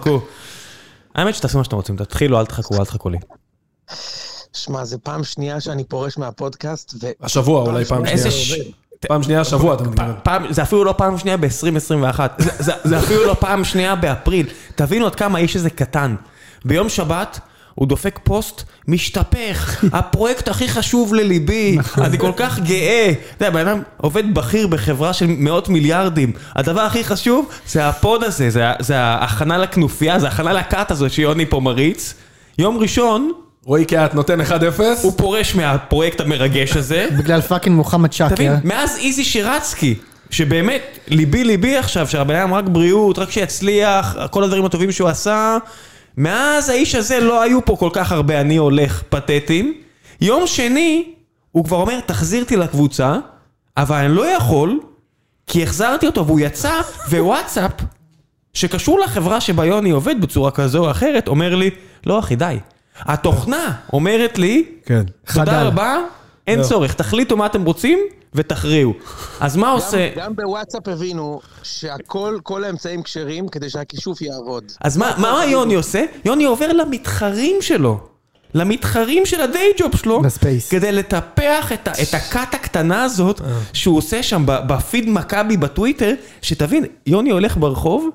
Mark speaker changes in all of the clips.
Speaker 1: תחכו. האמת שתעשו מה שאתם רוצים, תתחילו, אל תחכו, אל תחכו לי.
Speaker 2: שמע, זה פעם שנייה שאני פורש מהפודקאסט, ו...
Speaker 3: השבוע אולי פעם
Speaker 1: איזה
Speaker 3: שנייה.
Speaker 1: ש...
Speaker 3: פעם שנייה השבוע אתה מתכוון.
Speaker 1: פ- פעם, זה אפילו לא פעם שנייה ב-2021, זה, זה, זה אפילו לא פעם שנייה באפריל. תבינו עד כמה האיש הזה קטן. ביום שבת הוא דופק פוסט, משתפך, הפרויקט הכי חשוב לליבי, אני כל כך גאה. אתה יודע, בן אדם עובד בכיר בחברה של מאות מיליארדים. הדבר הכי חשוב זה הפוד הזה, זה, ה- זה ההכנה לכנופיה, זה ההכנה לכת הזו שיוני פה מריץ. יום ראשון,
Speaker 3: רועי קהת נותן 1-0.
Speaker 1: הוא פורש מהפרויקט המרגש הזה.
Speaker 4: בגלל פאקינג מוחמד
Speaker 1: אתה מבין?
Speaker 4: שקר.
Speaker 1: מאז איזי שירצקי, שבאמת, ליבי ליבי עכשיו, שהבן אדם רק בריאות, רק שיצליח, כל הדברים הטובים שהוא עשה, מאז האיש הזה לא היו פה כל כך הרבה אני הולך פתטיים. יום שני, הוא כבר אומר, תחזיר אותי לקבוצה, אבל אני לא יכול, כי החזרתי אותו והוא יצא, ווואטסאפ, שקשור לחברה שבה יוני עובד בצורה כזו או אחרת, אומר לי, לא אחי, די. התוכנה אומרת לי,
Speaker 3: כן.
Speaker 1: תודה
Speaker 4: חדל.
Speaker 1: רבה, אין צורך, תחליטו מה אתם רוצים ותכריעו. אז מה עושה...
Speaker 2: גם בוואטסאפ הבינו שהכל, כל האמצעים כשרים כדי שהכישוף יעבוד.
Speaker 1: אז מה- מה יוני עושה? יוני עובר למתחרים שלו. למתחרים של הדיי ג'וב שלו,
Speaker 4: בספייס.
Speaker 1: כדי לטפח את, ה- את הכת הקטנה הזאת שהוא עושה שם ב- בפיד מכבי בטוויטר, שתבין, יוני הולך ברחוב,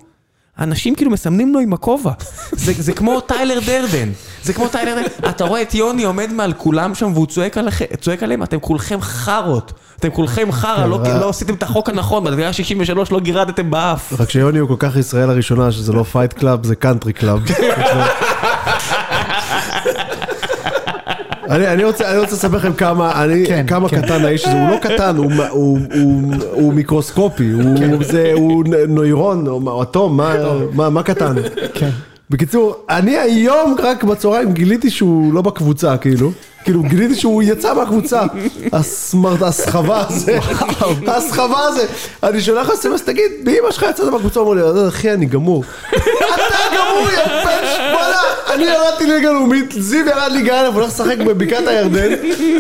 Speaker 1: אנשים כאילו מסמנים לו עם הכובע. זה, זה כמו טיילר דרדן, זה כמו טיילר דרדן. אתה רואה את יוני עומד מעל כולם שם והוא צועק, עליכם, צועק עליהם, אתם כולכם חארות. אתם כולכם חרא, לא, לא עשיתם את החוק הנכון, בדרגה 63 לא גירדתם באף.
Speaker 5: רק שיוני הוא כל כך ישראל הראשונה, שזה לא פייט קלאב, זה קאנטרי קלאב. אני, אני רוצה אני רוצה לספר לכם כמה, אני,
Speaker 4: כן,
Speaker 5: כמה
Speaker 4: כן.
Speaker 5: קטן האיש הזה, הוא לא קטן, הוא, מ- הוא, הוא, הוא מיקרוסקופי,
Speaker 4: כן.
Speaker 5: הוא, זה, הוא נ- נוירון, או, מה- או אטום, מה, מה, מה קטן?
Speaker 4: כן.
Speaker 5: בקיצור, אני היום רק בצהריים גיליתי שהוא לא בקבוצה, כאילו. כאילו, גיליתי שהוא יצא מהקבוצה. הסמרט, הסחבה הזה, הסחבה הזה. אני שולח לו סמס, תגיד, באמא שלך יצאת מהקבוצה, הוא אומר לי, "לא, אחי, אני גמור. אתה גמור, יא בן שמונה. אני ירדתי ליגה לאומית, זיו ירד ליגה א', הוא הולך לשחק בבקעת הירדן.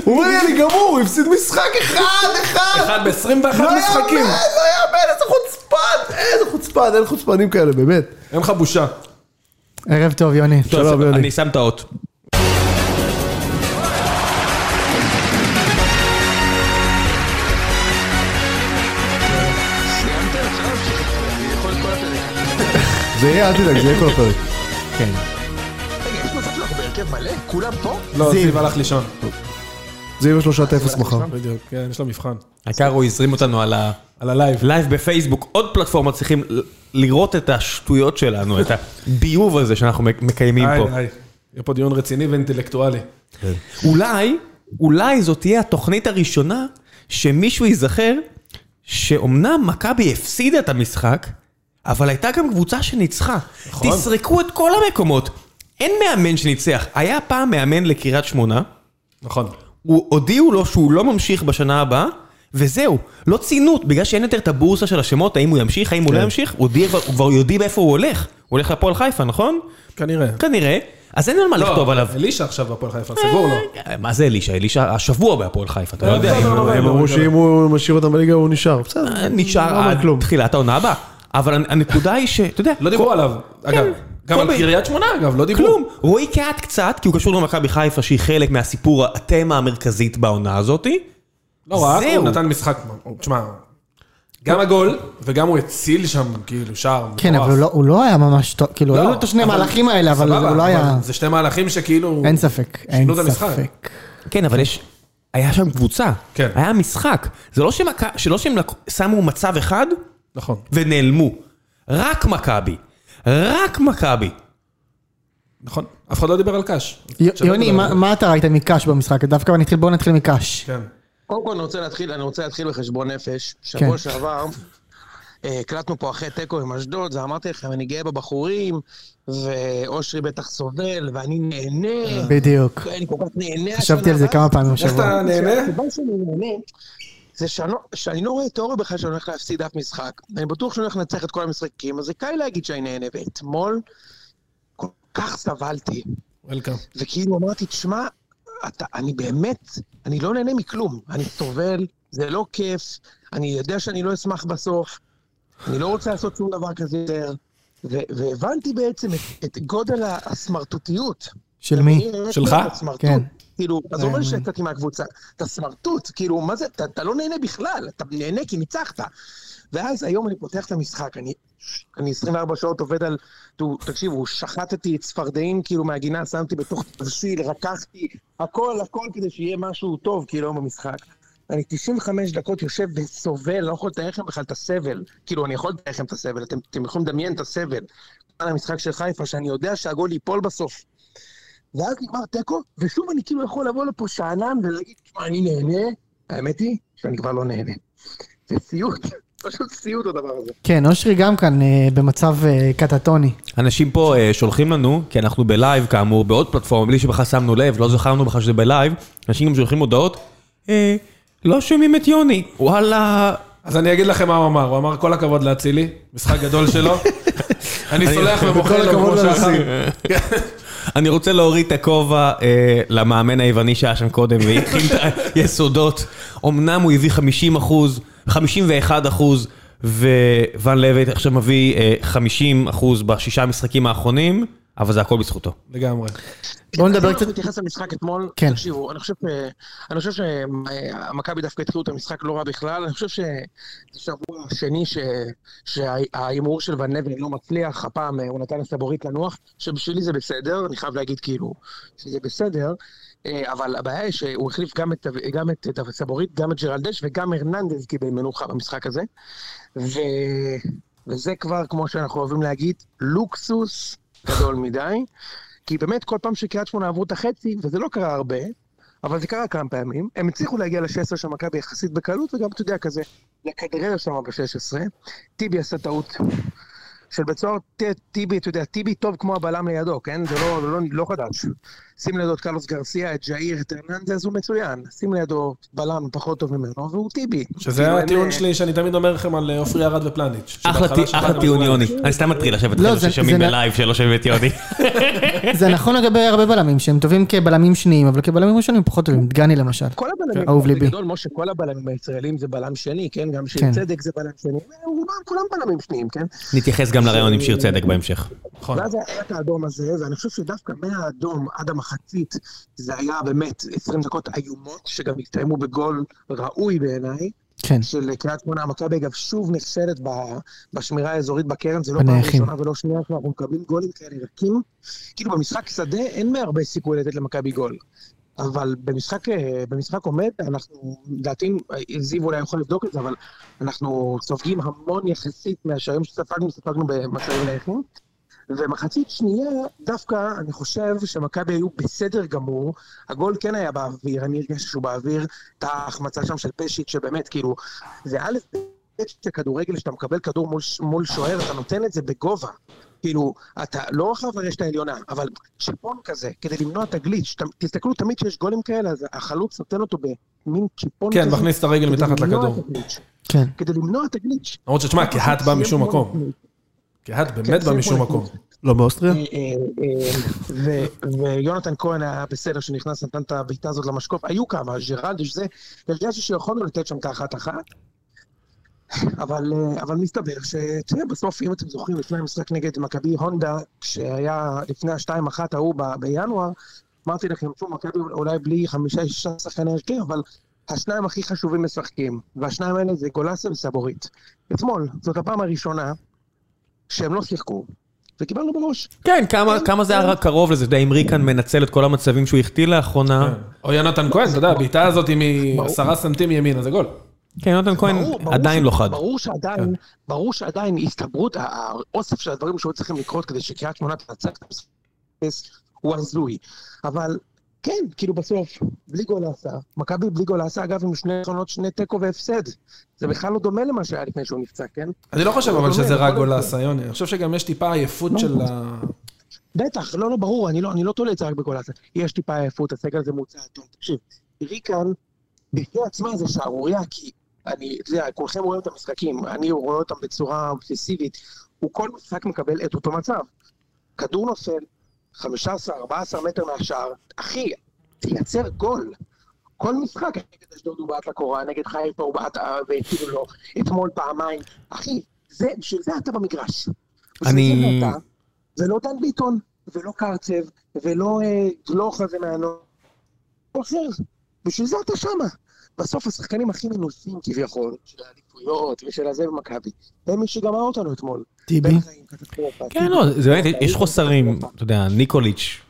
Speaker 5: הוא אומר לי, אני גמור, הוא הפסיד משחק אחד, אחד.
Speaker 3: אחד ב-21
Speaker 5: לא יאמן, לא
Speaker 3: משחקים.
Speaker 5: יאמן, איזה חוצפן, איזה חוצפן, אין חוצפנים כאלה, באמת.
Speaker 3: אין לך בושה.
Speaker 4: ערב טוב, יוני.
Speaker 1: טוב,
Speaker 5: שלום, יוני.
Speaker 1: אני שם את האות.
Speaker 5: זה יהיה, אל תדאג, זה יהיה כל הפרק.
Speaker 1: כן.
Speaker 2: רגע, יש מצב שאנחנו בהרכב מלא? כולם פה?
Speaker 3: לא, זיו הלך לישון.
Speaker 5: זה יהיה בשלושת אפס מחר.
Speaker 3: בדיוק, כן, יש לו מבחן.
Speaker 1: העיקר הוא הזרים אותנו על ה...
Speaker 3: על הלייב.
Speaker 1: לייב בפייסבוק, עוד פלטפורמה צריכים ל- לראות את השטויות שלנו, את הביוב הזה שאנחנו מק- מקיימים
Speaker 3: היי,
Speaker 1: פה.
Speaker 3: היי. יהיה פה דיון רציני ואינטלקטואלי.
Speaker 1: אולי, אולי זאת תהיה התוכנית הראשונה שמישהו ייזכר שאומנם מכבי הפסידה את המשחק, אבל הייתה גם קבוצה שניצחה. נכון. תסרקו את כל המקומות. אין מאמן שניצח. היה פעם מאמן לקריית שמונה,
Speaker 3: נכון.
Speaker 1: הוא הודיעו לו שהוא לא ממשיך בשנה הבאה, וזהו, לא ציינו, בגלל שאין יותר את הבורסה של השמות, האם הוא ימשיך, האם הוא לא ימשיך, הוא הודיע כבר- הוא כבר יודעים איפה הוא הולך. הוא הולך לפועל חיפה, נכון?
Speaker 3: כנראה.
Speaker 1: כנראה. אז אין על מה לכתוב עליו.
Speaker 3: אלישע עכשיו בהפועל חיפה, סגור לו.
Speaker 1: אה, לא. מה זה אלישע? אלישע השבוע בהפועל חיפה, אתה לא יודע. אם הוא-
Speaker 5: הם אמרו שאם הוא משאיר אותם בליגה הוא נשאר, בסדר.
Speaker 1: אה, נשאר
Speaker 5: לא אומר
Speaker 1: עד
Speaker 5: כלום.
Speaker 1: תחילת העונה הבאה. אבל הנ- הנקודה היא ש... אתה יודע,
Speaker 3: לא דיברו כן. עליו. אגב, גם על
Speaker 1: קובי.
Speaker 3: קריית שמונה אגב, לא דיברו.
Speaker 1: כלום. רועי קהת קצת, כי הוא קשור למכבי חיפה, שהיא חלק מהסיפור, התמה המרכזית בעונה הזאתי.
Speaker 3: לא רק,
Speaker 1: זהו.
Speaker 3: הוא נתן משחק, הוא- תשמע, גם הגול, וגם הוא הציל שם, כאילו, שער מטורף.
Speaker 4: כן, אבל הוא לא- הוא לא היה ממש טוב, כאילו,
Speaker 3: לא,
Speaker 4: היו לו את השני
Speaker 3: אבל-
Speaker 4: מהלכים האלה, אבל
Speaker 3: סבבה,
Speaker 4: הוא לא היה...
Speaker 3: זה שני מהלכים שכאילו...
Speaker 4: אין ספק, אין
Speaker 3: שינו את המשחק.
Speaker 4: ספק.
Speaker 1: כן, אבל יש... היה שם קבוצה.
Speaker 3: כן.
Speaker 1: היה משחק. זה לא, שמק... שלא שהם לק... שמו מצב אחד
Speaker 3: נכון,
Speaker 1: ונעלמו. רק מכבי. רק מכבי.
Speaker 3: נכון. אף אחד לא דיבר על קאש. אז
Speaker 4: י-
Speaker 3: שלא
Speaker 4: יוני,
Speaker 3: נדבר
Speaker 4: מה
Speaker 3: על זה.
Speaker 4: מה אתה ראית מקאש במשחק? דווקא נתחיל, בואו נתחיל מקאש.
Speaker 3: כן.
Speaker 2: קודם כל אני רוצה להתחיל, אני רוצה להתחיל בחשבון נפש.
Speaker 4: כן.
Speaker 2: שבוע שעבר אה, הקלטנו פה אחרי תיקו עם אשדוד, ואמרתי לכם, אני גאה בבחורים, ואושרי בטח סובל, ואני נהנה.
Speaker 4: בדיוק.
Speaker 2: אני כל כך נהנה.
Speaker 4: חשבתי על זה כמה פעמים
Speaker 3: איך
Speaker 4: השבוע.
Speaker 3: אתה נהנה?
Speaker 2: הסיבה שאני נהנה זה שאני, לא- שאני לא רואה תיאוריה בכלל שאני הולך להפסיד אף משחק. אני בטוח שאני הולך לנצח את כל המשחקים, אז זה קל להגיד שאני נהנה. ואתמול כל כך סבלתי.
Speaker 3: וולקאם.
Speaker 2: וכאילו אמרתי, תשמע, אתה, אני באמת, אני לא נהנה מכלום. אני סובל, זה לא כיף, אני יודע שאני לא אשמח בסוף, אני לא רוצה לעשות שום דבר כזה יותר. ו- והבנתי בעצם את, את גודל הסמרטוטיות.
Speaker 4: של מי?
Speaker 2: אני-
Speaker 3: שלך?
Speaker 2: הסמרטוט.
Speaker 4: כן.
Speaker 2: כאילו, עזוב
Speaker 4: אה,
Speaker 2: לי
Speaker 4: מה?
Speaker 2: שיצאתי מהקבוצה, אתה סמרטוט, כאילו, מה זה, אתה, אתה לא נהנה בכלל, אתה נהנה כי ניצחת. ואז היום אני פותח את המשחק, אני, אני 24 שעות עובד על, תו- תקשיבו, שחטתי צפרדעים כאילו מהגינה, שמתי בתוך תבשיל, רקחתי, הכל, הכל כדי שיהיה משהו טוב כאילו היום במשחק. אני 95 דקות יושב וסובל, לא יכול לתאר לכם בכלל את הסבל. כאילו, אני יכול לתאר לכם את הסבל, אתם, אתם יכולים לדמיין את הסבל. על המשחק של חיפה, שאני יודע שהגול ייפול בסוף. ואז נגמר תיקו, ושוב אני כאילו יכול לבוא לפה שאנן ולהגיד, תשמע, אני נהנה, האמת היא שאני כבר לא נהנה. זה סיוט, פשוט סיוט הדבר הזה.
Speaker 4: כן, אושרי גם כאן אה, במצב אה, קטטוני.
Speaker 1: אנשים פה אה, שולחים לנו, כי אנחנו בלייב כאמור, בעוד פלטפורמה, בלי שבכלל שמנו לב, לא זכרנו בכלל שזה בלייב, אנשים גם שולחים הודעות, אה, לא שומעים את יוני, וואלה,
Speaker 3: אז אני אגיד לכם מה הוא אמר, הוא אמר כל הכבוד לאצילי, משחק גדול שלו, אני סולח ומוחא
Speaker 5: וכל
Speaker 3: לו כמו
Speaker 5: הכבוד
Speaker 3: שאחר.
Speaker 5: לנשיא.
Speaker 1: אני רוצה להוריד את הכובע אה, למאמן היווני שהיה שם קודם והתחיל את היסודות. אמנם הוא הביא 50 אחוז, 51 אחוז, ווואן לבט עכשיו מביא אה, 50 אחוז בשישה המשחקים האחרונים, אבל זה הכל בזכותו.
Speaker 3: לגמרי.
Speaker 4: בואו נדבר
Speaker 2: אם
Speaker 4: קצת...
Speaker 2: אנחנו נתייחס לא למשחק אתמול,
Speaker 4: כן.
Speaker 2: תקשיבו, אני חושב, אה, אני חושב שמכבי דווקא התחילו את המשחק לא רע בכלל, אני חושב שזה שבוע שני ש- שההימור של ון לבן לא מצליח, הפעם אה, הוא נתן לסבורית לנוח, שבשבילי זה בסדר, אני חייב להגיד כאילו שזה בסדר, אה, אבל הבעיה היא שהוא החליף גם את, גם את, את סבורית, גם את ג'רלדש וגם הרננדז קיבל מנוחה במשחק הזה, ו... וזה כבר, כמו שאנחנו אוהבים להגיד, לוקסוס גדול מדי. כי באמת כל פעם שקריית שמונה עברו את החצי, וזה לא קרה הרבה, אבל זה קרה כמה פעמים, הם הצליחו להגיע ל-16 של מכבי יחסית בקלות, וגם, אתה יודע, כזה, לכדרר שם ב-16. טיבי עשה טעות של בית סוהר, ט- טיבי, אתה יודע, טיבי טוב כמו הבלם לידו, כן? זה לא, לא, לא חדש. שים לידו את קרלוס גרסיה, את ג'איר, את הרננדז, הוא מצוין. שים לידו בלם פחות טוב ממנו, והוא טיבי. כאילו,
Speaker 3: שזה
Speaker 2: אין-
Speaker 3: הטיעון שלי שאני תמיד אומר לכם על אה, עופרי ארד ופלניץ'.
Speaker 1: אחלה
Speaker 3: שבהתחלה
Speaker 1: טי- אחלה
Speaker 3: שמעתם
Speaker 1: טיעון
Speaker 3: את
Speaker 1: יוני. אני סתם מטריל עכשיו את
Speaker 4: לא,
Speaker 1: חבר'ה
Speaker 4: זה-
Speaker 1: ששומעים
Speaker 4: זה-
Speaker 1: בלייב שלא שומעים את יוני.
Speaker 4: זה נכון לגבי הרבה בלמים שהם טובים כבלמים שניים, אבל כבלמים ראשונים הם פחות טובים. דגני למשל.
Speaker 2: כל הבלמים,
Speaker 4: אה, אהוב ליבי.
Speaker 2: בגדול, משה, כל הבלמים הישראלים זה בלם שני, כן? גם שיר
Speaker 4: כן.
Speaker 2: צדק זה בלם שני, רובם כולם בלמים שניים, כן?
Speaker 1: נתייחס גם לרעיון עם שיר צדק בהמשך.
Speaker 3: נכון.
Speaker 2: ואז היה את האדום הזה, ואני חושב שדווקא מהאדום עד המחצית, זה היה באמת 20 דקות איומות, שגם הסתיימו בגול ראוי בעיניי,
Speaker 4: כן.
Speaker 2: של קריית שמונה. מכבי, אגב, שוב נכשלת ב- בשמירה האזורית בקרן, זה לא פעם
Speaker 4: בנייחים.
Speaker 2: ראשונה ולא שנייה, שאנחנו מקבלים גולים כאלה רכים. כאילו, במשחק שדה אין הרבה סיכוי לתת למכבי גול. אבל במשחק, אה, במשחק עומד, אנחנו, לדעתי, אה, זיו אולי יכול לבדוק את זה, אבל אנחנו סופגים המון יחסית מהשערים שספגנו, ספגנו במצבים נייחים. ומחצית שנייה, דווקא אני חושב שמכבי היו בסדר גמור, הגול כן היה באוויר, אני הרגשתי שהוא באוויר, את ההחמצה שם של פשיט, שבאמת, כאילו, זה א', ב' של כדורגל, שאתה מקבל כדור מול, ש- מול שוער, אתה נותן את זה בגובה. כאילו, אתה לא חייב לרשת העליונה, אבל שיפון כזה, כדי למנוע את הגליץ', ת- תסתכלו תמיד כשיש גולים כאלה, אז החלוץ נותן אותו במין צ'יפון
Speaker 3: כן,
Speaker 2: כזה.
Speaker 3: מכניס את
Speaker 2: כדי
Speaker 3: הרגל מתחת
Speaker 2: למנוע
Speaker 3: לכדור.
Speaker 2: את הגליץ'.
Speaker 4: כן.
Speaker 2: כדי למנוע את הגליץ'.
Speaker 3: למרות שתשמע, קהת בא משום מקום.
Speaker 4: כן,
Speaker 3: קהת באמת בא
Speaker 2: שימו
Speaker 3: משום
Speaker 2: לב.
Speaker 3: מקום.
Speaker 5: לא מאוסטריה?
Speaker 2: אה, אה, ו- ויונתן כהן היה בסדר שנכנס, נתן את הבעיטה הזאת למשקוף, היו כמה, ג'רלדש זה, הרגשתי שיכולנו לתת שם את האחת-אחת, אבל, אה, אבל מסתבר שתראה, בסוף, אם אתם זוכרים, לפני המשחק נגד מכבי הונדה, כשהיה לפני השתיים אחת ההוא ב- בינואר, אמרתי לכם, שוב, מכבי אולי בלי חמישה-שישה שחקני הרכב, אבל השניים הכי חשובים משחקים, והשניים האלה זה גולסה וסבורית. אתמול, זאת הפעם הראשונה שהם לא שיחקו, וקיבלנו בראש.
Speaker 1: כן, כמה- כמה זה היה רק קרוב לזה, אתה יודע, אם ריקן מנצל את כל המצבים שהוא החטיא
Speaker 2: כן.
Speaker 1: לאחרונה.
Speaker 3: כן. או יונתן כהן, אתה יודע, הבעיטה הזאת היא מעשרה סנטים ימינה, זה גול.
Speaker 1: כן, נותן כהן
Speaker 2: ברור, ברור
Speaker 1: עדיין
Speaker 2: ש-
Speaker 1: לא חד. כן.
Speaker 2: ברור שעדיין, ברור שעדיין הסתברות, ה- האוסף של הדברים שהיו צריכים לקרות כדי שקריית שמונה תנצח את המשחק הוא הזוי. אבל כן, כאילו בסוף, בלי גול עשה. מכבי בלי גול עשה, אגב, עם שני עקרונות, שני תיקו והפסד. זה בכלל לא דומה למה שהיה לפני שהוא נפצע, כן?
Speaker 3: אני לא חושב
Speaker 2: הוא
Speaker 3: אבל
Speaker 2: דומה,
Speaker 3: שזה רק
Speaker 2: יכול
Speaker 3: גול
Speaker 2: להיות.
Speaker 3: לאסיוני, אני חושב שגם יש טיפה עייפות של ה...
Speaker 2: בטח, לא, לא, ברור, אני לא, אני לא תולה את זה רק בגול עשה. יש טיפה עייפות, הסגל הזה מוצע טוב. תקשיב, ריקן, בפני עצמה זה שערורייה, כי אני, אתה יודע, כולכם רואים את המשחקים, אני רואה אותם בצורה אובססיבית. הוא כל משחק מקבל את אותו מצב. כדור נופל, 15-14 מטר מהשער, אחי, תייצר גול. כל משחק, נגד אשדוד הוא בעט לקורה, נגד חיפה הוא בעט, אה, והציבו לו, אתמול פעמיים. אחי, זה, בשביל זה אתה במגרש.
Speaker 1: אני-
Speaker 2: זה לא אתה, זה לא דן ביטון, ולא קרצב, ולא אה, גלוך הזה מהנוער. הוא אחר, בשביל זה אתה שמה. בסוף השחקנים הכי מנוסים כביכול, של האליפויות ושל הזה במכבי, הם מי שגמר אותנו אתמול.
Speaker 4: טיבי.
Speaker 2: בן חיים, קטסטרופה,
Speaker 1: כן,
Speaker 4: כאילו,
Speaker 2: טיבי.
Speaker 1: לא, זה באמת, יש חוסרים, אתה יודע, ניקוליץ'.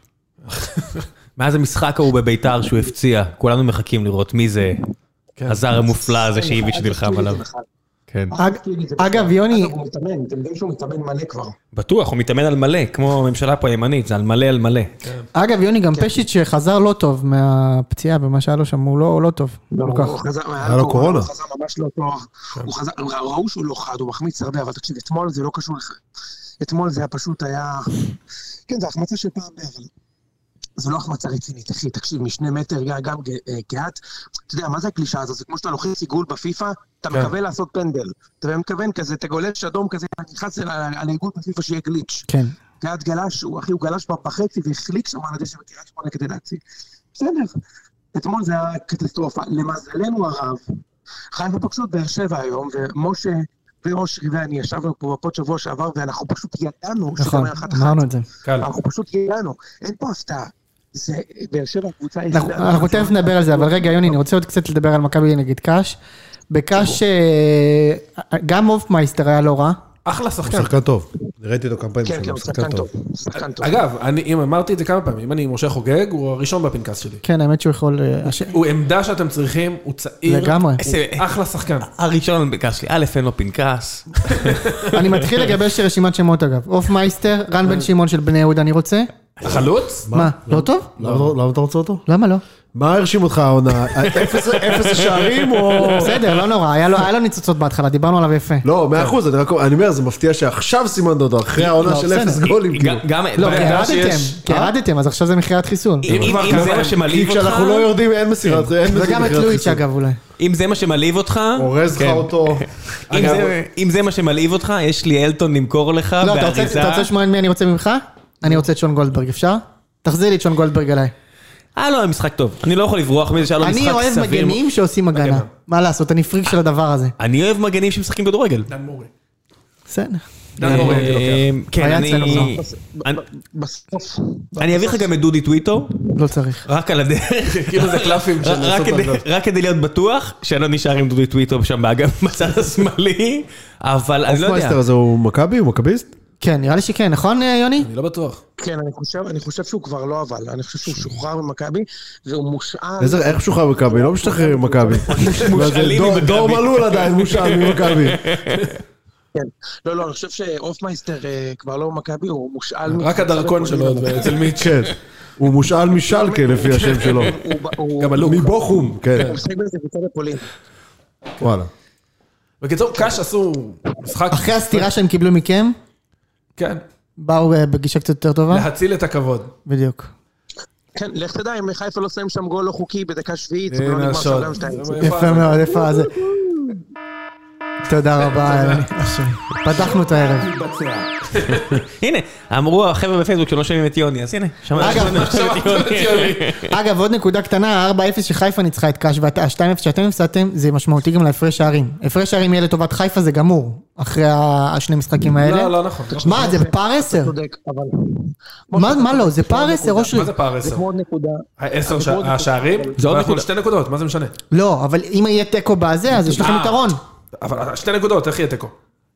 Speaker 1: מאז המשחק ההוא בביתר שהוא הפציע, כולנו מחכים לראות מי זה
Speaker 4: כן.
Speaker 1: הזר המופלא הזה שאיביץ' נלחם עליו. כן.
Speaker 4: אג- אגב, יוני,
Speaker 2: אגב, הוא מתאמן, אתם יודעים שהוא מתאמן מלא כבר.
Speaker 1: בטוח, הוא מתאמן על מלא, כמו הממשלה פה הימנית, זה על מלא על מלא.
Speaker 4: אגב, יוני
Speaker 2: כן.
Speaker 4: גם פשיץ' שחזר לא טוב מהפציעה ומה שהיה לו שם, הוא לא לא טוב. כל כך.
Speaker 2: הוא חזר
Speaker 5: לו
Speaker 2: מהאלכוהול,
Speaker 5: קורונה. כן.
Speaker 2: הוא חזר ממש לא טוב. הוא חזר, ראו שהוא לא חד, הוא מחמיץ הרבה, אבל תקשיב, אתמול זה לא קשור לך. אתמול זה היה פשוט היה... כן, זה החמצה של פעם ב... אבל... זה לא החמצה רצינית, אחי, תקשיב, משני מטר, גם- גם אה, קהת. אתה יודע, מה זה הקלישאה הזו? זה כמו שאתה לוחץ עיגול בפיפא, אתה
Speaker 3: כן.
Speaker 2: מקווה לעשות פנדל. אתה מתכוון כזה, אתה גולש אדום כזה, אתה נכנס על ה- על העיגול בפיפא שיהיה גליץ'.
Speaker 4: כן.
Speaker 2: קהת גלש, הוא, אחי, הוא גלש בה בחצי והחליק שם על הדשא בקריית שמונה כדי להציג. בסדר. אתמול זה היה קטסטרופה. למזלנו הרב, חיפה פגשו את באר שבע היום, ומשה ואושרי ואני ישבנו פה בפוד שבוע שעבר, ואנחנו פשוט ידענו שזה לא
Speaker 4: נכון,
Speaker 2: אומר אחת אחת.
Speaker 4: אמרנו את זה.
Speaker 3: קל.
Speaker 2: אנחנו פשוט ידענו, אין פה הפתעה. זה באר שבע הקבוצה
Speaker 4: אנחנו- אנחנו תכף נדבר על זה, אבל רגע, יוני, אני רוצה עוד קצת לדבר על מכבי נגד קאש. בקאש, אה, גם הופמייסטר היה לא רע.
Speaker 3: אחלה
Speaker 5: הוא
Speaker 3: שחקן.
Speaker 5: שחקן טוב. ראיתי אותו כמה פעמים,
Speaker 2: כן, כן, הוא
Speaker 5: הוא
Speaker 2: שחקן טוב. שחקן טוב.
Speaker 3: אגב, אני אם אמרתי את זה כמה פעמים, אם אני משה חוגג, הוא הראשון בפנקס שלי.
Speaker 4: כן, האמת שהוא יכול... אה, הש-
Speaker 3: הוא עמדה שאתם צריכים, הוא צעיר.
Speaker 4: לגמרי.
Speaker 1: איזה-
Speaker 3: הוא אחלה שחקן.
Speaker 1: הראשון על פנקס שלי, א', אין לו פנקס.
Speaker 4: אני מתחיל לגבש רשימת שמות אגב. הופמייסטר, רן בן שמעון של בני יהודה, אני רוצה.
Speaker 3: החלוץ?
Speaker 4: מה, לא טוב?
Speaker 5: למה אתה רוצה אותו?
Speaker 4: למה לא?
Speaker 5: מה הרשים אותך העונה? אפס- אפס שערים או...
Speaker 4: בסדר, לא נורא, היה לו- היה לו ניצוצות בהתחלה, דיברנו עליו יפה.
Speaker 5: לא, מאה אחוז, אני רק אני אומר, זה מפתיע שעכשיו סימנת אותו, אחרי העונה של
Speaker 4: בסדר.
Speaker 5: אפס גולים, כאילו.
Speaker 1: גם- גם...
Speaker 4: לא,
Speaker 1: בעיה
Speaker 4: כי ירדתם,
Speaker 1: שיש-
Speaker 4: כי ירדתם, אז עכשיו זה מכירת חיסול.
Speaker 1: אם
Speaker 3: כבר
Speaker 1: אם זה
Speaker 3: כמה-
Speaker 1: מה
Speaker 5: כי
Speaker 1: שמלהיב אותך,
Speaker 5: כשאנחנו לא יורדים אין מסירת, אין
Speaker 4: וגם את
Speaker 5: מסירת
Speaker 4: לואיץ'
Speaker 5: חיסון.
Speaker 4: אגב אולי.
Speaker 1: אם זה מה שמלהיב אותך,
Speaker 5: אורז לך
Speaker 1: כן.
Speaker 5: אותו.
Speaker 1: אם
Speaker 3: אגב-
Speaker 1: זה- אם זה מה שמלהיב אותך, יש לי אלטון למכור לך
Speaker 4: לא, אתה רוצה-
Speaker 1: באריזה.
Speaker 4: אתה רוצה לשמוע את מי אני רוצה ממך? אני רוצה את שון גולדברג, אפשר? תחזיר לי את שון גולדברג אליי.
Speaker 1: היה לו משחק טוב. אני אה, לא יכול לברוח מזה שהיה לו משחק סביר. אוקיי,
Speaker 4: אני אוהב מגנים שעושים הגנה.
Speaker 3: מגנה.
Speaker 4: מה לעשות, אני פריק של הדבר הזה.
Speaker 1: אני אוהב מגנים שמשחקים כדורגל.
Speaker 3: דן מורי.
Speaker 4: בסדר.
Speaker 3: דן מורי, אני לוקח.
Speaker 1: אה, כן,
Speaker 4: היה אצלנו,
Speaker 1: אני...
Speaker 4: לא.
Speaker 1: אני-
Speaker 2: בסוף.
Speaker 1: אני אביא לך גם את דודי טוויטו,
Speaker 4: לא צריך.
Speaker 1: רק על הדרך.
Speaker 3: כאילו זה קלפים של
Speaker 1: רק
Speaker 3: לעשות
Speaker 1: כדי-
Speaker 3: בנדות.
Speaker 1: רק כדי להיות בטוח שאני לא נשאר עם דודי טוויטו שם באגף בצד השמאלי, אבל אני לא יודע.
Speaker 5: מייסטר הזה הוא מכבי? הוא מכביסט?
Speaker 4: כן, נראה לי שכן, נכון אה, יוני?
Speaker 3: אני לא בטוח.
Speaker 2: כן, אני חושב- אני חושב שהוא כבר לא אבל, אני חושב שהוא שוחרר ממכבי, והוא מושאל.
Speaker 5: איזה, איך שוחרר מכבי? לא משתחרר עם מכבי.
Speaker 1: מושאלים
Speaker 5: דור-
Speaker 1: ממכבי.
Speaker 5: דור מלול עדיין מושאל ממכבי.
Speaker 2: כן. לא, לא, אני חושב שאופמייסטר אה, כבר לא במכבי, הוא מושאל...
Speaker 3: רק הדרכון שלו עוד בעצם.
Speaker 5: אצל מי צ'אט. כן. הוא מושאל משלקה לפי השם שלו.
Speaker 2: הוא ב- הוא
Speaker 3: גם הלוק.
Speaker 5: מבוכום, כן.
Speaker 2: הוא משחק באיזה קבוצה בפולין.
Speaker 5: וואלה.
Speaker 4: כן,
Speaker 3: בקיצור, קאש עשו משחק...
Speaker 4: אחרי הסטירה שהם קיבלו מכם,
Speaker 3: כן.
Speaker 4: באו אה, בגישה קצת יותר טובה?
Speaker 3: להציל את הכבוד.
Speaker 4: בדיוק.
Speaker 2: כן, לך תדע, אם חיפה לא שמים שם גול לא חוקי בדקה שביעית, זה לא
Speaker 3: הנה
Speaker 2: נגמר
Speaker 3: השוד.
Speaker 2: שם גם שתיים.
Speaker 3: זה
Speaker 4: יפה מאוד, יפה זה. תודה רבה, יוני. פתחנו את הערב.
Speaker 1: הנה, אמרו החבר'ה בפייסבוק שלא שומעים את יוני, אז הנה, שמע-
Speaker 4: אגב,
Speaker 1: שמענו עכשיו את יוני.
Speaker 4: אגב, עוד נקודה קטנה, 4-0 שחיפה ניצחה את קאש, וה-2-0 שאתם הפסדתם, זה משמעותי גם להפרש שערים. הפרש שערים יהיה לטובת חיפה זה גמור, אחרי ה- השני משחקים האלה.
Speaker 3: לא, לא נכון.
Speaker 4: מה, זה פער 10?
Speaker 2: צודק, אבל...
Speaker 4: מה, מה לא? זה פער 10, אושרי.
Speaker 3: מה זה פער
Speaker 2: זה
Speaker 3: עשר?
Speaker 2: כמו עוד נקודה.
Speaker 3: העשר שע- השערים?
Speaker 1: זה עוד
Speaker 3: אנחנו
Speaker 1: נקודה.
Speaker 3: שתי נקודות, מה זה משנה?
Speaker 4: לא, אבל אם יהיה תיקו בזה, אז יש לכם
Speaker 3: אה.
Speaker 4: יתרון.
Speaker 3: אבל שתי נקודות, איך יהיה תיקו?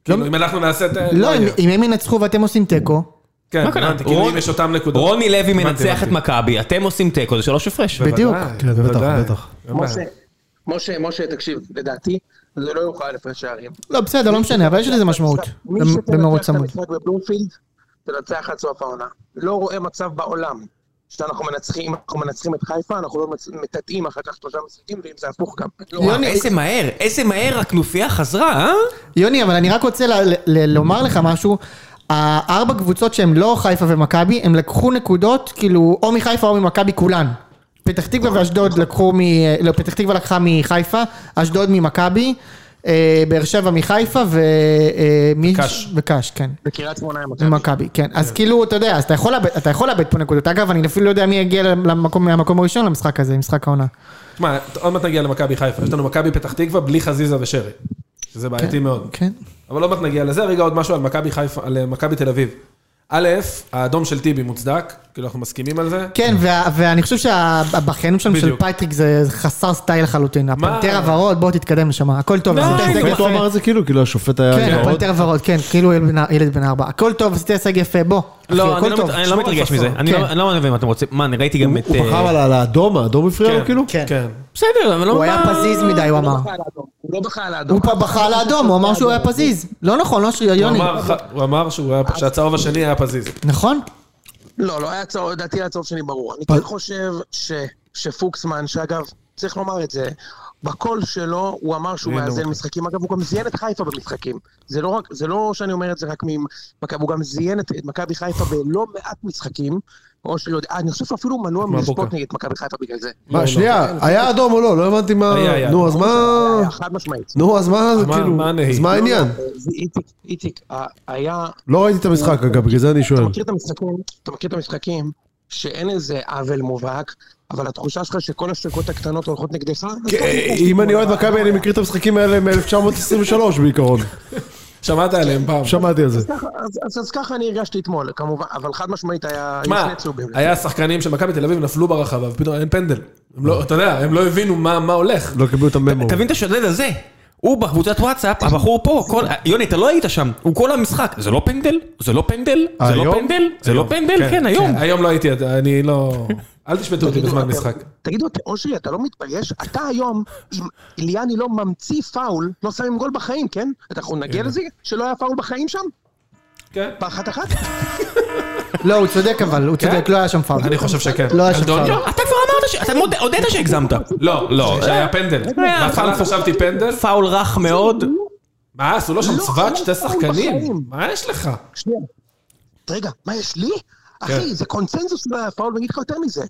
Speaker 3: כאילו, אם אנחנו נעשה את...
Speaker 4: לא, אם-
Speaker 3: יהיה.
Speaker 4: אם הם ינצחו ואתם עושים תיקו,
Speaker 3: כן,
Speaker 1: מה קרה?
Speaker 3: הבנתי, כאילו
Speaker 1: רון-
Speaker 3: אם יש אותם נקודות.
Speaker 1: רוני לוי
Speaker 3: הבנתי,
Speaker 1: מנצח את
Speaker 3: הבנתי.
Speaker 1: מכבי, אתם עושים תיקו, זה שלוש הפרש.
Speaker 4: בדיוק.
Speaker 3: בוודאי,
Speaker 5: כן, בטח,
Speaker 3: בוודאי.
Speaker 5: בטח.
Speaker 3: אין בעיה.
Speaker 2: משה, משה, משה, תקשיב, לדעתי, זה לא יוכל לפרש שערים.
Speaker 4: לא, בסדר, לא משנה, אבל יש לזה משמעות.
Speaker 2: מי
Speaker 4: במ- במרוץ
Speaker 2: שתנצח את
Speaker 4: צמוד.
Speaker 2: המשחק בבלומפילד, תנצח עד סוף העונה. לא רואה מצב בעולם שאנחנו מנצחים, אנחנו מנצחים את חיפה, אנחנו לא מצ- מטאטאים אחר כך שלושה משחקים, ואם זה הפוך גם. לא רואה.
Speaker 1: וואו, איזה מהר, איזה מהר הכנופיה חזרה, אה?
Speaker 4: יוני, אבל אני רק רוצה ל- ל- לומר לך משהו. הארבע קבוצות שהן לא חיפה ומכבי, הם לקחו נקודות, כאילו, או מחיפה או ממכבי כולן. פתח תקווה ואשדוד לקחו מ... לא, פתח תקווה לקחה מחיפה, אשדוד ממכבי, אה, באר שבע מחיפה ו... אה, מי-
Speaker 3: וקש.
Speaker 4: וקש, כן.
Speaker 2: בקריית שמונה עם מכבי.
Speaker 4: ממכבי, כן. אז כאילו, אתה יודע, אז אתה יכול לאבד- אתה יכול לאבד פה נקודות. אגב, אני אפילו לא יודע מי יגיע למקום, מהמקום הראשון למשחק הזה, משחק העונה.
Speaker 3: תשמע, עוד מעט נגיע למכבי חיפה, יש לנו מכבי פתח תקווה בלי חזיזה ושרי. שזה בעייתי מאוד.
Speaker 4: כן.
Speaker 3: אבל עוד מעט נגיע לזה, רגע עוד משהו על מכבי חיפה, על אה, מכבי תל אביב. א', האדום של טיבי מוצדק, כאילו אנחנו מסכימים על זה.
Speaker 4: כן, וה- ואני חושב שהבכיינות שם של
Speaker 3: בדיוק.
Speaker 4: פטריק זה חסר סטייל לחלוטין. הפנתר הוורוד, בוא תתקדם לשם, הכל טוב.
Speaker 1: די,
Speaker 4: עשית הישג
Speaker 5: באמת הוא
Speaker 4: יפה.
Speaker 5: אמר את זה כאילו, כאילו השופט היה...
Speaker 4: כן,
Speaker 5: גאון.
Speaker 4: הפנתר הוורוד, כן, כאילו ילד בן- ילד בן ארבע. הכל טוב, עשית הישג יפה, בוא. אחי,
Speaker 1: לא,
Speaker 4: הכל
Speaker 1: אני לא
Speaker 4: טוב.
Speaker 1: מת- אני
Speaker 3: שמור
Speaker 1: לא
Speaker 3: על
Speaker 1: מתרגש
Speaker 3: הפאסון.
Speaker 1: מזה. אני לא-
Speaker 4: כן.
Speaker 1: אני לא מבין מה אתם רוצים. מה, אני ראיתי גם את...
Speaker 5: הוא בחר
Speaker 1: אה,
Speaker 5: על- על האדום, האדום הפריע לו
Speaker 3: כן.
Speaker 5: כאילו?
Speaker 4: כן.
Speaker 3: כן.
Speaker 1: בסדר, אבל לא...
Speaker 4: הוא היה
Speaker 1: מה-
Speaker 4: פזיז מדי, הוא
Speaker 2: הוא לא
Speaker 4: אמר.
Speaker 2: בכה על האדום, הוא לא בכה על האדום. לא
Speaker 4: הוא פה בחר לאדום, הוא אמר שהוא היה פזיז. לא נכון, לא שרי,
Speaker 3: הוא
Speaker 4: יוני.
Speaker 3: אמר, ח- הוא אמר שהוא היה- שהצהוב השני היה פזיז.
Speaker 4: נכון?
Speaker 2: לא, לא היה צהוב, לדעתי היה צהוב שני ברור. אני כן חושב ש- שפוקסמן, שאגב, צריך לומר את זה, בקול שלו הוא אמר שהוא מאזן משחקים. אגב, הוא גם זיין את חיפה במשחקים. זה לא, רק, זה לא שאני אומר את זה רק ממכבי, הוא גם זיין את, את מכבי חיפה בלא מעט משחקים. או שלא יודע, אה, אני חושב שאפילו הוא מנוע מלשפוט
Speaker 3: מהבוקר.
Speaker 2: נגד מכבי חיפה בגלל זה.
Speaker 4: לא,
Speaker 5: מה, שנייה, היה אדום או לא? לא הבנתי מה...
Speaker 3: היה, היה.
Speaker 5: נו, אז מה...
Speaker 4: אה.
Speaker 2: היה אה, חד משמעית.
Speaker 5: נו, אז מה, זה
Speaker 3: מה-
Speaker 5: כאילו...
Speaker 3: מה הנהי?
Speaker 5: אז מה העניין?
Speaker 2: אה, זה איציק, איציק, אה, היה...
Speaker 5: לא ראיתי את המשחק, אגב, בגלל זה אני
Speaker 3: כן.
Speaker 5: שואל.
Speaker 2: אתה מכיר את המשחקים, אתה מכיר את המשחקים שאין איזה עוול מובהק, אבל התחושה שלך שכל השתיקות הקטנות הולכות נגדך? אז
Speaker 5: כן, אם אני אוהד מכבי, אני מכיר את המשחקים האלה מ-1923 בעיקרון.
Speaker 3: שמעת עליהם פעם.
Speaker 5: שמעתי על זה.
Speaker 2: ככה- אז- אז- אז ככה אני הרגשתי אתמול, כמובן, אבל חד משמעית היה היו
Speaker 3: מה,
Speaker 2: שני צהובים.
Speaker 3: היה שחקנים של מכבי תל אביב נפלו ברחבה ופתאום אין פנדל. הם לא, אתה יודע, הם לא הבינו מה מה הולך.
Speaker 5: לא קיבלו את הממו.
Speaker 1: תבין את השודד הזה. הוא בקבוצת וואטסאפ, הבחור פה, כל... יוני, אתה לא היית שם, הוא כל המשחק. זה לא פנדל? זה לא פנדל? זה לא
Speaker 5: היום?
Speaker 1: פנדל? זה לא פנדל? כן, היום.
Speaker 3: היום לא הייתי, אני לא... אל תשפטו אותי
Speaker 2: תגידו,
Speaker 3: בזמן
Speaker 2: אתם-
Speaker 3: משחק.
Speaker 2: תגידו, אתה- אושרי, אתה לא מתבייש? אתה היום, אם אליאני לא ממציא פאול, לא שמים גול בחיים, כן? אנחנו נגיע לזה? שלא היה פאול בחיים שם?
Speaker 3: כן.
Speaker 2: באחת אחת?
Speaker 4: לא, הוא צודק אבל, הוא
Speaker 1: כן?
Speaker 4: צודק, לא היה שם פאול.
Speaker 3: אני חושב שכן.
Speaker 4: לא היה שם
Speaker 3: אדוניו?
Speaker 4: פאול.
Speaker 1: לא, אתה כבר אמרת ש... אתה מודה- הודית שהגזמת.
Speaker 3: לא, לא, שהיה פנדל. בהתחלה חשבתי פנדל.
Speaker 1: פאול רך מאוד.
Speaker 3: מה, עשו לו שם
Speaker 2: לא,
Speaker 3: צוואק
Speaker 2: לא
Speaker 3: שתי
Speaker 2: פאול
Speaker 3: שחקנים?
Speaker 2: בחיים.
Speaker 3: מה יש לך?
Speaker 2: שנייה. רגע, מה יש לי?
Speaker 3: כן.
Speaker 2: אחי, זה קונצנזוס לא היה פאול, ואני אגיד לך יותר מזה.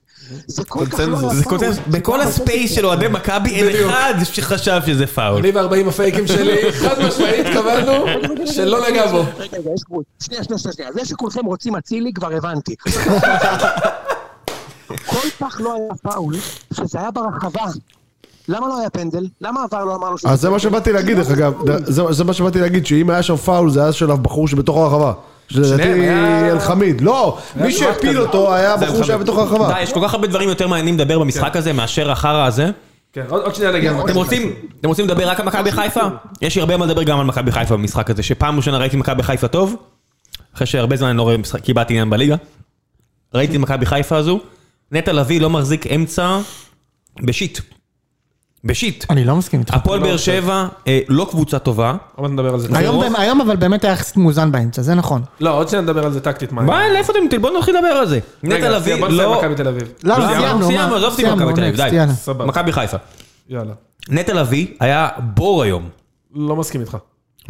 Speaker 2: זה כל כך לא היה
Speaker 3: קונצנזוס,
Speaker 2: פאול.
Speaker 1: זה כותב, בכל הספייס של אוהדי מכבי אין
Speaker 3: בדיוק.
Speaker 1: אחד שחשב שזה פאול.
Speaker 3: אני וארבעים הפייקים שלי, חד משמעית קבענו שלא נגע בו.
Speaker 2: רגע, רגע, יש גבול. שנייה, שנייה, שנייה, שנייה. זה שכולכם רוצים אצילי, כבר הבנתי. כל כך לא היה פאול, שזה היה ברחבה. למה לא היה פנדל? למה עבר לא אמר לו שהוא...
Speaker 5: אז אה, זה מה שבאתי להגיד, דרך אגב. זה- זה מה שבאתי להגיד, שאם היה שם פאול, זה היה של הבחור שבתוך הרחבה.
Speaker 3: שניהם,
Speaker 5: שלדעתי
Speaker 3: היה-
Speaker 5: אלחמיד. לא, מי
Speaker 3: היה צוואק
Speaker 5: שהפיל
Speaker 3: כזה.
Speaker 5: אותו היה הבחור שהיה בתוך הרחבה.
Speaker 1: די, יש כל כך הרבה דברים יותר מעניינים לדבר במשחק הזה מאשר החרא הזה.
Speaker 3: כן, עוד עוד שנייה נגיע.
Speaker 1: אתם רוצים, אתם רוצים לדבר רק על מכבי חיפה? יש לי הרבה מה לדבר גם על מכבי חיפה במשחק הזה, שפעם ראשונה ראיתי מכבי חיפה טוב, אחרי שהרבה זמן אני לא רואה משחק, קיבלתי עניין בליגה. ראיתי את מכבי חיפה הזו, נטע לביא לא מחזיק אמצע בשיט. בשיט.
Speaker 4: אני לא מסכים איתך.
Speaker 1: הפועל באר שבע אה, לא קבוצה טובה.
Speaker 3: עוד נדבר על זה.
Speaker 4: היום
Speaker 1: ברוב-
Speaker 4: באמת- היום אבל באמת היה יחסית מאוזן באמצע, זה נכון.
Speaker 3: לא, עוד שנייה נדבר על זה טקטית. מה
Speaker 1: מה,
Speaker 3: היה.
Speaker 1: לאיפה אתם, בואו נתחיל לדבר על זה. נטע
Speaker 3: רגע,
Speaker 1: לביא
Speaker 3: בוא נסיים
Speaker 1: לא...
Speaker 3: מכבי תל אביב.
Speaker 4: לא,
Speaker 1: לא,
Speaker 4: סיימנו,
Speaker 1: סיימנו,
Speaker 4: מה?
Speaker 1: עזוב אותי
Speaker 4: סיימנו,
Speaker 1: מכבי תל אביב,
Speaker 4: next,
Speaker 1: די.
Speaker 4: יאללה.
Speaker 3: סבבה.
Speaker 1: מכבי חיפה.
Speaker 3: יאללה.
Speaker 1: נטע לביא היה בור היום.
Speaker 3: לא מסכים איתך.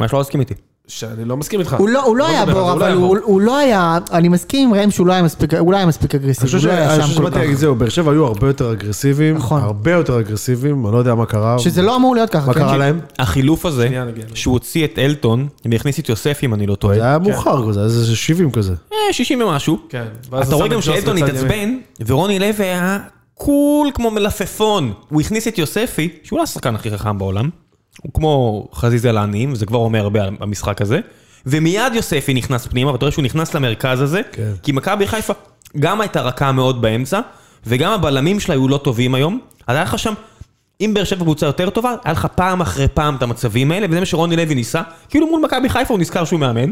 Speaker 1: מה שלא הסכים איתי.
Speaker 3: שאני לא מסכים איתך.
Speaker 4: הוא לא, הוא לא
Speaker 3: בוא
Speaker 4: היה
Speaker 3: נדבר על
Speaker 4: בור,
Speaker 3: זה,
Speaker 4: אבל
Speaker 3: היה
Speaker 4: הוא,
Speaker 3: בור.
Speaker 4: הוא לא היה, אני מסכים עם ראם שהוא לא היה מספיק, הוא לא היה מספיק
Speaker 5: אני
Speaker 4: אגרסיבי,
Speaker 5: חושב אה,
Speaker 4: הוא לא היה
Speaker 5: שאני
Speaker 4: שם
Speaker 5: חושב
Speaker 4: כל
Speaker 5: שבאתי
Speaker 4: כך.
Speaker 5: להגיד זהו, באר שבע היו הרבה יותר אגרסיביים,
Speaker 4: נכון.
Speaker 5: הרבה יותר אגרסיביים, אני לא יודע מה קרה.
Speaker 4: שזה לא אמור להיות ככה,
Speaker 5: מה
Speaker 4: כן?
Speaker 5: קרה להם?
Speaker 1: החילוף הזה,
Speaker 3: שנייה, נגיע לזה.
Speaker 1: שהוא הוציא את אלטון, והכניס את יוסף אם אני לא
Speaker 5: זה
Speaker 1: טועה,
Speaker 5: היה
Speaker 4: כן.
Speaker 5: מאוחר, זה היה איזה 70 כזה.
Speaker 1: אה, 60 ומשהו.
Speaker 3: כן, ואז
Speaker 1: אתה
Speaker 3: הוא
Speaker 1: רואה
Speaker 3: שם
Speaker 1: גם
Speaker 3: את ג'וס
Speaker 1: שאלטון
Speaker 3: בצד
Speaker 1: התעצבן, ורוני לוי היה קול כמו מלפפון. הוא הכניס את יוספי, שהוא לא השחקן הכי חכם בעולם, הוא כמו חזיזה לעניים, זה כבר אומר הרבה על המשחק הזה, ומיד יוספי נכנס פנימה, ואתה רואה שהוא נכנס למרכז הזה,
Speaker 5: כן.
Speaker 1: כי מכבי חיפה גם הייתה רכה מאוד באמצע, וגם הבלמים שלה היו לא טובים היום, אז היה לך שם... אם באר שבע קבוצה יותר טובה, היה לך פעם אחרי פעם את המצבים האלה, וזה מה שרוני לוי ניסה. כאילו מול מכבי חיפה הוא נזכר שהוא מאמן,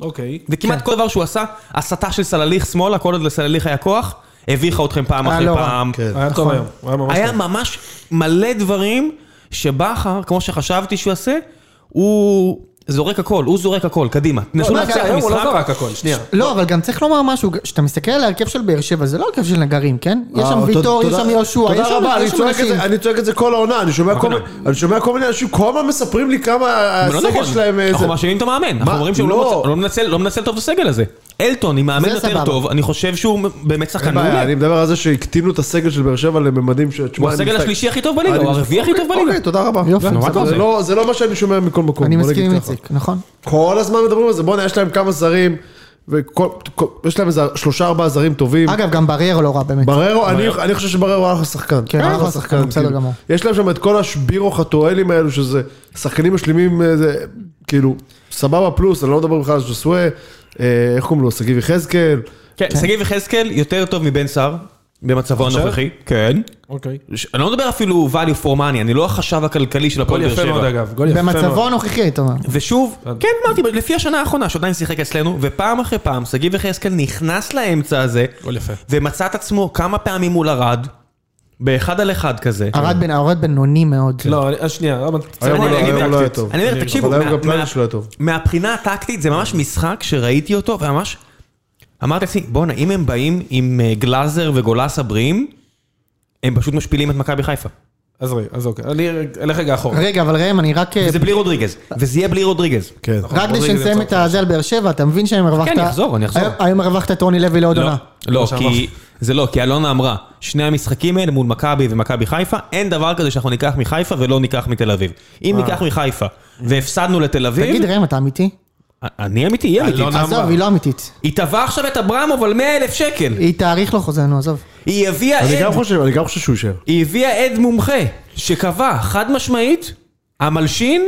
Speaker 3: אוקיי.
Speaker 1: וכמעט כל דבר שהוא עשה, הסתה של סלליך שמאלה, כל עוד לסלליך היה כוח, הביכה אתכם פעם
Speaker 4: היה
Speaker 1: אחרי
Speaker 4: לא רע.
Speaker 1: פעם. נכון.
Speaker 5: כן.
Speaker 3: היה טוב היום. הוא היה ממש
Speaker 1: היה
Speaker 3: טוב.
Speaker 1: ממש מלא דברים שבכר, כמו שחשבתי שהוא יעשה, הוא זורק הכל, הוא זורק הכל, קדימה. תנסו
Speaker 3: לא,
Speaker 1: לנצח
Speaker 3: רגע,
Speaker 1: את
Speaker 3: היום הוא לא
Speaker 1: המשחק.
Speaker 3: זרק הכל, שנייה.
Speaker 4: לא, אבל גם צריך לומר משהו, כשאתה מסתכל על ההרכב של באר שבע, זה לא הרכב של נגרים, כן? יש שם
Speaker 5: אה,
Speaker 4: ויטור,
Speaker 5: תודה-
Speaker 4: יש שם יהושע, יש
Speaker 5: תודה
Speaker 4: שם
Speaker 5: רבה, אני
Speaker 4: יש שם
Speaker 5: צועק את
Speaker 4: אנשים.
Speaker 5: זה- אני צועק את זה כל העונה, אני שומע כל מיני- אני שומע כל מיני אנשים, כל הזמן מספרים לי כמה
Speaker 1: אבל לא
Speaker 5: הסגל
Speaker 1: נכון,
Speaker 5: שלהם אה,
Speaker 1: אנחנו
Speaker 5: זה-
Speaker 1: מאשימים את המאמן, אנחנו אומרים שהוא
Speaker 5: לא.
Speaker 1: לא מוצא- לא מנצל- לא מנצל טוב את הסגל הזה. אלטון, עם מאמן
Speaker 4: זה
Speaker 1: יותר
Speaker 4: סבבה.
Speaker 1: טוב, אני חושב שהוא באמת שחקן
Speaker 5: אין בעיה,
Speaker 1: מעולה.
Speaker 5: אני מדבר על זה שהקטינו את הסגל של באר שבע לממדים ש...
Speaker 1: הוא הסגל השלישי הכי טוב בליגה, הוא הרביעי הכי טוב בליגה.
Speaker 5: אוקיי, תודה רבה.
Speaker 4: יופי,
Speaker 5: בסדר,
Speaker 1: נו, מה אתה
Speaker 5: זה
Speaker 1: עושה?
Speaker 5: לא- זה לא מה שאני שומע מכל מקום.
Speaker 4: אני
Speaker 5: בוא
Speaker 4: מסכים
Speaker 5: נגיד
Speaker 4: עם
Speaker 5: ככה.
Speaker 4: איציק, נכון.
Speaker 5: כל הזמן מדברים על זה, בואנה, יש להם כמה זרים. ויש להם איזה שלושה ארבעה זרים טובים.
Speaker 4: אגב, גם בריירו לא רע באמת.
Speaker 5: בררו, אני, אני חושב שבררו אחלה שחקן.
Speaker 4: כן, בררו אחלה שחקן, בסדר
Speaker 5: כאילו.
Speaker 4: גמור.
Speaker 5: יש להם שם את כל השבירו חתואלים האלו, שזה שחקנים משלימים, אה, זה, כאילו, סבבה פלוס, אני לא מדבר בכלל על ז'וסווה, אה, איך קוראים לו, שגיב יחזקאל.
Speaker 1: כן, שגיב יחזקאל יותר טוב מבן סער, במצבו
Speaker 3: עכשיו?
Speaker 1: הנוכחי. כן.
Speaker 3: אוקיי.
Speaker 1: ש- אני לא מדבר אפילו value for money, אני לא החשב הכלכלי של
Speaker 3: גול
Speaker 1: הפועל באר
Speaker 3: יפה מאוד
Speaker 1: שבע.
Speaker 3: אגב, גול יפה מאוד.
Speaker 4: במצבו הנוכחי, אתה אומר.
Speaker 1: ושוב, כן אמרתי, לפי השנה האחרונה שעדיין שיחק אצלנו, ופעם אחרי פעם שגיב יחזקאל נכנס לאמצע הזה,
Speaker 3: גול יפה.
Speaker 1: ומצא את עצמו כמה פעמים מול ארד, באחד על אחד כזה.
Speaker 4: ארד בן- ארד בינוני מאוד.
Speaker 3: לא, אני- אה, שנייה, אבל...
Speaker 5: היום
Speaker 1: אני
Speaker 5: הוא לא-
Speaker 1: אגיד
Speaker 5: היום הוא לא היה
Speaker 1: טקטית.
Speaker 5: טוב.
Speaker 1: אני אומר, תקשיבו,
Speaker 5: אבל היום
Speaker 1: מה-
Speaker 5: גם פלניץ'
Speaker 1: מה-
Speaker 5: לא היה טוב.
Speaker 1: מהבחינה הטקטית זה ממש משחק שראיתי אותו וממש אמרתי לעצמי, בואנה, אם הם באים עם אה, גלאזר וגולסה בריאים, הם פשוט משפילים את מכבי חיפה.
Speaker 3: אז רגע, אז אוקיי. אני אלך רגע אחורה.
Speaker 4: רגע, אבל ראם, אני רק... אה,
Speaker 1: וזה בלי רודריגז, וזה יהיה בלי רודריגז.
Speaker 5: כן.
Speaker 4: רק כדי
Speaker 3: רודריגז
Speaker 4: שנסיים
Speaker 3: יצא
Speaker 4: את הזה על באר שבע, אתה מבין שהיום הרווחת...
Speaker 1: אני אחזור, אני אחזור.
Speaker 4: היום- היום הרווחת את רוני לוי לעוד
Speaker 1: לא,
Speaker 4: עונה.
Speaker 1: לא,
Speaker 3: כמו
Speaker 1: כי... זה לא, כי אלונה אמרה, שני המשחקים האלה מול מכבי ומכבי חיפה, אין דבר כזה שאנחנו ניקח מחיפה ולא ניקח מתל אביב. אם ניקח מחיפה והפסדנו לתל אביב,
Speaker 4: תגיד, ראם, אתה אמיתי?
Speaker 1: אני אמיתי, היא אמיתית.
Speaker 3: אלונה-
Speaker 4: עזוב,
Speaker 3: אמרה.
Speaker 4: היא לא אמיתית.
Speaker 1: היא תבעה עכשיו את אברמוב על 100 אלף שקל.
Speaker 4: היא תאריך לו חוזה, נו, עזוב.
Speaker 1: היא הביאה
Speaker 5: אני גם
Speaker 1: עד,
Speaker 5: חושב, אני גם חושב שהוא יישאר.
Speaker 1: היא הביאה עד מומחה, שקבע חד משמעית, המלשין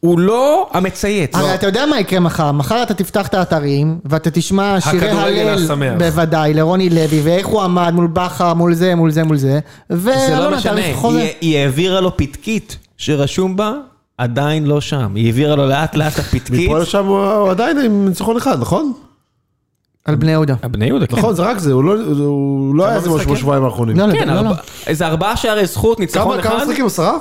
Speaker 1: הוא לא המצייץ.
Speaker 4: הרי אתה יודע מה יקרה מחר, מחר אתה תפתח את האתרים ואתה תשמע שירי
Speaker 3: הכדורגל
Speaker 4: הלל
Speaker 3: השמח.
Speaker 4: בוודאי לרוני לוי ואיך הוא עמד מול בכר מול זה מול זה מול זה
Speaker 1: זה לא
Speaker 4: ואלונה
Speaker 1: משנה,
Speaker 4: תאריך חוזה.
Speaker 1: היא- היא העבירה לו פתקית שרשום בה, עדיין לא שם. היא העבירה לו לאט לאט הפתקית.
Speaker 5: מפה לשם הוא הוא עדיין עם ניצחון אחד, נכון?
Speaker 4: על בני יהודה.
Speaker 1: בני יהודה, כן.
Speaker 5: נכון, זה רק זה, הוא לא- הוא לא היה איזה משהו
Speaker 3: משחקים?
Speaker 5: בשבועיים האחרונים.
Speaker 4: לא, לא,
Speaker 1: כן,
Speaker 4: לא, לא.
Speaker 1: ארבע- איזה ארבעה שערי זכות, ניצחון
Speaker 5: כמה כמה
Speaker 1: אחד.
Speaker 5: משחקים, עשרה?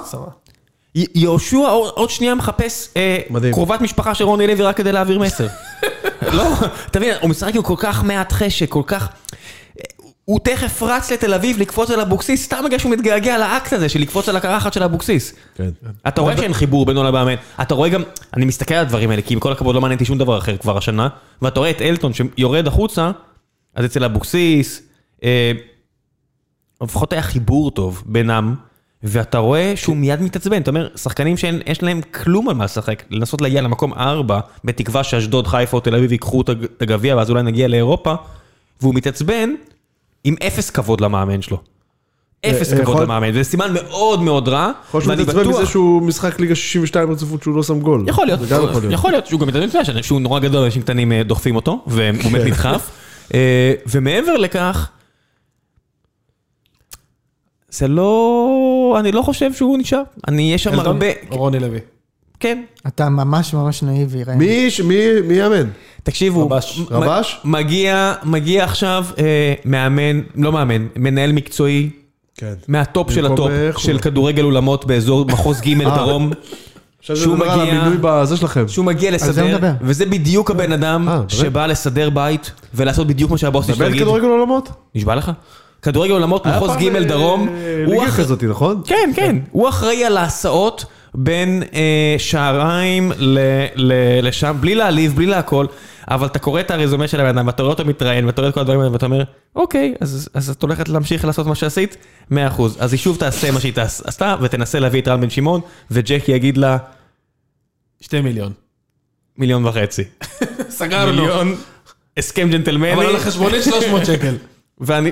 Speaker 1: י- יהושע עוד עוד שנייה מחפש אה,
Speaker 5: מדהים.
Speaker 1: קרובת משפחה של רוני לוי רק כדי להעביר מסר. לא, אתה מבין, הוא משחק עם כל כך מעט חשק, כל כך... הוא תכף רץ לתל אביב לקפוץ על אבוקסיס, סתם בגלל שהוא מתגעגע לאקט הזה של לקפוץ על הקרחת של אבוקסיס.
Speaker 5: כן.
Speaker 1: אתה רואה שאין חיבור בינו למאמן, אתה רואה גם, אני מסתכל על הדברים האלה, כי עם כל הכבוד לא מעניין אותי שום דבר אחר כבר השנה, ואתה רואה את אלטון שיורד החוצה, אז אצל אבוקסיס, אה, לפחות היה חיבור טוב בינם, ואתה רואה שהוא מיד מתעצבן, אתה אומר, שחקנים שיש להם כלום על מה לשחק, לנסות להגיע למקום ארבע, בתקווה שאשדוד, חיפה או תל אביב ייקחו את הג- את הגביע, ואז אולי נגיע לאירופה, והוא מתעצבן עם אפס כבוד למאמן שלו. אפס
Speaker 5: אה, אה,
Speaker 1: כבוד
Speaker 5: יכול-
Speaker 1: למאמן, זה סימן מאוד מאוד רע,
Speaker 5: יכול להיות
Speaker 1: ואני
Speaker 5: שהוא מתעצבן
Speaker 1: בטוח...
Speaker 5: מזה שהוא משחק ליגה 62 רצופות שהוא לא שם גול.
Speaker 1: יכול להיות,
Speaker 5: זה גם יכול להיות.
Speaker 1: יכול להיות שהוא גם מתעניין בזה, שהוא נורא גדול, אנשים קטנים אה, דוחפים אותו, והוא באמת נדחף. אה, ומעבר לכך, זה לא... אני לא חושב שהוא נשאר. אני, יש שם
Speaker 3: אלטון
Speaker 1: הרבה...
Speaker 3: או רוני לוי.
Speaker 1: כן.
Speaker 4: אתה ממש ממש נאיבי ראם.
Speaker 5: מי ש- מי- מי יאמן?
Speaker 1: תקשיבו,
Speaker 3: רבש.
Speaker 1: מ-
Speaker 5: רבש?
Speaker 1: מגיע, מגיע עכשיו אה, מאמן, לא מאמן, מנהל מקצועי
Speaker 5: כן.
Speaker 1: מהטופ של
Speaker 5: במקום,
Speaker 1: הטופ,
Speaker 5: אה, איך
Speaker 1: של
Speaker 5: הוא-
Speaker 1: כדורגל אולמות באזור מחוז ג' דרום.
Speaker 5: עכשיו זה
Speaker 1: שהוא
Speaker 5: מדבר על
Speaker 1: מגיע-
Speaker 5: המינוי בזה שלכם.
Speaker 1: אה, שהוא מגיע
Speaker 4: זה
Speaker 1: לסדר,
Speaker 4: נדבר.
Speaker 1: וזה בדיוק הבן אדם
Speaker 5: אה, באמת?
Speaker 1: שבא לסדר בית ולעשות בדיוק מה שהבוס שלו
Speaker 5: באמת
Speaker 1: יגיד.
Speaker 5: כדורגל עולמות?
Speaker 1: נשבע לך? כדורגל עולמות, מחוז
Speaker 5: היה פעם,
Speaker 1: ג'
Speaker 5: אה,
Speaker 1: דרום. הוא
Speaker 5: ליגה
Speaker 1: אח-
Speaker 5: כזאת, נכון?
Speaker 1: כן, כן. הוא אחראי על ההסעות בין אה, שעריים ל- ל- לשם, בלי להעליב, בלי להכל. אבל אתה קורא את הרזומה של הבן אדם, ואתה רואה אותו מתראיין, ואתה רואה את כל הדברים האלה, ואתה אומר, אוקיי, אז, אז את הולכת להמשיך לעשות מה שעשית? מאה אחוז. אז היא שוב תעשה מה שהיא תעש- עשתה, ותנסה להביא את רן בן שמעון, וג'קי יגיד לה,
Speaker 3: שתי מיליון.
Speaker 1: מיליון וחצי.
Speaker 3: סגרנו.
Speaker 1: מיליון, הסכם ג'נטלמני,
Speaker 3: אבל על החשבונית 300 שקל.
Speaker 1: ואני-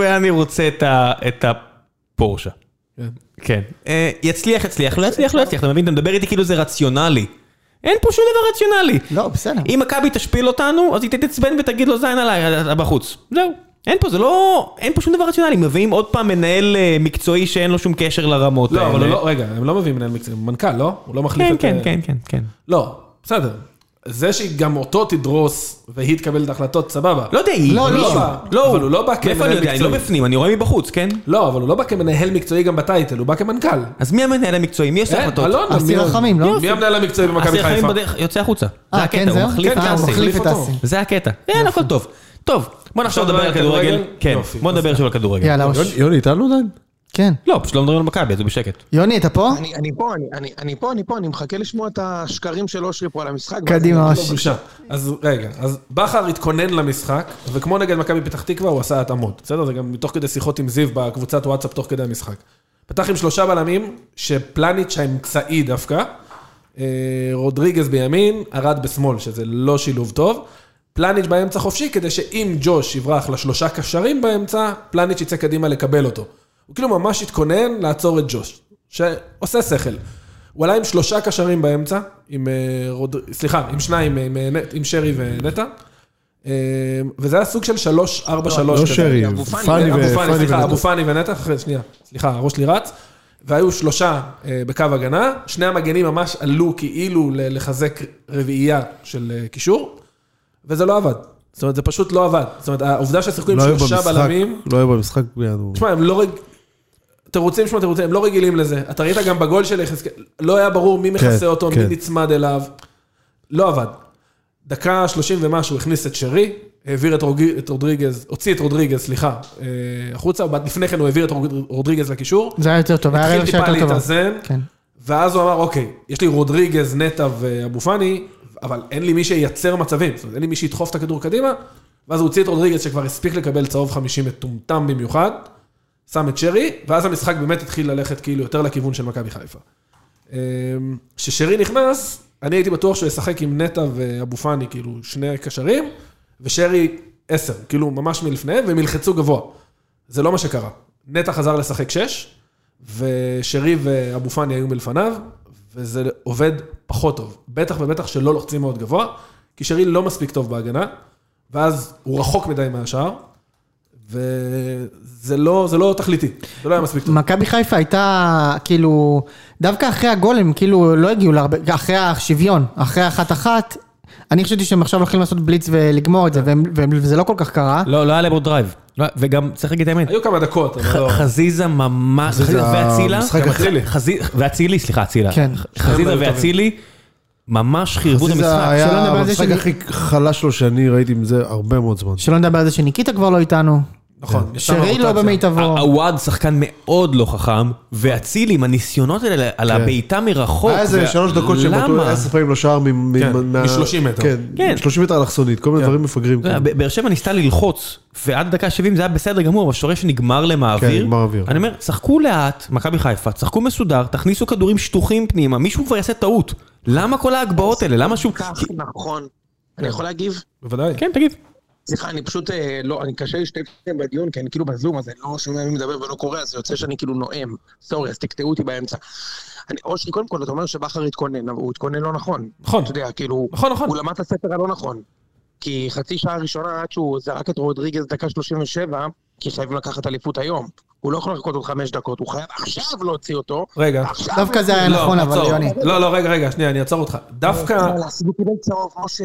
Speaker 1: ואני רוצה את ה- את הפורשה.
Speaker 3: כן.
Speaker 1: כן. אה, יצליח, יצליח, לא יצליח, לא יצליח, אתה מבין? אתה מדבר איתי כאילו זה רציונלי. אין פה שום דבר רציונלי.
Speaker 4: לא בסדר.
Speaker 1: אם מכבי תשפיל אותנו, אז היא תתעצבן ותגיד לו זין עליי, אתה בחוץ. זהו. אין פה, זה לא... אין פה שום דבר רציונלי. מביאים עוד פעם מנהל אה, מקצועי שאין לו שום קשר לרמות
Speaker 3: לא,
Speaker 1: האלה.
Speaker 3: אבל הוא לא, רגע, הם לא מביאים מנהל מקצועי, הם מנכ"ל, לא? הוא לא מחליף
Speaker 1: כן,
Speaker 3: את...
Speaker 1: כן, כן, כן, כן.
Speaker 3: לא, בסדר. זה שגם אותו תדרוס והיא תקבל את ההחלטות, סבבה.
Speaker 1: לא יודע, היא...
Speaker 4: לא, לא.
Speaker 1: מישהו. לא,
Speaker 3: אבל הוא לא בא
Speaker 1: מאיפה
Speaker 3: כמנהל
Speaker 1: אני יודע? אני לא
Speaker 3: מקצועי.
Speaker 1: בפנים, אני רואה מבחוץ, כן?
Speaker 3: לא, אבל הוא לא בא כמנהל מקצועי גם בטייטל, הוא בא כמנכ"ל.
Speaker 1: אז מי המנהל המקצועי? מי עושה
Speaker 3: אין,
Speaker 1: החלטות?
Speaker 3: אלונה,
Speaker 4: אסי
Speaker 3: מי עוד?
Speaker 4: רחמים, לא?
Speaker 3: מי המנהל המקצועי במכבי
Speaker 1: אסיר חיים
Speaker 3: חיפה?
Speaker 1: בדרך, יוצא החוצה. זה
Speaker 4: אה,
Speaker 1: הקטע,
Speaker 4: כן, זהו?
Speaker 1: הוא מחליף את
Speaker 4: אה, הוא
Speaker 1: האסי.
Speaker 4: מחליף את
Speaker 3: אותו.
Speaker 4: האסי.
Speaker 1: זה הקטע. כן, הכל טוב. טוב, בוא נחשוב
Speaker 3: עכשיו
Speaker 1: לדבר על
Speaker 3: נדבר על
Speaker 1: כדורגל.
Speaker 3: כדורגל?
Speaker 1: כן,
Speaker 3: יופי,
Speaker 1: בוא נדבר עכשיו על כדורגל.
Speaker 4: יאללה אוש.
Speaker 5: יוני- יוני איתנו עדיין?
Speaker 4: כן.
Speaker 1: לא, פשוט לא מדברים על מכבי, אז הוא בשקט.
Speaker 4: יוני אתה פה?
Speaker 2: אני, אני פה, אני, אני, אני פה, אני פה, אני מחכה לשמוע את השקרים של אושרי פה על המשחק.
Speaker 4: קדימה
Speaker 3: לא,
Speaker 4: אוש.
Speaker 3: בושה. אז רגע, אז בכר התכונן למשחק, וכמו נגד מכבי פתח תקווה, הוא עשה התאמות. בסדר? זה גם מתוך כדי שיחות עם זיו בקבוצת וואטסאפ תוך כדי המשחק. פתח עם שלושה בלמים, שפלניץ' האמצעי דווקא, אה, רודריגז בימין, ארד בשמאל, שזה לא שילוב טוב. פלניץ' באמצע חופשי, כדי שאם ג'וש יברח לשלושה קשרים באמצע, פלניץ' יצא קדימה לקבל אותו. הוא כאילו ממש התכונן לעצור את ג'וש, שעושה שכל. הוא עלה עם שלושה קשרים באמצע, עם אה, רוד... סליחה, עם שניים, עם, אה, נט- עם שרי ונטע. אה, וזה היה סוג של שלוש, ארבע, שלוש.
Speaker 5: לא
Speaker 3: כזה.
Speaker 5: שרי,
Speaker 2: אבו פאני
Speaker 5: פאני
Speaker 3: אבו פאני,
Speaker 5: ופאני
Speaker 3: סליחה, אבו
Speaker 5: ונטע.
Speaker 3: פאני ונטע, אחרי- שנייה, סליחה, הראש שלי רץ. והיו שלושה אה, בקו הגנה, שני המגנים ממש עלו כאילו ל- לחזק רביעייה של אה, קישור, וזה לא עבד. זאת אומרת, זה פשוט לא עבד. זאת אומרת, העובדה ששיחקו עם
Speaker 5: לא היו
Speaker 3: שלושה
Speaker 5: במשחק,
Speaker 3: בלמים...
Speaker 5: לא היו במשחק בינואר.
Speaker 3: תשמע, הם לא רג... תירוצים, שמע, תירוצים, הם לא רגילים לזה. אתה ראית גם בגול של יחזקאל, לא היה ברור מי מכסה
Speaker 5: כן,
Speaker 3: אותו, מי
Speaker 5: כן.
Speaker 3: נצמד אליו. לא עבד. דקה שלושים ומשהו הכניס את שרי, העביר את, רוג... את רודריגז, הוציא את רודריגז, סליחה, אה, החוצה, אבל לפני כן הוא העביר את רוג- רודריגז לקישור.
Speaker 4: זה היה יותר טוב, היה
Speaker 3: התחיל
Speaker 4: רבע שעה
Speaker 3: טיפה
Speaker 4: יותר טובה.
Speaker 3: להתאזן,
Speaker 4: כן.
Speaker 3: ואז הוא אמר, אוקיי, יש לי רודריגז, נטע ואבו פאני, אבל אין לי מי שייצר מצבים, זאת אומרת, אין לי מי שידחוף את הכדור קדימה, ואז הוא הוציא את רודריגז שכבר הספיק לקבל צהוב 50 מטומטם במיוחד, שם את שרי, ואז המשחק באמת התחיל ללכת כאילו יותר לכיוון של מכבי חיפה. אמ, כששרי נכנס, אני הייתי בטוח שהוא ישחק עם נטע ואבו פאני, כאילו, שני קשרים, ושרי עשר, כאילו, ממש מלפניהם, והם ילחצו גבוה. זה לא מה שקרה. נטע חזר לשחק שש, ושרי ואבו פאני היו מלפניו, וזה עובד פחות טוב. בטח ובטח שלא לוחצים מאוד גבוה, כי שרי לא מספיק טוב בהגנה, ואז הוא רחוק מדי מהשאר, וזה לא, זה לא תכליתי, זה לא היה מספיק טוב.
Speaker 4: מכבי חיפה הייתה, כאילו, דווקא אחרי הגול הם כאילו לא הגיעו להרבה, אחרי השוויון, אחרי האחת-אחת, אני חשבתי שהם עכשיו הולכים לעשות בליץ ולגמור את זה, והם- והם- וזה לא כל כך קרה.
Speaker 1: לא, לא היה להם עוד דרייב. לא, וגם, צריך להגיד את האמת.
Speaker 3: היו כמה דקות,
Speaker 1: ח-
Speaker 3: אבל לא...
Speaker 1: חזיזה ממש, חזיזה ואצילה,
Speaker 5: המשחק
Speaker 1: גם
Speaker 5: הכי-
Speaker 1: חזיזה- חזיזה- ואצילי, סליחה, אצילה,
Speaker 4: כן.
Speaker 1: ח- חזיזה
Speaker 3: שניהם היו
Speaker 1: ואצילי ממש חירבו את
Speaker 5: זה
Speaker 1: המשחק.
Speaker 4: שלא נדבר
Speaker 5: היה
Speaker 4: על זה
Speaker 5: המשחק
Speaker 4: שאני-
Speaker 5: הכי חלש שלו שאני ראיתי עם זה הרבה מאוד זמן.
Speaker 4: שלא נדבר על זה שניקיטה כבר לא איתנו,
Speaker 3: נכון, יש שם
Speaker 4: שרי לא
Speaker 3: רוטציה.
Speaker 1: אה,
Speaker 4: במיטבו.
Speaker 1: הוואד שחקן מאוד לא חכם, ואצילי עם הניסיונות האלה
Speaker 4: כן.
Speaker 1: על הבעיטה מרחוק.
Speaker 5: היה איזה
Speaker 1: ו-
Speaker 5: שלוש דקות שהם בעטו
Speaker 1: למה?
Speaker 5: עשר פעמים לשער מ- מ-
Speaker 3: כן,
Speaker 5: מה-
Speaker 3: מ-30 מטר.
Speaker 1: כן.
Speaker 5: כן, 30 מטר אלכסונית, כל מיני דברים מפגרים.
Speaker 1: אתה יודע, ב- באר שבע ניסתה ללחוץ, ועד דקה 70 זה היה בסדר גמור, אבל שורש נגמר להם האוויר.
Speaker 5: כן, נגמר האוויר.
Speaker 1: אני אומר, שחקו לאט, מכבי חיפה, שחקו מסודר, תכניסו כדורים שטוחים פנימה, מישהו כבר יעשה טעות. למה כל ההגבהות האלה? למה שהוא...
Speaker 2: כך נכון. אני יכול להגיב?
Speaker 3: בוודאי.
Speaker 1: כן, תגיד.
Speaker 2: סליחה, אני פשוט אה, לא, אני קשה להשתתף בדיון, כי אני כאילו בזום, אז אני לא שומע מי מדבר ולא קורא, אז זה יוצא שאני כאילו נואם. סורי, אז תקטעו אותי באמצע. אני, אושרי, קודם כל, אתה אומר שבכר התכונן, אבל הוא התכונן לא נכון.
Speaker 3: נכון.
Speaker 2: אתה יודע, כאילו,
Speaker 3: נכון, נכון.
Speaker 2: הוא למד את הספר הלא נכון. כי חצי שעה ראשונה עד שהוא זרק את רודריגז דקה 37, כי חייבים לקחת אליפות היום. הוא לא יכול לחכות עוד חמש דקות, הוא חייב עכשיו להוציא אותו.
Speaker 3: רגע.
Speaker 2: עכשיו
Speaker 4: דווקא זה היה
Speaker 3: לא,
Speaker 4: נכון, אבל
Speaker 3: עצור.
Speaker 4: יוני.
Speaker 3: לא, לא, רגע, רגע, שנייה, אני אעצור אותך. דווקא...
Speaker 2: אז הוא קיבל צהוב, משה.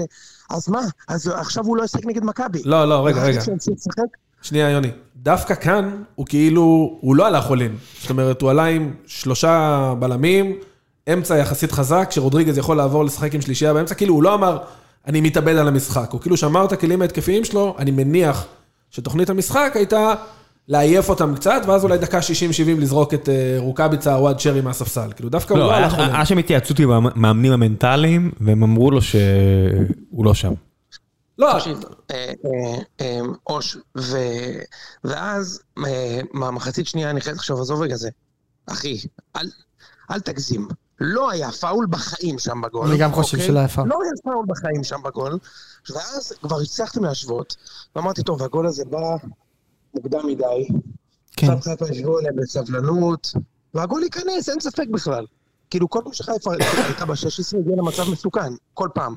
Speaker 2: אז מה? אז עכשיו הוא לא ישחק נגד מכבי.
Speaker 3: לא, לא, רגע, רגע.
Speaker 2: כשהוא ימשיך לשחק,
Speaker 3: שנייה, יוני. דווקא כאן, הוא כאילו, הוא לא הלך עולין. זאת אומרת, הוא עלה עם שלושה בלמים, אמצע יחסית חזק, שרודריגז יכול לעבור לשחק עם שלישייה באמצע, כאילו, הוא לא אמר, אני מתאבד על המשחק. הוא כאילו שמר את הכלים ההתקפיים שלו, אני מניח שתוכנית המשחק הייתה לעייף אותם קצת, ואז אולי דקה 60-70 לזרוק את אה, רוקאביצה, עווד שרי מהספסל. כאילו, דווקא הוא
Speaker 1: לא,
Speaker 3: לא
Speaker 1: היה
Speaker 3: הלך עולין.
Speaker 1: היה שם התייעצות עם המאמנים המנטליים, והם אמרו לו שהוא לא שם.
Speaker 3: לא,
Speaker 2: תקשיב, אה, אה, אה, אוש, ו- ואז אה, מה, מחצית שנייה אני חייב עכשיו, עזוב רגע זה. אחי, אל- אל תגזים. לא היה פאול בחיים שם בגול.
Speaker 4: אני גם חושב
Speaker 2: אוקיי?
Speaker 4: שלא היה פאול.
Speaker 2: לא היה פאול בחיים שם בגול. ואז כבר הצלחתם להשוות, ואמרתי, טוב, הגול הזה בא מוקדם מדי.
Speaker 4: כן.
Speaker 2: עכשיו חיפה ישבו עליהם בסבלנות, והגול ייכנס, אין ספק בכלל. כאילו, כל פעם שחיפה הייתה ב-16, הגיעה למצב מסוכן, כל פעם.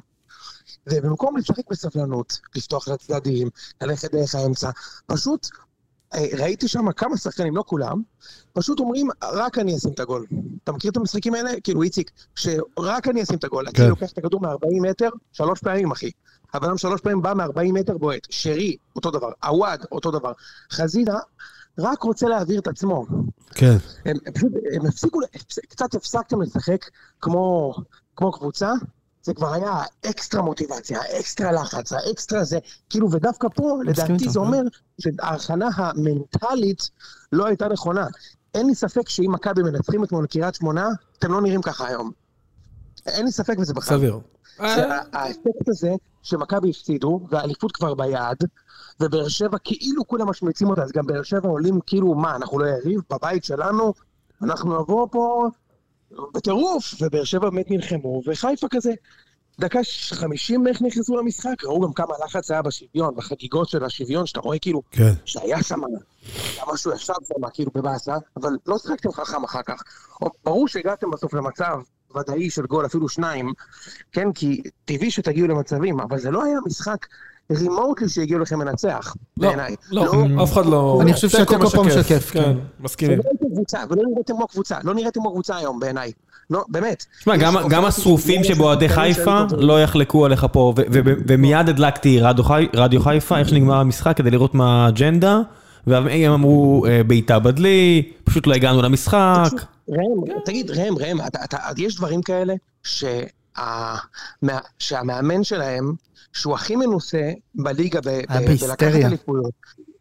Speaker 2: ובמקום לשחק בסבלנות, לפתוח לצדדים, ללכת דרך האמצע, פשוט אה, ראיתי שם כמה שחקנים, לא כולם, פשוט אומרים, רק אני אשים את הגול. אתה מכיר את המשחקים האלה? כאילו, איציק, שרק אני אשים את הגול. כן. אני לוקח את הכדור מ-40 מטר, שלוש פעמים, אחי. הבן אדם שלוש פעמים בא מ-40 מטר בועט. שרי, אותו דבר. עווד, אותו דבר. חזידה, רק רוצה להעביר את עצמו.
Speaker 5: כן.
Speaker 2: הם, הם פשוט, הם הפסיקו, הפס- קצת הפסקתם לשחק כמו, כמו קבוצה, זה כבר היה אקסטרה מוטיבציה, אקסטרה לחץ, האקסטרה זה, כאילו, ודווקא פה, לדעתי
Speaker 4: איתך,
Speaker 2: זה
Speaker 4: כן.
Speaker 2: אומר שההכנה המנטלית לא הייתה נכונה. אין לי ספק שאם מכבי מנצחים את מול קריית שמונה, אתם לא נראים ככה היום. אין לי ספק בזה בכלל.
Speaker 3: סביר. אה,
Speaker 2: שהאפקט הזה שמכבי הפסידו, והאליפות כבר ביד, ובאר שבע כאילו כולם משמיצים אותה, אז גם באר שבע עולים כאילו, מה, אנחנו לא יריב, בבית שלנו, אנחנו נבוא פה בטירוף, ובאר שבע באמת נלחמו, וחיפה כזה, דקה ש- 50 בערך נכנסו למשחק, ראו גם כמה לחץ היה בשוויון, בחגיגות של השוויון, שאתה רואה כאילו,
Speaker 5: כן.
Speaker 2: שהיה שם, היה משהו ישב שם, כאילו בבאסה, אבל לא שיחקתם חכם אחר כך. ברור שהגעתם בסוף למצב ודאי של גול, אפילו שניים, כן? כי טבעי שתגיעו למצבים, אבל זה לא היה משחק רימוטלי שהגיעו לכם לנצח,
Speaker 3: לא,
Speaker 2: בעיניי.
Speaker 3: לא, אף אחד לא...
Speaker 4: אני חושב
Speaker 3: תיקו
Speaker 4: שהקוקו פה משקף,
Speaker 3: כן,
Speaker 4: כן.
Speaker 3: מסכימים.
Speaker 2: לא הייתם קבוצה, ולא נראיתם כמו קבוצה, לא נראיתם כמו קבוצה היום בעיניי. לא, באמת.
Speaker 1: תשמע, גם- גם השרופים שבאוהדי חיפה לא יחלקו עליך פה, ו- ו- ו- ומיד הדלקתי רדיו חי- רדיו חיפה, איך שנגמר המשחק, כדי לראות מה האג'נדה, והם אמרו אה, בעיטה בדלי, פשוט לא הגענו למשחק.
Speaker 2: ראם, תגיד, ראם, ראם, אתה, אתה, יש דברים כאלה שה, מה, שהמאמן שלהם, שהוא הכי מנוסה בליגה ב, ב, בלקחת
Speaker 4: בהיסטריה.
Speaker 2: אליפויות,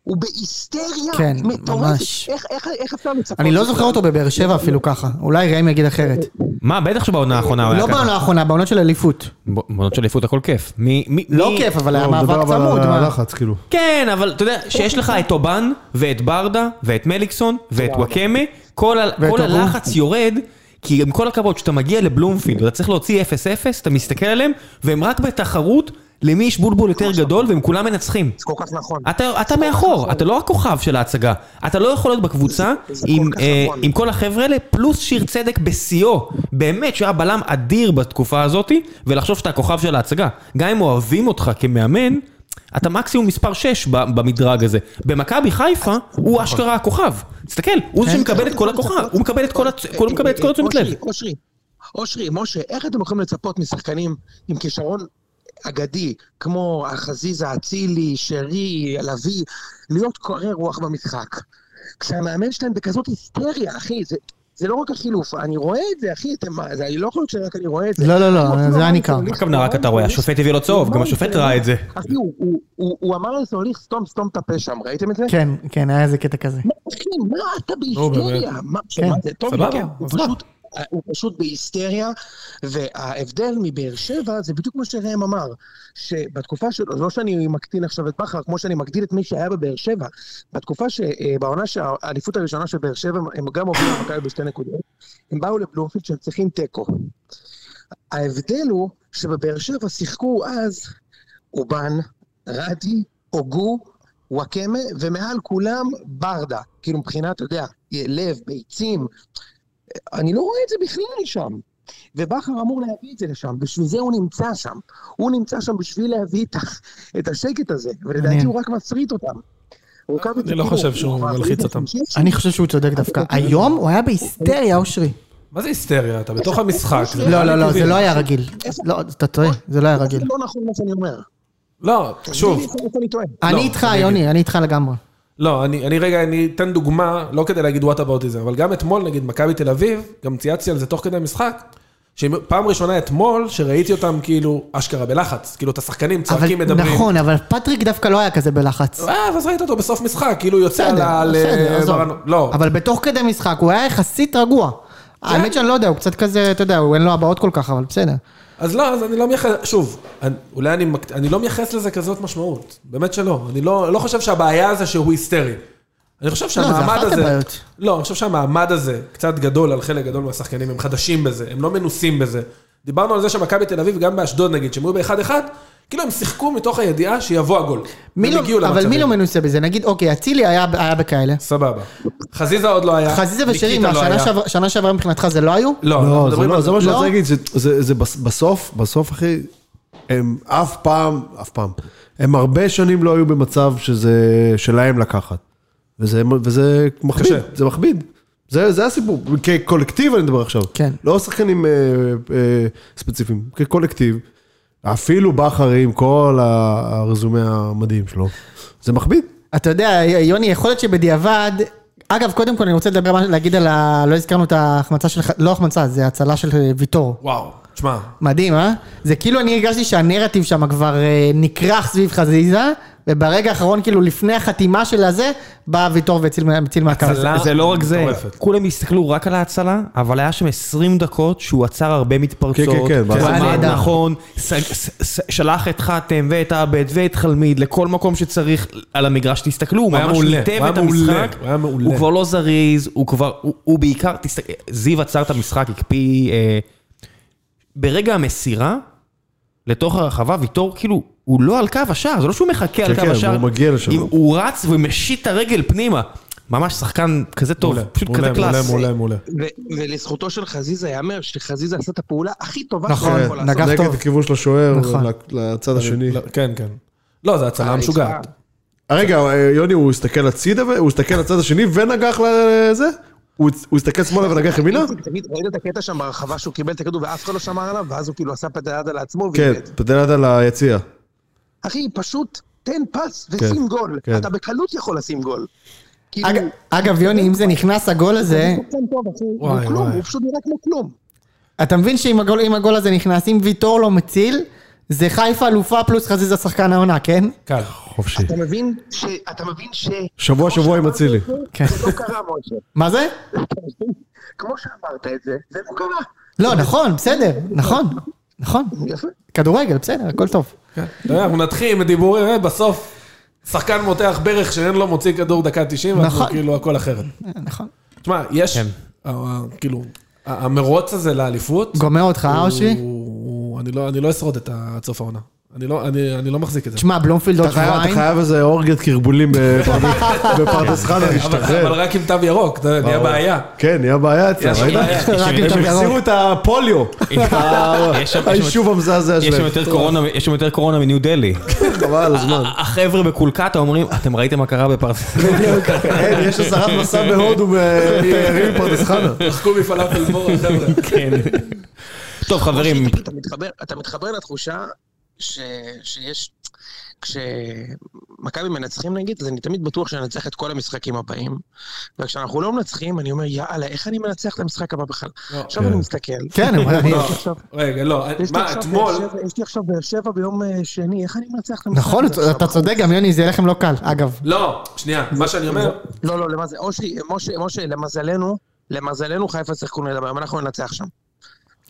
Speaker 2: הוא בהיסטריה
Speaker 4: כן,
Speaker 2: מטורפת.
Speaker 4: ממש.
Speaker 2: איך, איך, איך אפשר לצפות?
Speaker 4: אני לא
Speaker 2: בכלל?
Speaker 4: זוכר אותו בבאר שבע אפילו ככה, אולי ראם יגיד אחרת.
Speaker 1: מה, בטח שבעונה האחרונה הוא היה
Speaker 4: לא
Speaker 1: ככה.
Speaker 4: בעונה האחרונה, בעונות של אליפות.
Speaker 1: ב- בעונות של אליפות הכל כיף. מי- מי-
Speaker 4: לא
Speaker 1: מי-
Speaker 4: כיף, אבל היה
Speaker 5: לא, הוא מדבר
Speaker 4: מאבק
Speaker 5: אבל
Speaker 4: צמוד.
Speaker 5: על
Speaker 4: מה?
Speaker 5: הלחץ, כאילו.
Speaker 1: כן, אבל אתה יודע, שיש לך את אובן, ואת ברדה, ואת מליקסון, ואת וואקמה, כל ה-
Speaker 4: ואת
Speaker 1: כל
Speaker 4: אבו.
Speaker 1: הלחץ יורד, כי עם כל הכבוד, כשאתה מגיע לבלומפילד, ואתה צריך להוציא 0-0, אתה מסתכל עליהם, והם רק בתחרות למי יש בולבול יותר גדול, והם כולם מנצחים.
Speaker 2: זה כל כך
Speaker 4: אה,
Speaker 2: נכון.
Speaker 1: אתה, אתה מאחור, אתה לא הכוכב של ההצגה. אתה לא יכול להיות בקבוצה
Speaker 2: זה
Speaker 1: עם,
Speaker 2: כל כך
Speaker 1: אה,
Speaker 2: נכון.
Speaker 1: עם כל החבר'ה האלה, פלוס שיר צדק בשיאו. באמת שהיה בלם אדיר בתקופה הזאת, ולחשוב שאתה הכוכב של ההצגה. גם אם אוהבים אותך כמאמן, אתה מקסימום מספר 6 במדרג הזה. במכבי חיפה, הוא אשכרה הכוכב. תסתכל, הוא זה שמקבל את כל הכוכב, הוא מקבל את כל הצ- כל- הוא מקבל את כל התשומת לב.
Speaker 2: אושרי, אושרי, אושרי, משה, איך אתם יכולים לצפות משחקנים עם כישרון אגדי, כמו החזיזה, אצילי, שרי, לביא, להיות קורא רוח במשחק? כשהמאמן שלהם בכזאת היסטריה, אחי, זה... זה לא רק החילוף, אני רואה את זה, אחי, אתם, מה, זה לא יכול להיות שרק אני רואה את זה.
Speaker 4: לא, לא, לא,
Speaker 2: הם אפילו
Speaker 4: זה היה
Speaker 2: אמרו
Speaker 4: ניכר.
Speaker 2: שהוא
Speaker 1: מה הכוונה רק אתה רואה? השופט הביא לו צהוב, גם השופט ראה את זה.
Speaker 2: לא, אחי, הוא- הוא- הוא הוא אמר לסוליך, סתום, סתום את הפה שם, ראיתם את זה?
Speaker 4: כן, כן, היה איזה קטע כזה.
Speaker 2: מה, אחי, מה אתה בהיסטריה? מה,
Speaker 4: כן,
Speaker 2: מה זה טוב,
Speaker 3: סבבה,
Speaker 2: כן, הוא
Speaker 3: אז מה?
Speaker 2: פשוט- הוא פשוט בהיסטריה, וההבדל מבאר שבע זה בדיוק מה שראם אמר, שבתקופה שלו, לא שאני מקטין עכשיו את בכר, כמו שאני מגדיל את מי שהיה בבאר שבע, בתקופה ש... אה, בעונה שהאליפות הראשונה של באר שבע, הם גם הובילו למכבי בשתי נקודות, הם באו לבלומפילד שהם צריכים תיקו. ההבדל הוא שבבאר שבע שיחקו אז אובן, רדי, הוגו, וואקמה, ומעל כולם ברדה. כאילו מבחינת, אתה יודע, לב, ביצים. אני לא רואה את זה בכלל שם. ובכר אמור להביא את זה לשם, בשביל זה הוא נמצא שם. הוא נמצא שם בשביל להביא את, ה- את השקט הזה, ולדעתי
Speaker 4: מעניין.
Speaker 2: הוא רק מסריט אותם. הוא קם
Speaker 3: אני לא
Speaker 2: כאילו,
Speaker 3: חושב שהוא
Speaker 2: הוא
Speaker 3: מלחיץ אותם.
Speaker 4: אני חושב שהוא צודק דווקא. היום הוא היה בהיסטריה, אושרי.
Speaker 3: מה זה היסטריה? אתה בתוך המשחק. זה
Speaker 4: לא, לא, לא,
Speaker 3: טבעי.
Speaker 4: זה לא היה רגיל. לא, אתה טועה, זה לא היה רגיל.
Speaker 2: זה לא נכון מה שאני אומר.
Speaker 3: לא, שוב,
Speaker 2: איפה- איפה אני טועה?
Speaker 4: אני
Speaker 3: לא,
Speaker 4: איתך,
Speaker 3: רגיל.
Speaker 4: יוני, אני איתך לגמרי.
Speaker 3: לא, אני, אני רגע, אני אתן דוגמה, לא כדי להגיד what about it, אבל גם אתמול, נגיד, מכבי תל אביב, גם צייצתי על זה תוך כדי המשחק, שפעם ראשונה אתמול, שראיתי אותם כאילו אשכרה בלחץ, כאילו את השחקנים צועקים,
Speaker 4: אבל
Speaker 3: מדברים.
Speaker 4: נכון, אבל פטריק דווקא לא היה כזה בלחץ.
Speaker 3: אה, ואז ראית אותו בסוף משחק, כאילו יוצא על
Speaker 4: בסדר,
Speaker 3: ה... על,
Speaker 4: בסדר,
Speaker 3: אה,
Speaker 4: עזוב.
Speaker 3: ברנו- לא, כן.
Speaker 4: אבל בתוך כדי משחק הוא היה יחסית רגוע. האמת שאני לא יודע, הוא קצת כזה, אתה יודע, הוא אין לו הבעות כל כך, אבל בסדר.
Speaker 3: אז לא, אז אני לא מייחס, שוב, אני, אולי אני, מק- אני לא מייחס לזה כזאת משמעות, באמת שלא. אני לא, לא חושב שהבעיה זה שהוא היסטרי. אני חושב
Speaker 4: לא, זה
Speaker 3: שהמעמד
Speaker 4: אחת
Speaker 3: הזה,
Speaker 4: הבעיות.
Speaker 3: לא, אני חושב שהמעמד הזה קצת גדול על חלק גדול מהשחקנים, הם חדשים בזה, הם לא מנוסים בזה. דיברנו על זה שמכבי תל אביב, גם באשדוד נגיד, שהם היו ב-1-1, כאילו הם שיחקו מתוך הידיעה שיבוא הגול.
Speaker 4: מי
Speaker 3: הם
Speaker 4: לא-
Speaker 3: הגיעו
Speaker 4: אבל מי
Speaker 3: למצבים.
Speaker 4: לא מנוסה בזה? נגיד, אוקיי, אצילי היה היה בכאלה.
Speaker 3: סבבה. חזיזה עוד לא היה.
Speaker 4: חזיזה ושרי,
Speaker 3: ניקיטה
Speaker 4: מה,
Speaker 3: לא
Speaker 4: שנה
Speaker 3: היה.
Speaker 4: שעבר- שנה שעברה מבחינתך זה לא היו?
Speaker 3: לא, אנחנו
Speaker 5: לא, זה
Speaker 3: מדברים
Speaker 5: לא,
Speaker 3: על-
Speaker 5: זה מה שאני
Speaker 4: לא?
Speaker 5: רוצה להגיד, זה- זה זה בס- בסוף, בסוף אחי, הם אף פעם, אף פעם, הם הרבה שנים לא היו במצב שזה שלהם לקחת. וזה וזה מכביד,
Speaker 3: קשה.
Speaker 5: זה מכביד. זה זה הסיפור, כקולקטיב אני מדבר עכשיו.
Speaker 4: כן.
Speaker 5: לא שחקנים אה, אה, ספציפיים, כקולקטיב. אפילו בכר עם כל ה- הרזומה המדהים שלו, זה מכביד.
Speaker 4: אתה יודע, יוני, יכול להיות שבדיעבד... אגב, קודם כל אני רוצה לדבר, מה- להגיד על ה... לא הזכרנו את ההחמצה של... ח- לא החמצה, זה הצלה של אה, ויטור.
Speaker 3: וואו, תשמע,
Speaker 4: מדהים, אה? זה כאילו אני הרגשתי שהנרטיב שם כבר אה, נכרך סביב חזיזה, וברגע האחרון, כאילו לפני החתימה של הזה, בא ויטור והציל הציל מהקו.
Speaker 3: הצלה
Speaker 1: זה לא רק זה,
Speaker 3: מטורפת.
Speaker 1: כולם הסתכלו רק על ההצלה, אבל היה שם 20 דקות שהוא עצר הרבה מתפרצות,
Speaker 5: כן, כן, כן,
Speaker 1: הוא
Speaker 5: זה
Speaker 4: היה
Speaker 1: עמד
Speaker 4: נהדר.
Speaker 1: נכון, ס- ס- ס- שלח את חתם ואת עבד ואת חלמיד לכל מקום שצריך על המגרש, תסתכלו, הוא
Speaker 3: הוא היה
Speaker 1: ממש
Speaker 3: מעולה,
Speaker 1: היטב
Speaker 3: הוא היה
Speaker 1: את
Speaker 3: מעולה,
Speaker 1: המשחק,
Speaker 3: הוא היה מעולה.
Speaker 1: הוא כבר לא זריז, הוא כבר, הוא- הוא בעיקר, תסתכל, זיו עצר את המשחק, הקפיא, אה, ברגע המסירה, לתוך הרחבה, ויטור כאילו, הוא לא על קו השער, זה לא שהוא מחכה על
Speaker 5: כן,
Speaker 1: קו
Speaker 5: כן,
Speaker 1: השער.
Speaker 5: הוא מגיע לשם.
Speaker 1: אם הוא רץ ומשיט את הרגל פנימה. ממש שחקן כזה טוב,
Speaker 3: מעולה,
Speaker 1: פשוט
Speaker 3: מעולה,
Speaker 1: כזה קלאס.
Speaker 3: מעולה, מעולה, מעולה.
Speaker 2: ו- ולזכותו של חזיזה ייאמר שחזיזה עשה את הפעולה הכי טובה
Speaker 4: נכון,
Speaker 2: שהוא יכול לעשות.
Speaker 4: נגח
Speaker 5: נגד
Speaker 4: טוב.
Speaker 5: הכיוון של השוער,
Speaker 4: נכון.
Speaker 5: ל- לצד השני.
Speaker 3: לא, כן, כן. לא, זו הצלה
Speaker 2: אה,
Speaker 3: משוגעת.
Speaker 2: אה,
Speaker 5: רגע, אה, יוני, הוא הסתכל הצידה, ו- הוא הסתכל לצד השני ונגח לזה? הוא הוא הסתכל שמאלה ונגח ימינה?
Speaker 2: תגיד, ראית את הקטע שם ברחבה שהוא קיבל את הכדור ואף אחד לא שמר עליו, ואז הוא כאילו עשה פדלדה לעצמו?
Speaker 5: כן,
Speaker 2: ואיבד.
Speaker 5: פדלת על היציע.
Speaker 2: אחי, פשוט תן פס ושים גול.
Speaker 5: כן.
Speaker 2: אתה בקלות יכול לשים גול. כאילו,
Speaker 4: אג- אגב, אה. יוני, אם זה נכנס הגול הזה,
Speaker 2: הוא שחקן טוב, אחי, הוא
Speaker 3: וואי,
Speaker 2: כלום,
Speaker 3: וואי.
Speaker 2: הוא פשוט נראה כמו כלום.
Speaker 4: אתה מבין שאם הגול, אם הגול הזה נכנס, אם ויטור לא מציל, זה חיפה אלופה פלוס חזיזה שחקן העונה, כן?
Speaker 3: קל.
Speaker 5: חופשי.
Speaker 2: אתה מבין ש... אתה מבין ש...
Speaker 5: שבוע שבוע עם אצילי.
Speaker 4: כן.
Speaker 2: זה לא קרה, משה.
Speaker 4: מה זה?
Speaker 2: כמו שאמרת את זה, זה לא קרה.
Speaker 4: לא, נכון, בסדר, נכון, נכון.
Speaker 2: יפה.
Speaker 4: כדורגל, בסדר, הכל טוב.
Speaker 3: אתה יודע, אנחנו נתחיל עם דיבורים, אה, בסוף שחקן מותח ברך שאין לו מוציא כדור דקה 90, ואנחנו
Speaker 4: נכון.
Speaker 3: כאילו הכל אחרת.
Speaker 4: נכון.
Speaker 3: תשמע, יש,
Speaker 1: כן.
Speaker 3: אה, אה, כאילו, ה- המרוץ הזה לאליפות,
Speaker 4: גומע אותך,
Speaker 3: הוא-
Speaker 4: אושרי?
Speaker 3: הוא- אני לא- אני לא אשרוד את ה- עד סוף העונה. אני לא- אני אני לא מחזיק את זה.
Speaker 4: תשמע, בלומפילד עוד
Speaker 5: אתה חייב- אתה
Speaker 4: שבועיים.
Speaker 5: חייב איזה אורגיית קרבולים בפרדס- בפרדס חנה
Speaker 3: אבל אבל
Speaker 5: להשתחרר.
Speaker 3: רק עם תו ירוק, אתה יודע, נהיה בעיה.
Speaker 5: כן, נהיה בעיה אצלם.
Speaker 3: יש
Speaker 5: ראית?
Speaker 3: בעיה.
Speaker 4: רק עם תו
Speaker 5: הם
Speaker 4: ירוק.
Speaker 5: החזירו את הפוליו.
Speaker 1: יש שם- יש שם-
Speaker 5: היישוב המזעזע
Speaker 1: יש שם
Speaker 5: שלהם.
Speaker 1: יותר קורונה- יש שם יותר קורונה מניו דלי.
Speaker 5: חבל על הזמן.
Speaker 1: החבר'ה בקולקטה אומרים, אתם ראיתם מה קרה בפרס...
Speaker 5: אין, יש אזהרת מסע בהודו מתיירים מפרדס חנה.
Speaker 3: תחכו מפלאפל מור, חבר'ה.
Speaker 1: כן. טוב חברים,
Speaker 2: תגיד, אתה מתחבר, אתה מתחבר לתחושה ש, שיש, כשמכבי מנצחים נגיד, אז אני תמיד בטוח שננצח את כל המשחקים הבאים, וכשאנחנו לא מנצחים, אני אומר, יאללה, איך אני מנצח את המשחק הבא בכלל?
Speaker 3: לא.
Speaker 2: עכשיו
Speaker 5: כן.
Speaker 2: אני מסתכל.
Speaker 4: כן, הם-
Speaker 2: יש לי
Speaker 3: לא.
Speaker 2: עכשיו-
Speaker 3: רגע, לא,
Speaker 2: יש לי
Speaker 3: מה,
Speaker 2: עכשיו
Speaker 3: אתמול,
Speaker 2: באר שבע- יש לי עכשיו באר שבע ביום אה, שני, איך אני מנצח את המשחק
Speaker 4: נכון,
Speaker 2: הזה עכשיו?
Speaker 4: אתה צודק גם, יוני, זה יהיה לכם לא קל, אגב.
Speaker 3: לא, שנייה, מה שאני אומר,
Speaker 2: לא, לא, למזל, אושי, משה, משה, למזלנו, למזלנו חיפה שיחקו נגד הבאים, אנחנו ננצח שם.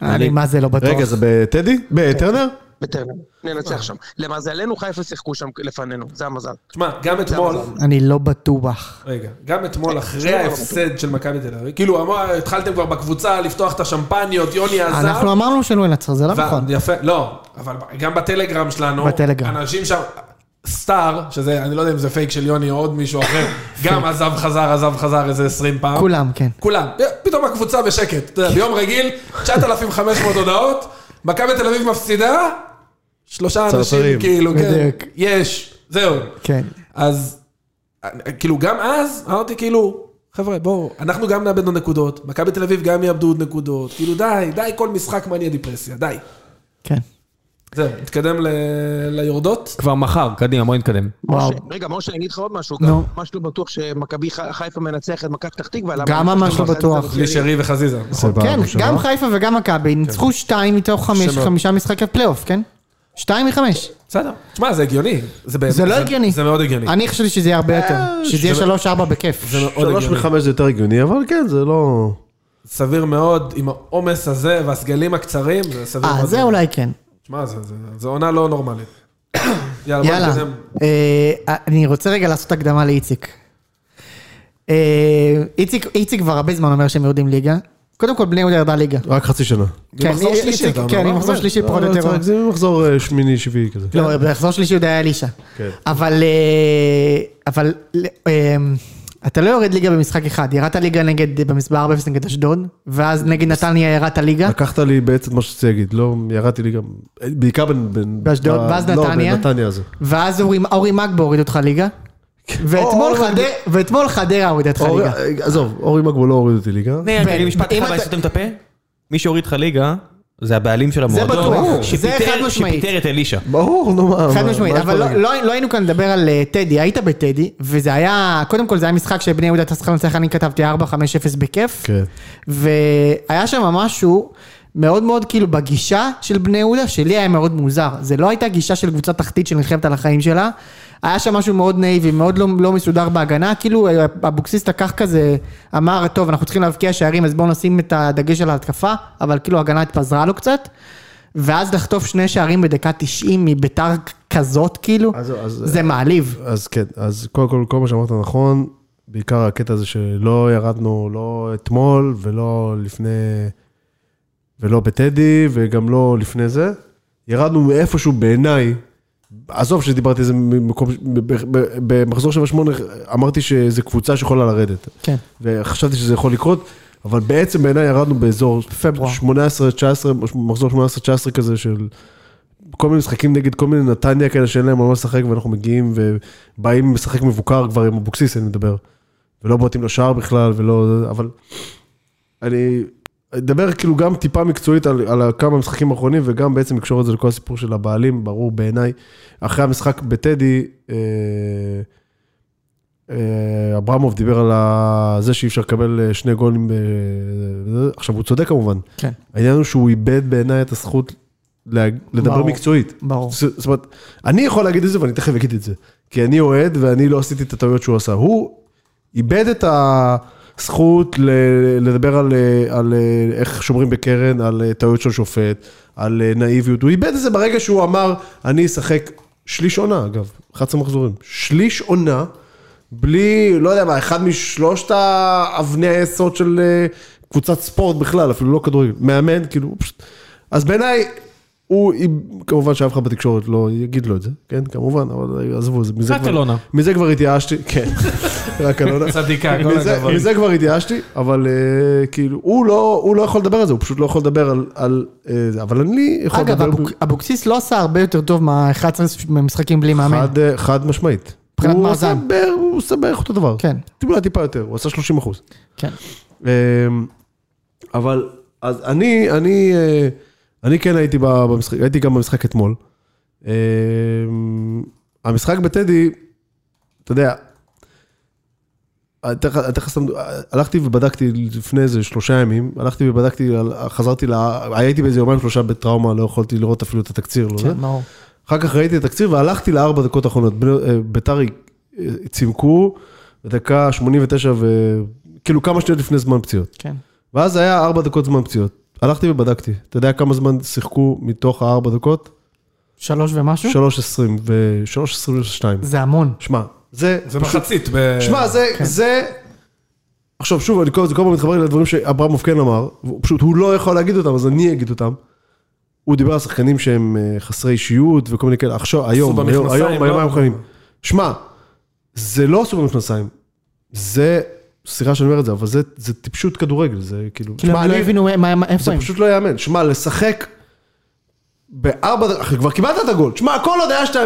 Speaker 4: אני, מה זה, לא בטוח.
Speaker 5: רגע, זה בטדי? בטרנר?
Speaker 2: בטרנר,
Speaker 3: אה.
Speaker 2: ננצח שם. למזלנו חיפה שיחקו שם לפנינו, זה המזל.
Speaker 3: תשמע, גם אתמול,
Speaker 2: המזל.
Speaker 4: אני לא בטוח.
Speaker 3: רגע, גם אתמול אחרי ההפסד של מכבי תל אביב, כאילו אמר- התחלתם כבר בקבוצה לפתוח את השמפניות, יוני עזב.
Speaker 4: אה, אנחנו אמרנו שלא ננצח, זה לא
Speaker 3: ו-
Speaker 4: נכון.
Speaker 3: יפה, לא, אבל גם בטלגרם שלנו,
Speaker 4: בטלגרם.
Speaker 3: אנשים שם, סטאר, שזה, אני לא יודע אם זה פייק של יוני או עוד מישהו אחר, גם עזב חזר, עזב חזר איזה 20 פעם.
Speaker 4: כולם, כן.
Speaker 3: כולם. פתאום הקבוצה בשקט. אתה יודע, ביום רגיל, 9,500 הודעות, מכבי תל אביב מפסידה, שלושה אנשים
Speaker 5: צרצרים.
Speaker 3: כאילו, כן,
Speaker 4: בדיוק.
Speaker 3: יש, זהו.
Speaker 4: כן.
Speaker 3: אז, אה, כאילו, גם אז, אמרתי כאילו, חבר'ה, בואו, אנחנו גם נאבד עוד נקודות, מכבי תל אביב גם יאבדו עוד נקודות, כאילו, די, די, כל משחק מניע דיפרסיה, די.
Speaker 4: כן.
Speaker 3: זהו, נתקדם ל- ליורדות.
Speaker 1: כבר מחר, קדימה בוא נתקדם.
Speaker 4: וואו.
Speaker 2: משה, רגע, משה, אני אגיד לך עוד משהו.
Speaker 4: נו.
Speaker 2: גם ממש לא בטוח שמכבי ח- חיפה מנצח את מכבי פתח תקווה. למה?
Speaker 4: גם ממש לא בטוח.
Speaker 3: בלי שרי וחזיזה. נכון.
Speaker 5: סבבה,
Speaker 4: כן,
Speaker 5: בסדר.
Speaker 4: גם חיפה וגם מכבי ניצחו שתיים מתוך חמש,
Speaker 3: שמות.
Speaker 4: חמישה משחקי פלייאוף, כן? שתיים מחמש.
Speaker 3: בסדר. תשמע, זה הגיוני. זה באמת-
Speaker 4: זה לא הגיוני.
Speaker 3: זה מאוד הגיוני.
Speaker 4: אני חשבתי שזה יהיה הרבה יותר. שזה יהיה שלוש-ארבע בכיף.
Speaker 3: זה מאוד
Speaker 5: שלוש
Speaker 3: הגיוני.
Speaker 5: מחמש זה יותר הגיוני, אבל כן, זה לא...
Speaker 3: סביר מאוד, עם העומס הזה והסגלים הקצרים, זה סביר מאוד.
Speaker 4: אה, זה אולי כן.
Speaker 3: שמע, זה- זה- זה עונה לא נורמלית. יאללה, בוא
Speaker 4: יאללה.
Speaker 3: נתקדם.
Speaker 4: אה, אני רוצה רגע לעשות הקדמה לאיציק. אה, איציק- איציק כבר הרבה זמן אומר שהם יורדים ליגה. קודם כל, בני יהודה ירדה ליגה.
Speaker 5: רק חצי שנה. לא,
Speaker 4: כן,
Speaker 3: מחזור
Speaker 4: איציק-
Speaker 3: שלישי, אתה אומר,
Speaker 4: כן,
Speaker 3: מה
Speaker 4: עם מחזור
Speaker 3: אומר?
Speaker 4: שלישי פחות או יותר.
Speaker 5: זה מחזור אה, שמיני, שביעי כזה.
Speaker 4: לא, במחזור שלישי עוד היה אלישע.
Speaker 5: כן.
Speaker 4: אבל, אה, אבל אה, אתה לא יורד ליגה במשחק אחד, ירדת ליגה נגד, במספר 4-0 נגד אשדוד, ואז נגד נתניה ירדת ליגה,
Speaker 5: לקחת לי בעצם את מה שרציתי להגיד, לא, ירדתי לי גם, בעיקר בין... בין-
Speaker 4: באשדוד,
Speaker 5: ב-
Speaker 4: ואז
Speaker 5: לא,
Speaker 4: נתניה.
Speaker 5: בנתניה זה.
Speaker 4: ואז אורי- אורי מגבו הוריד אותך ליגה, ואתמול
Speaker 5: אורי
Speaker 4: חדר- ואתמול חדרה הורידה אותך
Speaker 5: אורי-
Speaker 4: ליגה.
Speaker 5: עזוב, אורי מגבו לא הוריד אותי ליגה.
Speaker 1: נה,
Speaker 4: בן,
Speaker 1: רגע, משפט
Speaker 4: אם
Speaker 1: אחד
Speaker 4: אתה-
Speaker 1: אולי סותם את הפה. מי שהוריד לך ליגה, זה הבעלים של המועדון.
Speaker 4: בטוח, זה
Speaker 1: שפיטר-
Speaker 4: חד משמעית.
Speaker 1: שפיטר את אלישע.
Speaker 5: ברור, נו מה.
Speaker 4: חד
Speaker 5: מה-
Speaker 4: משמעית,
Speaker 5: מה
Speaker 4: אבל
Speaker 5: יש פה
Speaker 4: לא-
Speaker 5: להגיד?
Speaker 4: לא לא היינו כאן לדבר על אה, טדי, היית בטדי, וזה היה, קודם כל זה היה משחק שבני יהודה הייתה צריכה לנצח, אני כתבתי 4-5-0 בכיף,
Speaker 5: כן.
Speaker 4: והיה שם משהו מאוד מאוד כאילו בגישה של בני יהודה, שלי היה מאוד מוזר. זה לא הייתה גישה של קבוצה תחתית שנלחמת על החיים שלה. היה שם משהו מאוד נאיבי, מאוד לא, לא מסודר בהגנה. כאילו אבוקסיס לקח כזה, אמר, טוב, אנחנו צריכים להבקיע שערים, אז בואו נשים את הדגש על ההתקפה, אבל כאילו ההגנה התפזרה לו קצת. ואז לחטוף שני שערים בדקה 90 מביתר כזאת, כאילו,
Speaker 5: אז- אה, אז-
Speaker 4: זה מעליב.
Speaker 5: אז כן, אז קודם כל, כל מה שאמרת נכון, בעיקר הקטע הזה שלא ירדנו לא אתמול ולא לפני, ולא בטדי וגם לא לפני זה. ירדנו מאיפשהו בעיניי, עזוב שדיברתי איזה מקום, ב- ב- ב- במחזור 7-8 אמרתי שזו קבוצה שיכולה לרדת.
Speaker 4: כן.
Speaker 5: וחשבתי שזה יכול לקרות, אבל בעצם בעיניי ירדנו באזור
Speaker 4: פברואר.
Speaker 5: 18-19, מחזור 18-19 כזה של כל מיני משחקים נגד כל מיני נתניה כאלה שאין להם על מה לשחק, ואנחנו מגיעים ובאים לשחק מבוקר כבר עם אבוקסיס, אני מדבר. ולא בועטים לשער בכלל, ולא... אבל... אני אדבר כאילו גם טיפה מקצועית על, על כמה משחקים האחרונים, וגם בעצם לקשור את זה לכל הסיפור של הבעלים, ברור בעיניי. אחרי המשחק בטדי, אה, אה, אברמוב דיבר על ה- זה שאי אפשר לקבל אה, שני גולים. אה, זה- עכשיו, הוא צודק כמובן.
Speaker 4: כן.
Speaker 5: העניין הוא שהוא איבד בעיניי את הזכות לה- לדבר
Speaker 4: ברור.
Speaker 5: מקצועית.
Speaker 4: ברור.
Speaker 5: ז- זאת אומרת, אני יכול להגיד את זה ואני תכף אגיד את זה. כי אני אוהד ואני לא עשיתי את הטעויות שהוא עשה. הוא איבד את הזכות ל- לדבר על, אה, על אה, איך שומרים בקרן, על אה, טעויות של שופט, על אה, נאיביות. הוא איבד את זה ברגע שהוא אמר, אני אשחק שליש עונה, אגב, 11 מחזורים. שליש עונה. בלי, לא יודע מה, אחד משלושת האבני היסוד של אה, קבוצת ספורט בכלל, אפילו לא כדורגל, מאמן, כאילו, הוא פשוט... אז בעיניי, הוא, אם- כמובן שאף אחד בתקשורת לא יגיד לו את זה, כן, כמובן, אבל עזבו, זה- מזה
Speaker 1: רק
Speaker 5: כבר...
Speaker 1: אלונה.
Speaker 5: מזה כבר התייאשתי, כן, רק אלונה.
Speaker 3: צדיקה, כל
Speaker 5: מזה-
Speaker 3: הכבוד.
Speaker 5: מזה כבר התייאשתי, אבל אה, כאילו, הוא לא, הוא לא יכול לדבר על זה, הוא פשוט לא יכול לדבר על... על אה, זה, אבל אני יכול
Speaker 4: אגב,
Speaker 5: לדבר...
Speaker 4: אבוק- אבוקסיס לא עשה הרבה יותר טוב מה-11 משחקים בלי מאמן.
Speaker 5: חד, אה, חד משמעית.
Speaker 4: מבחינת
Speaker 5: הוא
Speaker 4: מאזן.
Speaker 5: עושה בערך- הוא עושה בערך אותו דבר.
Speaker 4: כן.
Speaker 5: טיפה טיפה יותר, הוא עשה 30 אחוז.
Speaker 4: כן.
Speaker 5: אמ, אבל, אז אני, אני, אה, אני כן הייתי ב- במשחק, הייתי גם במשחק אתמול. אמ, המשחק בטדי, אתה יודע, אני אתן לך- אני אתן לך סתם, הלכתי ובדקתי לפני איזה שלושה ימים, הלכתי ובדקתי, על- חזרתי, ל- הייתי באיזה יומיים שלושה בטראומה, לא יכולתי לראות אפילו את התקציר. לא זה.
Speaker 4: כן, ברור.
Speaker 5: אחר כך ראיתי את התקציר והלכתי לארבע דקות האחרונות. בני- אה, ביתר אה, צימקו בדקה 89 ו... כאילו כמה שניות לפני זמן פציעות.
Speaker 4: כן.
Speaker 5: ואז היה ארבע דקות זמן פציעות. הלכתי ובדקתי. אתה יודע כמה זמן שיחקו מתוך הארבע דקות?
Speaker 4: שלוש ומשהו?
Speaker 5: 3.20 ו-3.22.
Speaker 4: זה המון.
Speaker 5: שמע, זה...
Speaker 3: זה
Speaker 5: פשוט-
Speaker 3: מחצית. ב-
Speaker 5: שמע, זה, זה... עכשיו, שוב, אני כל זה כל הזמן מתחבר לדברים שאברמוב כן אמר, הוא- פשוט הוא לא יכול להגיד אותם, אז אני אגיד אותם. הוא דיבר על שחקנים שהם אה, חסרי אישיות וכל מיני כאלה, עכשיו, היום, היום,
Speaker 3: במכנסיים,
Speaker 5: היום,
Speaker 3: לא?
Speaker 5: היום, היום, שמע, זה לא עשו במכנסיים, זה, סליחה שאני אומר את זה, אבל זה, זה טיפשות כדורגל, זה כאילו,
Speaker 4: כאילו,
Speaker 5: שמע,
Speaker 4: הם לא
Speaker 5: אני-
Speaker 4: הבינו מה- מה- מה- איפה
Speaker 5: זה
Speaker 4: הם.
Speaker 5: פשוט לא יאמן. שמע, לשחק בארבע דקות, אחי, כבר קיבלת את הגול. שמע, הכל עוד היה 2-0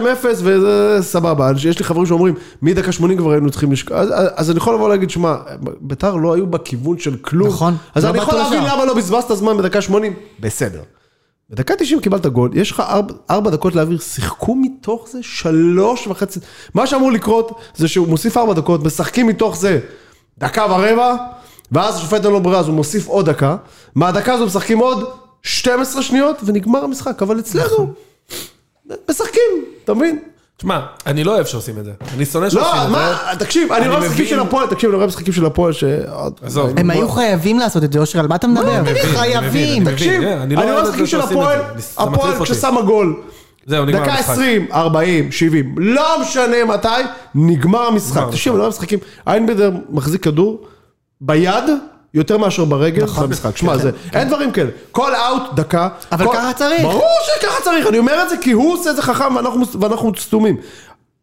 Speaker 5: וזה סבבה. יש לי חברים שאומרים, מדקה 80 כבר היינו צריכים לשקוע. אז, אז אני יכול לבוא להגיד, שמע, ביתר לא היו בכיוון של כלום.
Speaker 4: נכון.
Speaker 5: אז
Speaker 4: לא
Speaker 5: אני יכול
Speaker 4: בעטו
Speaker 5: להבין
Speaker 4: לשער.
Speaker 5: למה לא בזבזת זמן בדקה 80. בסדר. בדקה 90 קיבלת גול, יש לך ארבע, ארבע דקות להעביר, שיחקו מתוך זה שלוש וחצי. מה שאמור לקרות זה שהוא מוסיף ארבע דקות, משחקים מתוך זה דקה ורבע, ואז השופט אין לו ברירה, אז הוא מוסיף עוד דקה. מהדקה הזו משחקים עוד 12 שניות, ונגמר המשחק. אבל
Speaker 3: נכון.
Speaker 5: אצלנו, משחקים, אתה מבין?
Speaker 3: שמע, אני לא אוהב שעושים את זה. אני שונא שעושים את
Speaker 5: לא,
Speaker 3: זה.
Speaker 5: מה, תקשיב, אני
Speaker 3: אני
Speaker 5: רואה משחקים
Speaker 3: מבין.
Speaker 5: של הפועל, תקשיב, אני רואה משחקים של הפועל ש...
Speaker 3: עזוב.
Speaker 4: הם היו חייבים לעשות את זה, אושר, על מה אתה מדבר?
Speaker 5: תגיד,
Speaker 3: מבין, אני
Speaker 4: חייבים.
Speaker 3: מבין.
Speaker 5: תקשיב,
Speaker 3: כן, אני
Speaker 5: אני
Speaker 3: לא אוהב
Speaker 5: רואה
Speaker 3: את זה
Speaker 5: משחקים של
Speaker 3: שעושים את
Speaker 5: הפועל,
Speaker 3: זה. זה מטריף
Speaker 5: הפועל
Speaker 3: אותי.
Speaker 5: כששם הגול.
Speaker 3: זהו, נגמר
Speaker 5: דקה
Speaker 3: המשחק.
Speaker 5: 20, 40, 70, לא משנה מתי, נגמר המשחק. תקשיב, לא משחקים. איינבדר מחזיק כדור ביד יותר מאשר ברגל
Speaker 3: נכון.
Speaker 5: במשחק. שמע,
Speaker 3: כן,
Speaker 5: זה, אין דברים כאלה. כל אאוט, דקה.
Speaker 4: אבל
Speaker 5: כל-
Speaker 4: ככה צריך.
Speaker 5: ברור שככה צריך, אני אומר את זה כי הוא עושה את זה חכם ואנחנו- ואנחנו סתומים.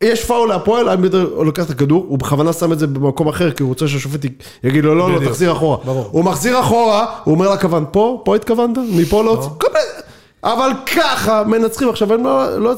Speaker 5: יש פאול להפועל, איימבדר לוקח את הכדור, הוא בכוונה שם את זה במקום אחר, כי הוא רוצה שהשופט י- יגיד לו, לא, לא,
Speaker 3: בדיוק.
Speaker 5: תחזיר אחורה.
Speaker 3: ברור.
Speaker 5: הוא מחזיר אחורה, הוא אומר לכוון, פה, פה התכוונת? מפה לא... הוצ- כל מיני- אבל ככה, מנצחים עכשיו, אין מה... לא...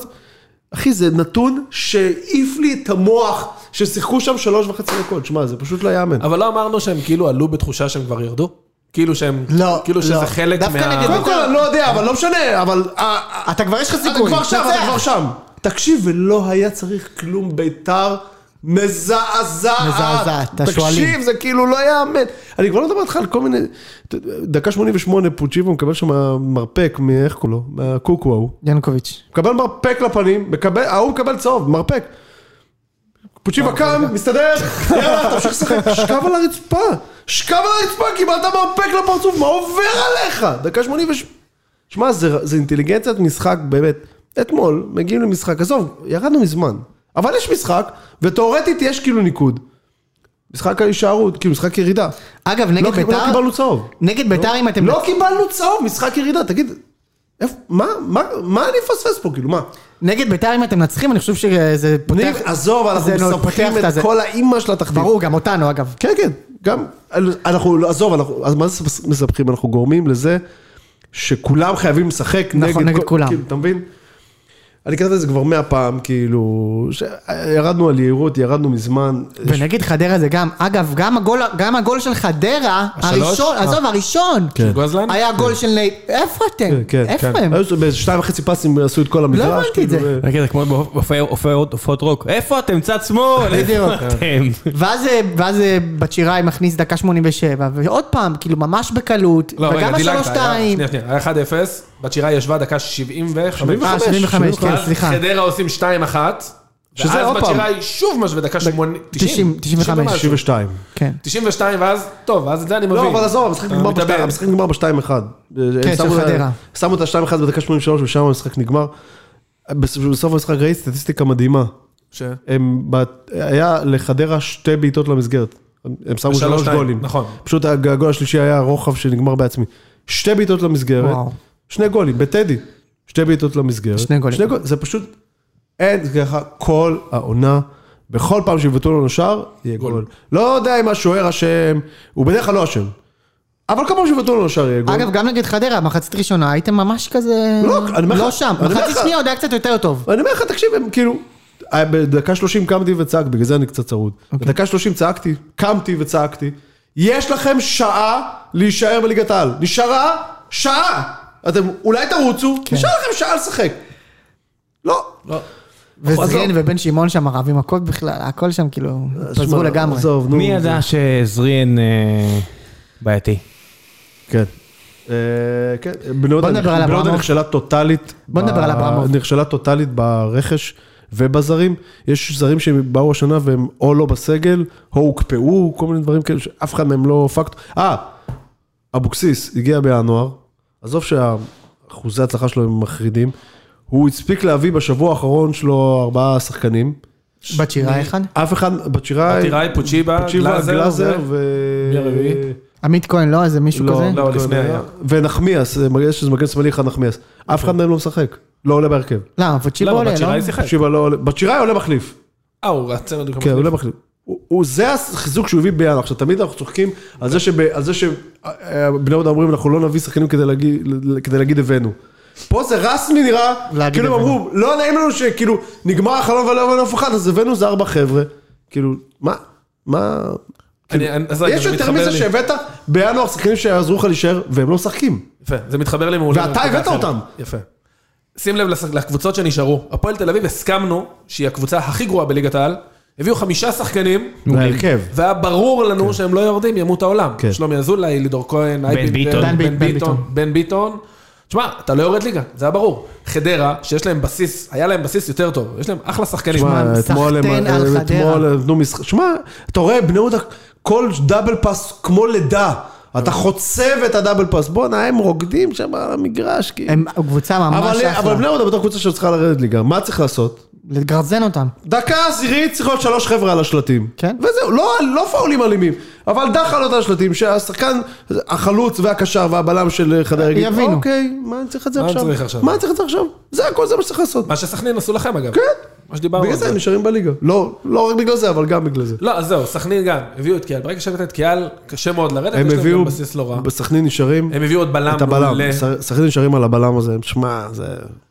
Speaker 5: אחי, זה נתון שהעיף לי את המוח, ששיחקו שם שלוש וחצי דקות. שמע, זה פשוט לא יאמן.
Speaker 3: אבל לא אמרנו שהם כאילו עלו בתחושה שהם כבר ירדו? כאילו שהם...
Speaker 4: לא,
Speaker 3: כאילו
Speaker 4: לא.
Speaker 3: שזה חלק
Speaker 4: דווקא
Speaker 3: מה...
Speaker 4: נגד-
Speaker 5: קודם כל, אני לא יודע, אבל לא משנה, אבל... אה, אה,
Speaker 4: אתה כבר יש לך
Speaker 5: אתה
Speaker 4: סיכוי.
Speaker 5: כבר שם, אתה
Speaker 4: תנצח.
Speaker 5: כבר שם. תקשיב, ולא היה צריך כלום ביתר מזעזעת.
Speaker 4: מזעזעת, השועלים.
Speaker 5: תקשיב, זה כאילו לא יאמן. אני כבר לא מדבר איתך על כל מיני... דקה 88 פוצ'יבו מקבל שם מרפק, מאיך קוראים לו? מהקוקו ההוא.
Speaker 4: ינקוביץ'.
Speaker 5: מקבל מרפק לפנים, מקבל, ההוא מקבל צהוב, מרפק. פוצ'יבה קם, מסתדר, יאללה, תמשיך לשחק, שכב על הרצפה, שכב על הרצפה, קיבלת מרפק לפרצוף, מה עובר עליך? דקה 86. שמע, זה, זה אינטליגנציית משחק, באמת. אתמול מגיעים למשחק, עזוב, ירדנו מזמן, אבל יש משחק, ותאורטית יש כאילו ניקוד. משחק ההישארות, כאילו משחק ירידה.
Speaker 4: אגב,
Speaker 5: לא,
Speaker 4: נגד
Speaker 5: קיב- לא
Speaker 4: ביתר,
Speaker 5: קיבלנו צהוב.
Speaker 4: נגד ביתר אם אתם...
Speaker 5: לא קיבלנו צהוב, משחק ירידה, תגיד, איפה- מה, מה, מה אני מפספס פה, כאילו, מה?
Speaker 4: נגד ביתר אם אתם מנצחים, אני חושב שזה פותח...
Speaker 5: ניב, עזוב, אנחנו
Speaker 4: זה נו- פותח
Speaker 5: מספחים
Speaker 4: את הזה.
Speaker 5: את כל האימא של התחתית.
Speaker 4: ברור, גם אותנו אגב.
Speaker 5: כן, כן, גם, אנחנו, לא, עזוב, אנחנו, אז מה זה מספחים? אנחנו גורמים לזה שכולם חייבים לשחק
Speaker 4: נכון,
Speaker 5: נגד...
Speaker 4: נגד
Speaker 5: כל-
Speaker 4: כולם.
Speaker 5: כאילו, אתה מבין? אני כתבתי את זה כבר מאה פעם, כאילו, ש- ירדנו על יהירות, ירדנו מזמן. יש-
Speaker 4: ונגד חדרה זה גם, אגב, גם הגול, גם הגול של חדרה,
Speaker 3: השלוש?
Speaker 4: הראשון,
Speaker 3: אה.
Speaker 4: עזוב, הראשון,
Speaker 5: כן.
Speaker 3: גוזלן?
Speaker 4: היה גול של נייט, איפה אתם?
Speaker 5: כן, כן,
Speaker 4: איפה
Speaker 5: כן.
Speaker 4: הם? לא
Speaker 5: היו באיזה שתיים וחצי פסים עשו את כל המגרש.
Speaker 4: הבנתי את
Speaker 5: כאילו,
Speaker 4: זה.
Speaker 5: ו-
Speaker 1: רגע, זה כמו בהופעות רוק. איפה אתם? צד שמאל! איפה
Speaker 4: בדיוק.
Speaker 1: אתם?
Speaker 4: ואז, אה, ואז אה, בת שיראי מכניס דקה 87, ועוד פעם, כאילו ממש בקלות,
Speaker 3: לא, רגע,
Speaker 4: וגם
Speaker 3: דילגת,
Speaker 4: השלוש
Speaker 3: היה-
Speaker 4: שתיים,
Speaker 3: שנייה, שנייה, היה 1-0, בת שירה ישבה דקה 75,
Speaker 4: אה, 75, כן,
Speaker 3: ואז
Speaker 4: סליחה.
Speaker 3: חדרה עושים 2-1,
Speaker 5: שזה
Speaker 3: ואז
Speaker 5: עוד
Speaker 3: בת
Speaker 5: פעם.
Speaker 3: שיראי שוב משווה דקה 80, 90,
Speaker 4: 95.
Speaker 5: 92.
Speaker 4: כן.
Speaker 3: 92, ואז, טוב, אז את זה אני מבין.
Speaker 5: לא, אבל עזוב, המשחק
Speaker 3: אתה
Speaker 5: נגמר
Speaker 3: מתאבד.
Speaker 5: בשתיים- המשחק נגמר ב-2-1.
Speaker 4: כן, של חדרה.
Speaker 5: שמו את ה-2-1 בדקה 83 ושם המשחק נגמר. בס- בסוף המשחק ראיתי סטטיסטיקה מדהימה.
Speaker 3: ש-
Speaker 5: הם, בת- היה לחדרה שתי בעיטות למסגרת. הם שמו
Speaker 3: ושלוש,
Speaker 5: שלוש
Speaker 3: שתיים,
Speaker 5: גולים.
Speaker 3: נכון.
Speaker 5: פשוט הגול השלישי היה רוחב שנגמר בעצמי. שתי בעיטות למסגרת,
Speaker 4: וואו.
Speaker 5: שני גולים, בטדי. שתי בעיטות למסגרת.
Speaker 4: שני גולים.
Speaker 5: זה פשוט, אין, זה ככה כל העונה. בכל פעם שיבטאו לנו שער, יהיה גול. לא יודע אם השוער אשם, הוא בדרך כלל לא אשם. אבל כל פעם שיבטאו לנו שער יהיה גול.
Speaker 4: אגב, גם נגד חדרה, מחצית ראשונה הייתם ממש כזה...
Speaker 5: לא, אני אומר לך-
Speaker 4: לא שם.
Speaker 5: אני אומר
Speaker 4: מחצית
Speaker 5: לך-
Speaker 4: שנייה עוד היה קצת יותר טוב.
Speaker 5: ואני אומר לך, תקשיב, הם כאילו, בדקה 30 קמתי וצעקתי, בגלל זה אני קצת צרוד. בדקה 30 צעקתי, קמתי וצעקתי, יש לכם שעה להישאר בליגת העל. נשארה שעה. אתם אולי תרוצו, נשאר לכם שעה לשחק. לא.
Speaker 4: וזרין
Speaker 5: עזוב.
Speaker 4: ובן שמעון שם הרב עם הכל בכלל, הכל שם כאילו, פזרו
Speaker 5: שמע,
Speaker 4: לגמרי.
Speaker 5: עזוב, נו.
Speaker 1: מי ידע שזריאן אה, בעייתי?
Speaker 5: כן. אה, כן, בני יהודה
Speaker 4: נדבר על
Speaker 5: בני יהודה
Speaker 4: אברמוב.
Speaker 5: נכשלה טוטאלית.
Speaker 4: בוא
Speaker 5: ב-
Speaker 4: נדבר על אברמוב.
Speaker 5: נכשלה טוטאלית ברכש ובזרים. יש זרים שבאו השנה והם או לא בסגל, או הוקפאו, כל מיני דברים כאלה שאף אחד מהם לא פקט. אה, אבוקסיס הגיע בינואר, עזוב שאחוזי ההצלחה שלו הם מחרידים. הוא הספיק להביא בשבוע האחרון שלו ארבעה שחקנים.
Speaker 4: בת שירה אחד.
Speaker 5: אף אחד, בת שיראי,
Speaker 3: שיראי, פוצ'יבה, גלאזר,
Speaker 5: גלאזר ו...
Speaker 3: מי הרביעי?
Speaker 4: עמית כהן לא, איזה מישהו כזה?
Speaker 3: לא, לפני נכון. היה.
Speaker 5: ונחמיאס, יש איזה מגן שמאלי אחד נחמיאס. אף אחד מהם לא משחק, לא עולה בהרכב.
Speaker 4: למה? פוצ'יבו
Speaker 3: למה,
Speaker 4: עולה,
Speaker 3: בת
Speaker 4: לא?
Speaker 3: שיראי שיחק?
Speaker 5: שיבא לא עולה, בצ'יראי עולה מחליף.
Speaker 3: אה, הוא רצה לנו
Speaker 5: כן,
Speaker 3: כמה
Speaker 5: עולה מחליף. הוא- הוא, זה החיזוק שהוא הביא בינואר. עכשיו, תמיד אנחנו צוחקים על זה שב- על זה שבני יהודה אומרים, אנחנו לא נביא שחקנים כדי להגיד- כדי להגיד הבאנו. פה זה רסמי נראה,
Speaker 4: להגיד
Speaker 5: כאילו הם
Speaker 4: הבאנו.
Speaker 5: אמרו, לא נעים לנו שכאילו נגמר החלום ולא הבאנו אף אחד, אז הבאנו זה ארבע חבר'ה. כאילו, מה, מה...
Speaker 3: אני- אני- אז רגע,
Speaker 5: יש
Speaker 3: זה
Speaker 5: יותר
Speaker 3: מתחבר
Speaker 5: מזה
Speaker 3: לי.
Speaker 5: שהבאת בינואר שחקנים שיעזרו לך להישאר, והם לא משחקים.
Speaker 3: יפה, זה מתחבר לי מעולה.
Speaker 5: ואתה הבאת
Speaker 3: אחרת.
Speaker 5: אותם.
Speaker 3: יפה. שים לב לס- לקבוצות שנשארו. הפועל תל אביב, הסכמנו שהיא הקבוצה הכי גרועה בליגת העל. הביאו חמישה שחקנים,
Speaker 5: בהרכב.
Speaker 3: והיה ברור לנו שהם לא יורדים, ימות העולם.
Speaker 5: כן.
Speaker 3: שלומי אזולאי, לידור כהן, אייבינדר,
Speaker 1: ביטון.
Speaker 4: בן ביט-
Speaker 3: בן
Speaker 4: בן
Speaker 3: ביטון,
Speaker 4: ביטון.
Speaker 3: בן ביטון. תשמע, אתה לא יורד ליגה, זה היה ברור. חדרה, שיש להם בסיס, היה להם בסיס יותר טוב, יש להם אחלה שחקנים.
Speaker 5: שמע, אה,
Speaker 4: שמע,
Speaker 5: אתמול הם...
Speaker 4: סחטיין על
Speaker 5: הם-
Speaker 4: חדרה.
Speaker 5: אתמול הם נתנו משחק... שמע, אתה רואה, בני יהודה, כל דאבל פאס כמו לידה. אתה חוצב את הדאבל פאס. בואנה, הם רוקדים שם על המגרש, כאילו.
Speaker 4: הם קבוצה ממש
Speaker 5: אבל- אבל בני
Speaker 4: אחלה.
Speaker 5: יהודה בתור קבוצה שצריכה לרדת ליגה, מה צריך לעשות?
Speaker 4: לגרזן אותם.
Speaker 5: דקה עשירית צריך להיות שלוש חבר'ה על השלטים.
Speaker 4: כן.
Speaker 5: וזהו, לא, לא פאולים אלימים, אבל דחלות על השלטים, שהשחקן, החלוץ והקשר והבלם של חדר יגיד,
Speaker 4: יבינו.
Speaker 5: אוקיי, מה אני צריך את זה
Speaker 3: מה אני
Speaker 5: עכשיו?
Speaker 3: צריך עכשיו?"
Speaker 5: מה אני צריך את זה עכשיו? זה הכל, זה מה שצריך לעשות.
Speaker 3: מה שסכנין עשו לכם אגב.
Speaker 5: כן.
Speaker 3: מה שדיברנו
Speaker 5: בגלל
Speaker 3: על
Speaker 5: זה
Speaker 3: זה.
Speaker 5: הם נשארים בליגה. לא, לא רק בגלל זה, אבל גם בגלל זה.
Speaker 3: לא, אז זהו, סכנין גם, הביאו את קיאל. ברגע שהבאת את קיאל, קשה מאוד לרדת,
Speaker 5: הם
Speaker 3: יש להם
Speaker 5: הביאו,
Speaker 3: גם בסיס לא רע.
Speaker 5: בסכנין נשארים,
Speaker 3: הם הביאו עוד בלם
Speaker 5: את הבלם,
Speaker 3: מעולה.
Speaker 5: ס- סכנין נשארים על הבלם הזה, שמע, זה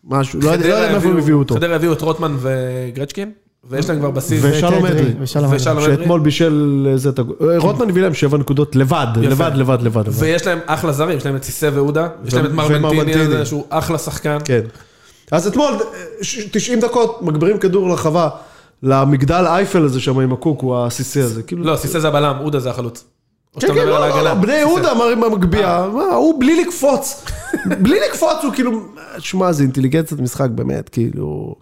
Speaker 5: משהו, לא יודע לא
Speaker 3: חדרה
Speaker 5: יודע מאיפה הם הביאו אותו.
Speaker 3: חדרה הביאו את רוטמן וגרצ'קין, ויש להם כבר בסיס.
Speaker 5: ושלום
Speaker 4: וטדרי,
Speaker 5: אדרי,
Speaker 4: ושלום אדרי.
Speaker 3: ושלום אדרי. כן.
Speaker 5: שאתמול בישל איזה את הגול. אה, רוטמן הביא להם שבע נקודות לבד, לבד, לבד, לבד. לבד.
Speaker 3: ויש להם אחלה זרים, יש להם את סיסא ועודה, יש להם את מרמנטיני
Speaker 5: ומרמנטיני.
Speaker 3: הזה, שהוא אחלה שחקן.
Speaker 5: כן. אז אתמול, אה, ש- 90 דקות, מגבירים כדור לרחבה, למגדל אייפל הזה שם עם הקוק, הוא הסיסי הזה. כאילו-
Speaker 3: לא, סיסא זה הבלם, עודה זה החלוץ. או
Speaker 5: כן,
Speaker 3: שאתה
Speaker 5: כן,
Speaker 3: מדבר על
Speaker 5: לא, לא,
Speaker 3: ההגנה. אה.
Speaker 5: לא, בני
Speaker 3: סיסא.
Speaker 5: יהודה מרים במגביה, מה, הוא בלי לקפוץ, בלי לקפוץ, הוא כאילו, שמע, זה אינטליגנציית משחק, באמת, כאילו,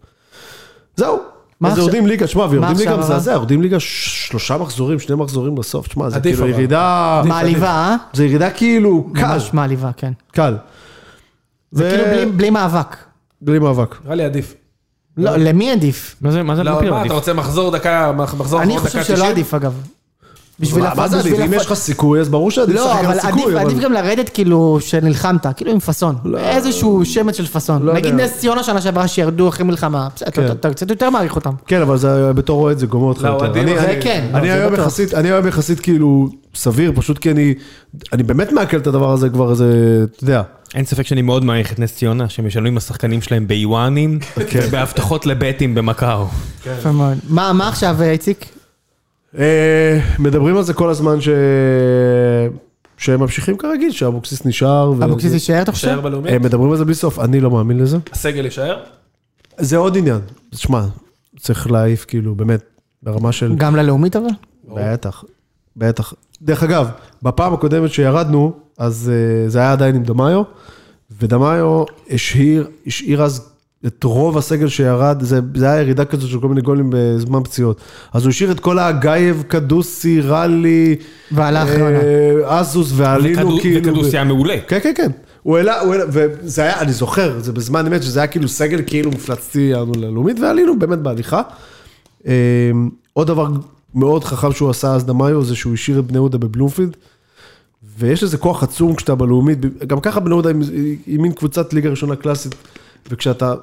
Speaker 5: זהו.
Speaker 4: מה
Speaker 5: אז
Speaker 4: עכשיו-
Speaker 5: יורדים ליגה, שמע, ויורדים
Speaker 4: עכשיו,
Speaker 5: ליגה
Speaker 4: אבל?
Speaker 5: מזעזע, יורדים ליגה ש- שלושה מחזורים, שני מחזורים בסוף, שמע, זה
Speaker 3: עדיף,
Speaker 5: כאילו
Speaker 3: אבל.
Speaker 5: ירידה...
Speaker 4: מעליבה, אה?
Speaker 5: זה ירידה כאילו קל,
Speaker 4: ממש מעליבה, כן.
Speaker 5: קל.
Speaker 4: זה
Speaker 5: ו-
Speaker 4: כאילו בלי- בלי מאבק.
Speaker 5: בלי מאבק.
Speaker 3: נראה לי עדיף.
Speaker 4: לא, למי עדיף?
Speaker 1: מה זה, מה זה
Speaker 3: לא,
Speaker 1: לא
Speaker 3: מה, אתה רוצה מחזור דקה, מח- מחזור
Speaker 4: אני
Speaker 3: אחרון,
Speaker 4: חושב
Speaker 3: דקה
Speaker 4: שלא
Speaker 3: 90?
Speaker 4: עדיף אגב. בשביל
Speaker 5: מה-
Speaker 4: הפ-
Speaker 5: מה זה עדיף?
Speaker 4: בשביל
Speaker 5: אם
Speaker 4: הפ-
Speaker 5: יש לך סיכוי, אז ברור שעדיף
Speaker 4: לא,
Speaker 5: לשחק על
Speaker 4: אבל עדיף-
Speaker 5: הסיכוי. אבל-
Speaker 4: עדיף גם לרדת כאילו שנלחמת, כאילו עם פאסון. איזשהו שמץ של פאסון.
Speaker 5: לא
Speaker 4: נגיד
Speaker 5: יודע.
Speaker 4: נס ציונה שנה שעברה שירדו אחרי מלחמה, בסדר, אתה- אתה קצת יותר מעריך אותם.
Speaker 5: כן, אבל זה בתור אוהד זה גומר אותך
Speaker 3: לא,
Speaker 5: יותר.
Speaker 3: אוהדים
Speaker 5: אני-
Speaker 4: זה
Speaker 5: אני-
Speaker 4: כן.
Speaker 5: אני
Speaker 4: זה
Speaker 5: היום
Speaker 4: בטוח.
Speaker 5: יחסית, אני היום יחסית כאילו סביר, פשוט כי אני, אני באמת מעכל את הדבר הזה כבר איזה, אתה יודע.
Speaker 1: אין ספק שאני מאוד מעריך את נס ציונה, שהם ישלמו עם השחקנים שלהם ביואנים, ובהבטחות לבטים במקאו.
Speaker 5: כן.
Speaker 4: יפה מאוד. מה מה עכשיו, איציק?
Speaker 5: אה, מדברים על זה כל הזמן ש... שהם ממשיכים כרגיל, שאבוקסיס נשאר. ו-
Speaker 4: אבוקסיס
Speaker 5: זה-
Speaker 4: יישאר, אתה חושב?
Speaker 3: יישאר בלאומי?
Speaker 5: הם מדברים על זה בלי סוף, אני לא מאמין לזה.
Speaker 3: הסגל יישאר?
Speaker 5: זה עוד עניין. שמע, צריך להעיף כאילו באמת, ברמה של...
Speaker 4: גם ללאומית אבל?
Speaker 5: בטח, בטח. דרך אגב, בפעם הקודמת שירדנו, אז אה, זה היה עדיין עם דמאיו, ודמאיו השאיר, השאיר אז את רוב הסגל שירד, זה, זה היה ירידה כזאת של כל מיני גולים בזמן פציעות. אז הוא השאיר את כל האגייב, קדוסי, ראלי,
Speaker 4: והלך,
Speaker 5: אה,
Speaker 4: יונה.
Speaker 5: אזוס, ועלינו
Speaker 1: וכדו-
Speaker 5: כאילו...
Speaker 1: וכדוסי היה מעולה.
Speaker 5: כן, כן, כן. הוא העלה, הוא העלה, וזה היה, אני זוכר, זה בזמן אמת, שזה היה כאילו סגל כאילו מפלצתי ירדנו ללאומית, ועלינו באמת בהליכה. אה, עוד דבר מאוד חכם שהוא עשה אז דמאיו, זה שהוא השאיר את בני יהודה בבלומפילד, ויש איזה כוח עצום כשאתה בלאומית, גם ככה בני יהודה היא- היא מין קבוצת ליגה ראשונה קלאסית, וכשאתה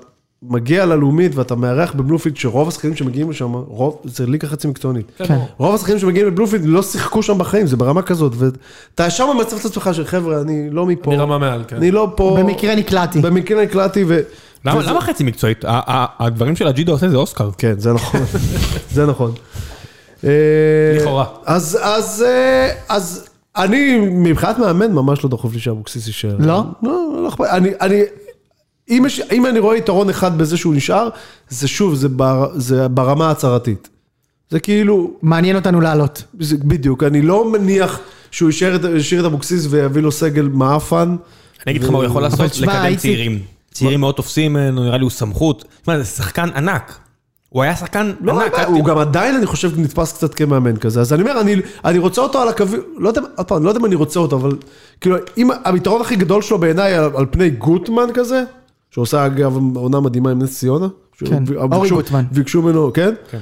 Speaker 5: מגיע ללאומית ואתה מארח בבלומפילד, שרוב השחקנים שמגיעים לשם, רוב, זה ליגה חצי מקצוענית.
Speaker 4: כן.
Speaker 5: רוב השחקנים שמגיעים לבלומפילד לא שיחקו שם בחיים, זה ברמה כזאת, ואתה ישר ממצב את עצמך של חבר'ה, אני לא מפה.
Speaker 3: אני רמה מעל, כן.
Speaker 5: אני לא פה...
Speaker 4: במקרה נקלעתי.
Speaker 5: במקרה נקלעתי ו...
Speaker 1: למה
Speaker 5: וזה-
Speaker 1: למה חצי מקצועית? ה- ה- הדברים של הג'ידו עושה זה אוסקר.
Speaker 5: כן, זה נכון. זה נכון. אה,
Speaker 3: לכאורה.
Speaker 5: אז, אז, אה, אז אני, מבחינת מאמן, ממש לא דחוף לי שאבוקסיס יישאר.
Speaker 4: לא?
Speaker 5: לא, לא אכפת. אני, אני, אם, יש, אם אני רואה יתרון אחד בזה שהוא נשאר, זה שוב, זה, בר, זה ברמה ההצהרתית. זה כאילו,
Speaker 4: מעניין אותנו לעלות.
Speaker 5: זה, בדיוק, אני לא מניח שהוא ישאיר את- ישאיר את אבוקסיס ויביא לו סגל מעפן.
Speaker 1: אני אגיד לך מה הוא יכול
Speaker 4: אבל
Speaker 1: לעשות,
Speaker 4: תשמע,
Speaker 1: לקדם
Speaker 4: איציק-
Speaker 1: צעירים. צעירים מאוד תופסים ממנו, נראה לי הוא סמכות. תשמע, זה שחקן ענק. הוא היה שחקן
Speaker 5: לא,
Speaker 1: ענק.
Speaker 5: הוא גם עדיין, אני חושב, נתפס קצת כמאמן כזה. אז אני אומר, אני, אני רוצה אותו על הקווי... לא יודע, עוד פעם, אני לא יודע אם אני רוצה אותו, אבל... כאילו, אם היתרון הכי גדול שלו בעיניי על, על פני גוטמן כזה, שעושה אגב עונה מדהימה עם נס ציונה.
Speaker 4: כן,
Speaker 5: שהוא-
Speaker 4: אורי
Speaker 5: ביקשו-
Speaker 4: גוטמן.
Speaker 5: ביקשו ממנו, כן? כן.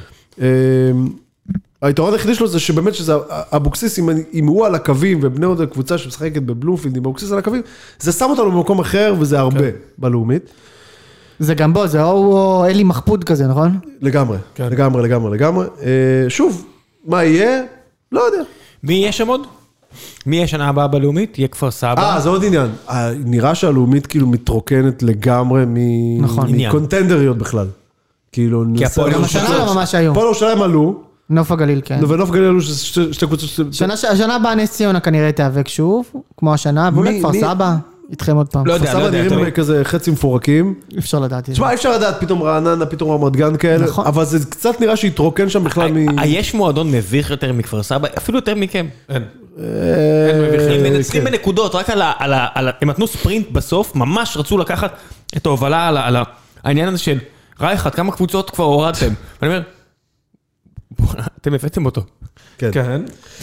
Speaker 5: היתרון היחידי שלו זה שבאמת שזה אבוקסיס, אם, אני- אם הוא על הקווים ובני יהודה קבוצה שמשחקת בבלומפילד עם אבוקסיס על הקווים, זה שם אותנו במקום אחר וזה הרבה בלאומית.
Speaker 4: זה גם בו, זה או הוא או אלי מחפוד כזה, נכון?
Speaker 5: לגמרי, לגמרי, לגמרי, לגמרי. אה, שוב, מה יהיה? לא יודע.
Speaker 1: מי יהיה שם עוד? מי יהיה שנה הבאה בלאומית? יהיה כפר סבא.
Speaker 5: אה, זה עוד עניין. אה, נראה שהלאומית כאילו מתרוקנת לגמרי מ-
Speaker 4: נכון.
Speaker 1: עניין.
Speaker 5: מקונטנדריות בכלל. כאילו, ננסה-
Speaker 1: הפועל
Speaker 4: גם השנה לא ממש היו.
Speaker 5: הפועל ירושלים עלו,
Speaker 4: נוף הגליל, כן.
Speaker 5: ונוף גליל עלו שזה שתי שתי קבוצות. ש-
Speaker 4: שנה ש- השנה הבאה נס ציונה כנראה תיאבק שוב, כמו השנה, ואולי
Speaker 5: מי-
Speaker 4: כפר
Speaker 5: מי-
Speaker 4: סבא, איתכם עוד פעם.
Speaker 1: לא יודע,
Speaker 5: כפר
Speaker 1: לא
Speaker 5: סבא
Speaker 1: יודע. אתה
Speaker 5: נראים
Speaker 1: מבין?
Speaker 5: כזה חצי מפורקים.
Speaker 4: אי אפשר לדעת. את זה.
Speaker 5: תשמע, אי אפשר לדעת, פתאום רעננה, פתאום רמת גן כאלה,
Speaker 4: נכון.
Speaker 5: אבל זה קצת נראה שהתרוקן שם בכלל מ...
Speaker 1: ה- יש מועדון מביך יותר מכפר סבא? אפילו יותר מכם.
Speaker 3: אין.
Speaker 5: אה,
Speaker 1: הם מנצלים
Speaker 5: כן.
Speaker 1: בנקודות, רק על ה... על ה- על ה- הם נתנו ספרינט בסוף, ממש רצו לקחת את ההובלה על ה- על ה- העניין הזה של רייכרד, כמה קבוצות כבר הורדתם? ואני אומר, "בואנה, אתם הבאתם אותו.
Speaker 5: כן.
Speaker 3: כן.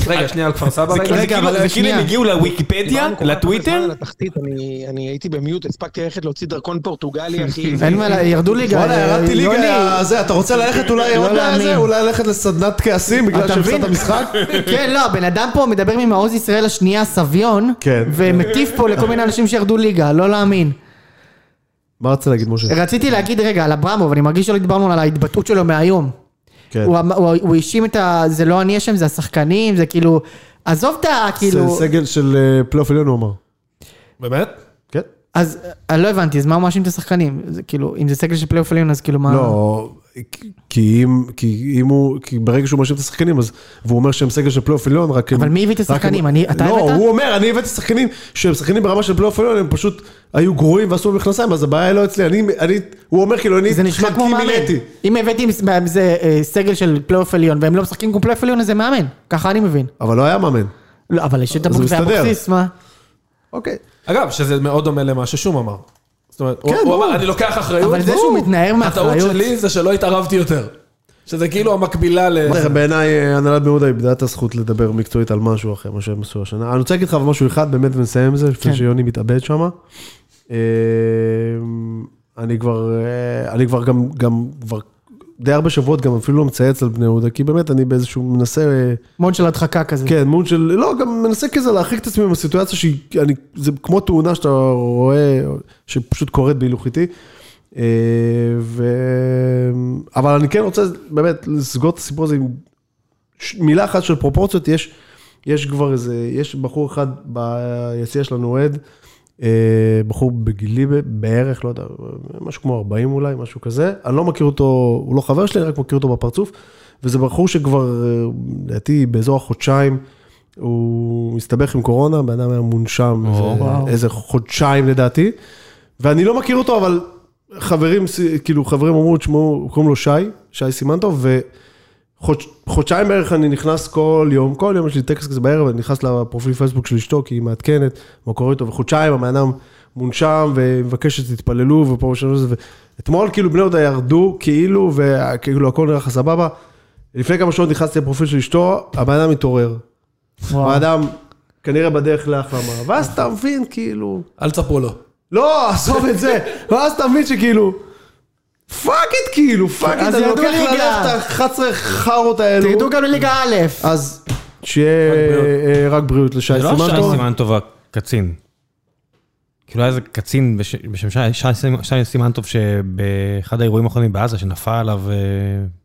Speaker 3: רגע, שנייה על כפר סבא
Speaker 1: זה
Speaker 3: רגע.
Speaker 1: כאילו- זה
Speaker 4: רגע,
Speaker 1: כאילו-
Speaker 4: אבל
Speaker 1: זה כאילו הם
Speaker 4: שנייה.
Speaker 1: הגיעו לוויקיפדיה,
Speaker 2: דיברנו כל כך הרבה זמן
Speaker 1: לטוויטר,
Speaker 2: על התחתית, אני- אני הייתי במיוט, הספקתי ללכת להוציא דרכון פורטוגלי, אחי.
Speaker 4: אין מה, לה- ירדו ליגה. אה,
Speaker 5: וואלה, אה, ירדתי ליגה,
Speaker 4: יוני.
Speaker 5: זה, אתה רוצה ללכת אולי
Speaker 4: לא
Speaker 5: עוד
Speaker 4: להאמין.
Speaker 5: לזה? אולי ללכת לסדנת כעסים בגלל
Speaker 4: אתה
Speaker 5: שהפסדת
Speaker 4: מבין?
Speaker 5: משחק?
Speaker 4: כן, לא, הבן אדם פה מדבר ממעוז ישראל השנייה, סביון,
Speaker 5: כן.
Speaker 4: ומטיף פה לכל מיני אנשים שירדו ליגה, לא להאמין.
Speaker 5: מה רצית להגיד, משה?
Speaker 4: רציתי להגיד רגע על אברמוב, אני מרגיש שלא דיברנו על ההתבטאות שלו מהיום.
Speaker 5: כן.
Speaker 4: הוא אמר- הוא הוא האשים את ה... זה לא אני אשם, זה השחקנים, זה כאילו... עזוב את ה... כאילו...
Speaker 5: זה סגל של אה, פלייאוף עליון, הוא אמר.
Speaker 3: באמת?
Speaker 5: כן?
Speaker 4: אז אני לא הבנתי, אז מה הוא מאשים את השחקנים? זה כאילו, אם זה סגל של פלייאוף עליון, אז כאילו מה...
Speaker 5: לא, כי אם, כי אם הוא, כי ברגע שהוא מאשים את השחקנים, אז, והוא אומר שהם סגל של פלייאוף עליון, רק הם...
Speaker 4: אבל מי הביא את
Speaker 5: רק
Speaker 4: השחקנים?
Speaker 5: הם-
Speaker 4: אני- אתה
Speaker 5: לא,
Speaker 4: הבאת?
Speaker 5: הוא אומר, אני הבאתי שחקנים שהם שחקנים ברמה של פלייאוף עליון, הם פשוט היו גרועים ועשו במכנסיים, אז הבעיה היא לא אצלי. אני, אני, הוא אומר כאילו, אני
Speaker 4: זה נשמע כמו
Speaker 5: חלקי
Speaker 4: מאמן.
Speaker 5: מילאתי.
Speaker 4: אם הבאתי עם ס- עם זה אה, סגל של פלייאוף עליון, והם לא משחקים כמו פלייאוף עליון, אז זה מאמן. ככה אני מבין.
Speaker 5: אבל לא היה מאמן.
Speaker 4: לא, אבל יש את
Speaker 5: אז הוא
Speaker 4: הבוקס
Speaker 5: מסתדר.
Speaker 4: והבוקסיס, מה?
Speaker 5: אוקיי.
Speaker 3: אגב, שזה מאוד דומה למה ששום אמר. זאת אומרת, הוא
Speaker 5: כן,
Speaker 3: הוא
Speaker 5: ברור.
Speaker 3: אמר, אני לוקח אחריות.
Speaker 4: אבל זה
Speaker 3: ברור.
Speaker 4: שהוא מתנער
Speaker 3: הטעות
Speaker 4: מאחריות.
Speaker 3: שלי זה שלא התערבתי יותר. שזה כאילו המקבילה ל...
Speaker 5: תראה, בעיניי אה, הנהלת בני יהודה איבדה את הזכות לדבר מקצועית על משהו אחר, מה שהם עשו השנה. אני רוצה להגיד לך אבל משהו אחד, באמת ונסיים את זה, לפני
Speaker 4: כן.
Speaker 5: שיוני מתאבד שם. אה, אני כבר, אה, אני כבר גם, גם, כבר די הרבה שבועות גם אפילו לא מצייץ על בני יהודה, כי באמת אני באיזשהו מנסה... אה,
Speaker 4: מוד של הדחקה כזה.
Speaker 5: כן, מון של... לא, גם מנסה כזה להרחיק את עצמי מהסיטואציה שהיא... אני, זה כמו תאונה שאתה רואה, שפשוט קורית בהילוכיתי. אה, ו... אבל אני כן רוצה באמת לסגור את הסיפור הזה עם ש- מילה אחת של פרופורציות. יש, יש כבר איזה... יש בחור אחד ביציע שלנו אוהד, אה, בחור בגילי ב- בערך, לא יודע, משהו כמו 40 אולי, משהו כזה. אני לא מכיר אותו, הוא לא חבר שלי, אני רק מכיר אותו בפרצוף. וזה בחור שכבר, אה, לדעתי, באזור החודשיים, הוא הסתבך עם קורונה, בן אדם היה מונשם איזה-
Speaker 4: וואו.
Speaker 5: איזה חודשיים לדעתי. ואני לא מכיר אותו, אבל חברים, כאילו, חברים אמרו, תשמעו, קוראים לו שי, שי סימנטוב, וחודשיים בערך אני נכנס כל יום, כל יום יש לי טקס כזה בערב, אני נכנס לפרופיל פייסבוק של אשתו, כי היא מעדכנת, מה קורה איתו, וחודשיים הבן אדם מונשם, ומבקש שתתפללו, ופה ושם וזה, ואתמול כאילו בני יהודה ירדו, כאילו, וכאילו הכל נראה לך סבבה. לפני כמה שעות נכנסתי לפרופיל של אשתו, הבן אדם התעורר.
Speaker 4: וואו.
Speaker 5: הבן אדם כנראה בדרך להחלמה, ואז אתה מבין, כאילו...
Speaker 3: אל תספרו לו.
Speaker 5: לא, עזוב את זה. ואז אתה מבין שכאילו, פאק איט כאילו, פאק איט,
Speaker 4: אז
Speaker 5: אני
Speaker 4: ירדו
Speaker 5: לוקח
Speaker 4: ליגה.
Speaker 5: ללב את ה-11 חארות האלו.
Speaker 4: תרדו גם לליגה א'.
Speaker 5: אז שיהיה אה, רק בריאות לשי
Speaker 1: זה לא שי
Speaker 5: סימנטוב.
Speaker 1: סימן טוב הקצין. כאילו היה איזה קצין בש- בשם שי- שי סימן- שי סימן טוב שבאחד האירועים האחרונים בעזה שנפל עליו אה,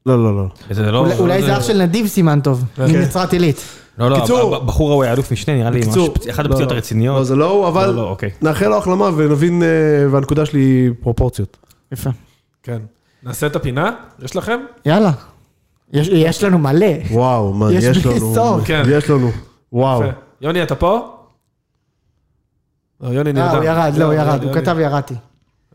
Speaker 5: לא, לא, לא.
Speaker 1: וזה לא...
Speaker 4: אולי- אולי אה, זה אוקיי. אח של נדיב סימן טוב, מנצרת עילית.
Speaker 1: לא, לא,
Speaker 5: בקיצור-
Speaker 1: הבחור ההוא היה אלוף משנה, נראה לי, ממש
Speaker 5: בקיצור,
Speaker 1: פצ- אחת
Speaker 5: לא,
Speaker 1: הפציעות
Speaker 5: לא.
Speaker 1: הרציניות.
Speaker 5: לא, זה לא הוא, אבל
Speaker 1: לא, לא, אוקיי.
Speaker 5: נאחל לו החלמה ונבין, אה, והנקודה שלי היא פרופורציות.
Speaker 4: יפה.
Speaker 3: כן. נעשה את הפינה? יש לכם?
Speaker 4: יאללה. יש- יש לנו מלא.
Speaker 5: וואו, מה,
Speaker 4: יש
Speaker 5: יש
Speaker 4: בלי
Speaker 5: לנו.
Speaker 4: סוף.
Speaker 3: כן.
Speaker 5: יש לנו. וואו.
Speaker 3: יפה. יוני, אתה פה? לא, יוני נרדם.
Speaker 4: אה, הוא ירד, לא, הוא ירד, הוא
Speaker 3: יוני.
Speaker 4: כתב ירדתי.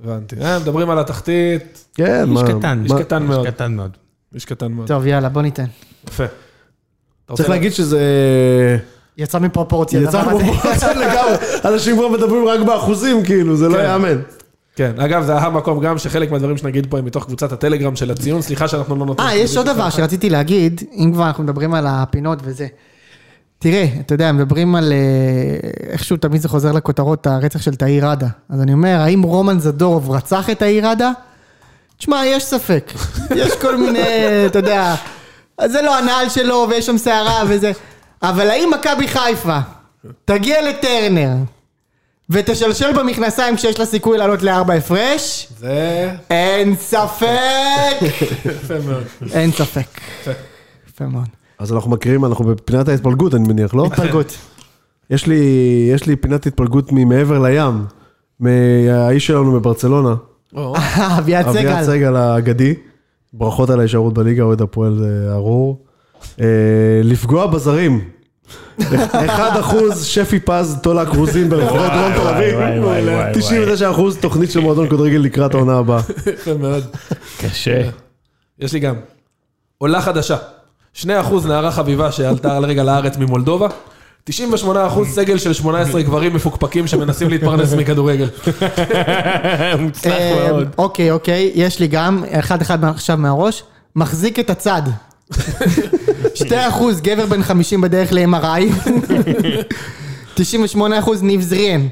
Speaker 3: הבנתי. אה, מדברים על התחתית,
Speaker 5: כן, מה.
Speaker 1: איש קטן.
Speaker 5: מה-
Speaker 3: איש קטן מאוד.
Speaker 1: איש קטן מאוד.
Speaker 3: איש קטן מאוד.
Speaker 4: טוב, יאללה, בוא ניתן.
Speaker 3: יפה. אתה רוצה
Speaker 5: צריך
Speaker 3: לה-
Speaker 5: להגיד שזה...
Speaker 4: יצא מפרופורציה.
Speaker 5: יצא
Speaker 4: הדבר אוקיי. הזה.
Speaker 5: פרופורציות לגמרי. אנשים כבר מדברים רק באחוזים, כאילו, זה לא
Speaker 3: כן.
Speaker 5: יאמן.
Speaker 3: כן, אגב, זה המקום גם שחלק מהדברים שנגיד פה הם מתוך קבוצת הטלגרם של הציון, סליחה שאנחנו לא נותנים...
Speaker 4: אה, יש עוד דבר שרציתי להגיד, אם כבר אנחנו מדברים על הפינות וזה. תראה, אתה יודע, מדברים על אה, איכשהו תמיד זה חוזר לכותרות, הרצח של תאיר ראדה. אז אני אומר, האם רומן זדורוב רצח את תאיר ראדה? תשמע, יש ספק. יש כל מיני, אתה יודע, אז זה לא הנעל שלו ויש שם סערה וזה. אבל האם מכבי חיפה תגיע לטרנר ותשלשל במכנסיים כשיש לה סיכוי לעלות לארבע הפרש?
Speaker 3: זה...
Speaker 4: אין ספק!
Speaker 3: יפה מאוד.
Speaker 4: אין ספק. יפה מאוד.
Speaker 5: אז אנחנו מכירים, אנחנו בפינת ההתפלגות, אני מניח, לא?
Speaker 4: התפלגות.
Speaker 5: יש לי, יש לי פינת התפלגות ממעבר לים, מהאיש שלנו מברצלונה,
Speaker 3: או,
Speaker 4: אה, אביעד סגל.
Speaker 5: אביעד סגל האגדי. ברכות על ההישארות בליגה, אוהד הפועל אה, ארור. אה, לפגוע בזרים. 1% שפי פז, תולה קרוזין ברחובות דרום תל
Speaker 1: וואי, וואי, וואי,
Speaker 5: אביב. 99% תוכנית של מועדון כדורגל לקראת העונה הבאה.
Speaker 3: יפה מאוד.
Speaker 1: קשה.
Speaker 3: יש לי גם. עולה חדשה. 2% נערה חביבה שעלתה על רגע לארץ ממולדובה. 98% סגל של 18 גברים מפוקפקים שמנסים להתפרנס מכדורגל.
Speaker 1: מוצלח
Speaker 4: אה,
Speaker 1: מאוד.
Speaker 4: אוקיי, אוקיי, יש לי גם, אחד אחד עכשיו מהראש, מחזיק את הצד. שתי אחוז, גבר בן 50 בדרך ל-MRI. 98 אחוז, ניב זריאן.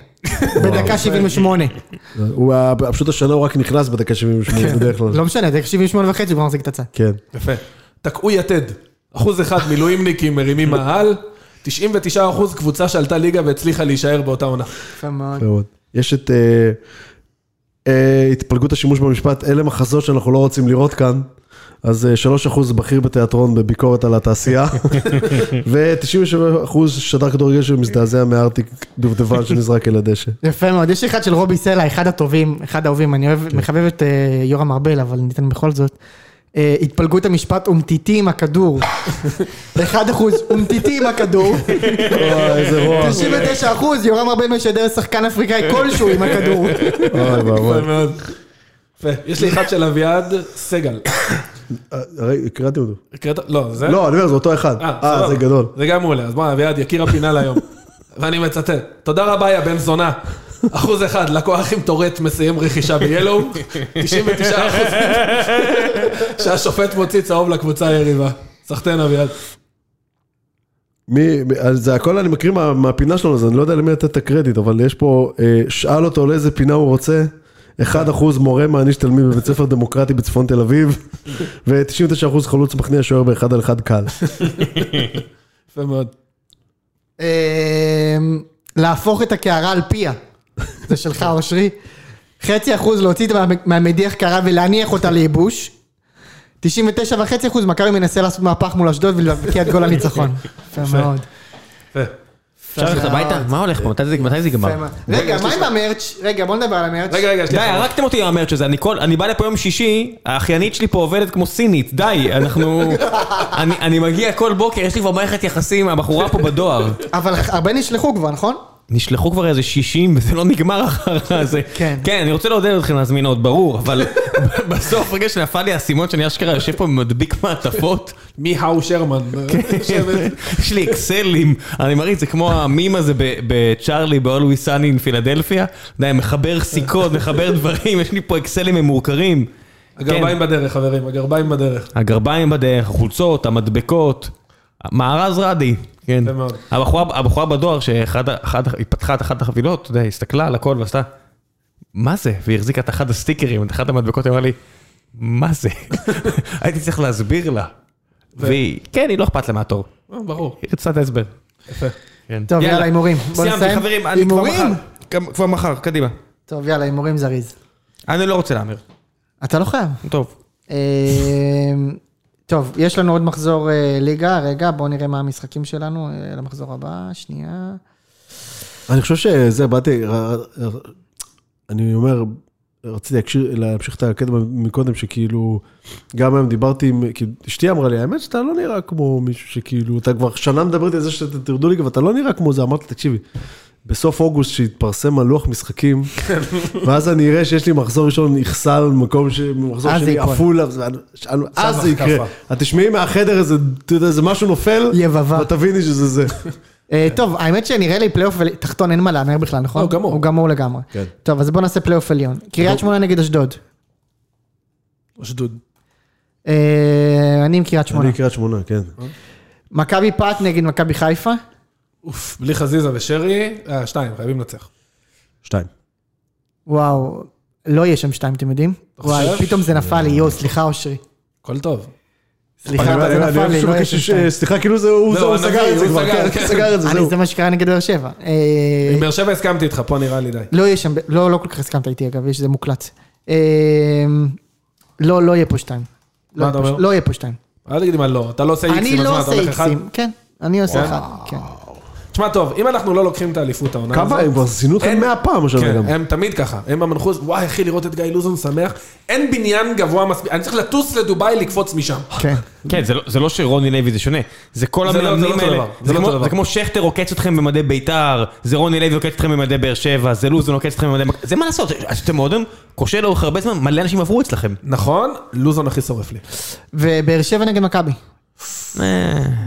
Speaker 4: בדקה 78.
Speaker 5: הוא ה- פשוט השנה הוא רק נכנס בדקה 78 בדרך כלל.
Speaker 4: לא משנה, דקה 78 וחצי, הוא כבר מחזיק את הצד.
Speaker 5: כן.
Speaker 3: יפה. תקעו יתד. אחוז אחד מילואימניקים מרימים מעל. 99% קבוצה שעלתה ליגה והצליחה להישאר באותה עונה.
Speaker 4: יפה מאוד.
Speaker 5: מאוד. יש את אה, אה, התפלגות השימוש במשפט, אלה מחזות שאנחנו לא רוצים לראות כאן. אז אה, 3% בכיר בתיאטרון בביקורת על התעשייה, ו-97% שדר כדורגל שמזדעזע מהארטיק דובדבן שנזרק אל הדשא.
Speaker 4: יפה מאוד, יש אחד של רובי סלע, אחד הטובים, אחד האהובים, אני אוהב, מחבב את אה, יורם ארבל, אבל ניתן בכל זאת. אה, התפלגות המשפט אומטיטי עם הכדור. 1% אומטיטי עם הכדור.
Speaker 5: אוי, איזה רוע.
Speaker 4: 99% יורם ארבל משדר שחקן אפריקאי כלשהו עם הכדור.
Speaker 5: אוי ואבוי.
Speaker 3: יפה מאוד. יפה. יש לי אחד של אביעד סגל.
Speaker 5: אה, הרי הקראתי אותו.
Speaker 3: הקראת? לא, זה?
Speaker 5: לא, אני אומר, זה אותו אחד.
Speaker 3: אה,
Speaker 5: אה,
Speaker 3: סבבה.
Speaker 5: זה גדול.
Speaker 3: זה גם מעולה, אז בוא, אביעד, יקיר הפינה להיום. ואני מצטט, תודה רבה, יא בן זונה. אחוז אחד, לקוח עם טורט מסיים רכישה ביאלו, 99 אחוז, שהשופט מוציא צהוב לקבוצה היריבה. סחטיין, אביעד.
Speaker 5: מי, מי- אז זה הכל אני מכיר מה, מהפינה שלנו, אז אני לא יודע למי לתת את הקרדיט, אבל יש פה, אה, שאל אותו לאיזה פינה הוא רוצה, 1% מורה מעניש תלמיד בבית ספר דמוקרטי בצפון תל אביב, ו-99% חלוץ מכניע שוער באחד על אחד קל.
Speaker 3: יפה מאוד.
Speaker 4: אמ, להפוך את הקערה על פיה. זה שלך, אושרי. חצי אחוז להוציא את מה- מהמדיח קערה ולהניח אותה לייבוש. 99 וחצי אחוז, מכבי מנסה לעשות מהפך מול אשדוד ולהבקיע את גול הניצחון. יפה מאוד.
Speaker 3: יפה.
Speaker 6: אפשר ללכת הביתה? מה הולך פה? מתי זה- מתי זה
Speaker 4: יפה
Speaker 6: ייגמר?
Speaker 4: מאוד. רגע, מה עם המרץ'? רגע, בוא נדבר על המרץ'.
Speaker 3: רגע, רגע, יש
Speaker 1: די,
Speaker 3: לי אחרון.
Speaker 1: הרגתם אותי עם המרץ' הזה, אני כל... אני בא לפה יום שישי, האחיינית שלי פה עובדת כמו סינית, די, אנחנו... אני, אני מגיע כל בוקר, יש לי כבר מערכת יחסים עם הבחורה פה בדואר.
Speaker 4: אבל הרבה נשלחו כבר, נכון?
Speaker 1: נשלחו כבר איזה 60, וזה לא נגמר אחר הזה.
Speaker 4: כן.
Speaker 1: כן, אני רוצה לעודד אתכם להזמין עוד, ברור, אבל בסוף, רגע שנפל לי האסימון שאני אשכרה יושב פה ומדביק מעטפות,
Speaker 3: מי האו שרמן.
Speaker 4: כן.
Speaker 1: יש לי אקסלים, אני מראה את זה כמו המים הזה ב- בצ'ארלי ב-Always Sunny in פילדלפיה. אתה יודע, מחבר סיכות, מחבר דברים, יש לי פה אקסלים ממורקרים.
Speaker 3: הגרביים
Speaker 4: כן.
Speaker 3: בדרך, חברים, הגרביים בדרך.
Speaker 1: הגרביים בדרך, החולצות, המדבקות. מארז רדי. כן.
Speaker 3: יפה מאוד.
Speaker 1: הבחורה, הבחורה בדואר, שאחד, ה- אחד, היא פתחה את אחת החבילות, אתה יודע, היא הסתכלה על הכל ועשתה, מה זה? והיא החזיקה את אחד הסטיקרים, את אחת המדבקות, היא אמרה לי, מה זה? הייתי צריך להסביר לה. והיא, כן, היא לא אכפת לה מהתור.
Speaker 3: אה, ברור.
Speaker 1: היא רצתה את ההסבר.
Speaker 4: טוב, יאללה, הימורים. בוא
Speaker 1: סיימתי
Speaker 4: נסיים.
Speaker 1: חברים, אני כבר
Speaker 4: הימורים?
Speaker 1: מחר. גם- כבר מחר, קדימה.
Speaker 4: טוב, יאללה, הימורים זריז.
Speaker 1: אני לא רוצה להמר.
Speaker 4: אתה לא חייב.
Speaker 1: טוב.
Speaker 4: אמ, טוב, יש לנו עוד מחזור אה, ליגה, רגע, בואו נראה מה המשחקים שלנו אה, למחזור הבא, שנייה.
Speaker 5: אני חושב שזה, באתי, אה, אני אומר, רציתי להקשיר- להמשיך את הקטע מקודם, שכאילו, גם היום דיברתי עם, כאילו, אשתי אמרה לי, האמת שאתה לא נראה כמו מישהו שכאילו, אתה כבר שנה מדברת על זה שאתה תרדו ליגה, ואתה לא נראה כמו זה, אמרתי, תקשיבי. בסוף אוגוסט שהתפרסם הלוח משחקים, ואז אני אראה שיש לי מחזור ראשון איכסל, מקום ש... מחזור
Speaker 4: אז זה
Speaker 5: שני
Speaker 4: יקרה.
Speaker 5: עפולה, וזה- אז זה
Speaker 3: כפה.
Speaker 5: יקרה. את תשמעי מהחדר איזה, אתה יודע, איזה משהו נופל,
Speaker 4: יבבה.
Speaker 5: ותביני שזה זה.
Speaker 4: אה, טוב, האמת שנראה לי פלייאוף עלי- תחתון אין מה להמר בכלל, נכון?
Speaker 3: לא, גמור.
Speaker 4: הוא גמור אוקיי. לגמרי.
Speaker 5: כן.
Speaker 4: טוב, אז בואו נעשה פלייאוף עליון. קריית שמונה נגד אשדוד.
Speaker 3: אשדוד.
Speaker 4: אה, אני עם קריית שמונה. אה?
Speaker 5: אני קריית שמונה, כן.
Speaker 4: מכבי פת נגד מכבי חיפה.
Speaker 3: אוף, בלי חזיזה ושרי, אה, שתיים, חייבים לנצח.
Speaker 5: שתיים.
Speaker 4: וואו, לא יהיה שם שתיים, אתם יודעים? וואי, פתאום זה נפל לי, יואו, סליחה אושרי.
Speaker 3: הכל טוב.
Speaker 4: סליחה, אבל זה
Speaker 5: אני
Speaker 4: נפל
Speaker 5: אוהב
Speaker 4: לי,
Speaker 5: שהוא
Speaker 4: לא יהיה
Speaker 5: מבקש
Speaker 4: שם שתיים.
Speaker 5: ש- סליחה, כאילו זה, הוא
Speaker 3: לא,
Speaker 5: זה- הוא
Speaker 3: הנביא,
Speaker 5: סגר את זה
Speaker 3: הוא
Speaker 5: כבר,
Speaker 3: סגר,
Speaker 5: כן,
Speaker 3: כן.
Speaker 5: סגר את זה,
Speaker 4: אני,
Speaker 5: זהו.
Speaker 4: זה מה שקרה נגד באר שבע. אה,
Speaker 3: עם באר שבע הסכמתי איתך, פה נראה לי די.
Speaker 4: לא יהיה שם, לא, לא כל כך הסכמת איתי אגב, יש זה מוקלט. אה, לא, לא יהיה פה שתיים. לא
Speaker 3: מה
Speaker 4: יהיה
Speaker 3: אתה
Speaker 4: פה ש-
Speaker 3: אומר?
Speaker 4: לא יהיה פה שתיים.
Speaker 3: אל תגיד לי מה לא, אתה לא עושה
Speaker 4: אני
Speaker 3: איקסים, אז
Speaker 4: לא
Speaker 3: מה, אתה
Speaker 4: עושה
Speaker 3: הולך אחד?
Speaker 4: איקסים, כן, אני עושה אחד, כן.
Speaker 3: תשמע טוב, אם אנחנו לא לוקחים את האליפות העונה
Speaker 5: כמה הם כבר סיינו אותך
Speaker 3: אין-
Speaker 5: 100 פעם השנה
Speaker 3: כן,
Speaker 5: גם.
Speaker 3: הם תמיד ככה, הם במנחוס, וואי אחי לראות את גיא לוזון שמח, אין בניין גבוה מספיק, אני צריך לטוס לדובאי לקפוץ משם.
Speaker 4: כן.
Speaker 1: כן, זה לא- זה לא שרוני לוי זה שונה, זה כל
Speaker 3: זה לא- זה לא
Speaker 1: המאמנים
Speaker 3: אותו
Speaker 1: האלה,
Speaker 3: דבר, זה
Speaker 1: זה
Speaker 3: לא
Speaker 1: כמו-
Speaker 3: אותו דבר.
Speaker 1: זה כמו שכטר עוקץ אתכם במדי בית"ר, זה רוני לוי עוקץ אתכם במדי באר שבע, זה לוזון עוקץ אתכם במדי... מכ- זה מה לעשות, אתם מועדון כושל לאורך הרבה זמן, מלא אנשים עברו אצלכם.
Speaker 3: נכון, לוזון הכי שורף לי.
Speaker 4: ובאר שבע נגד מכבי.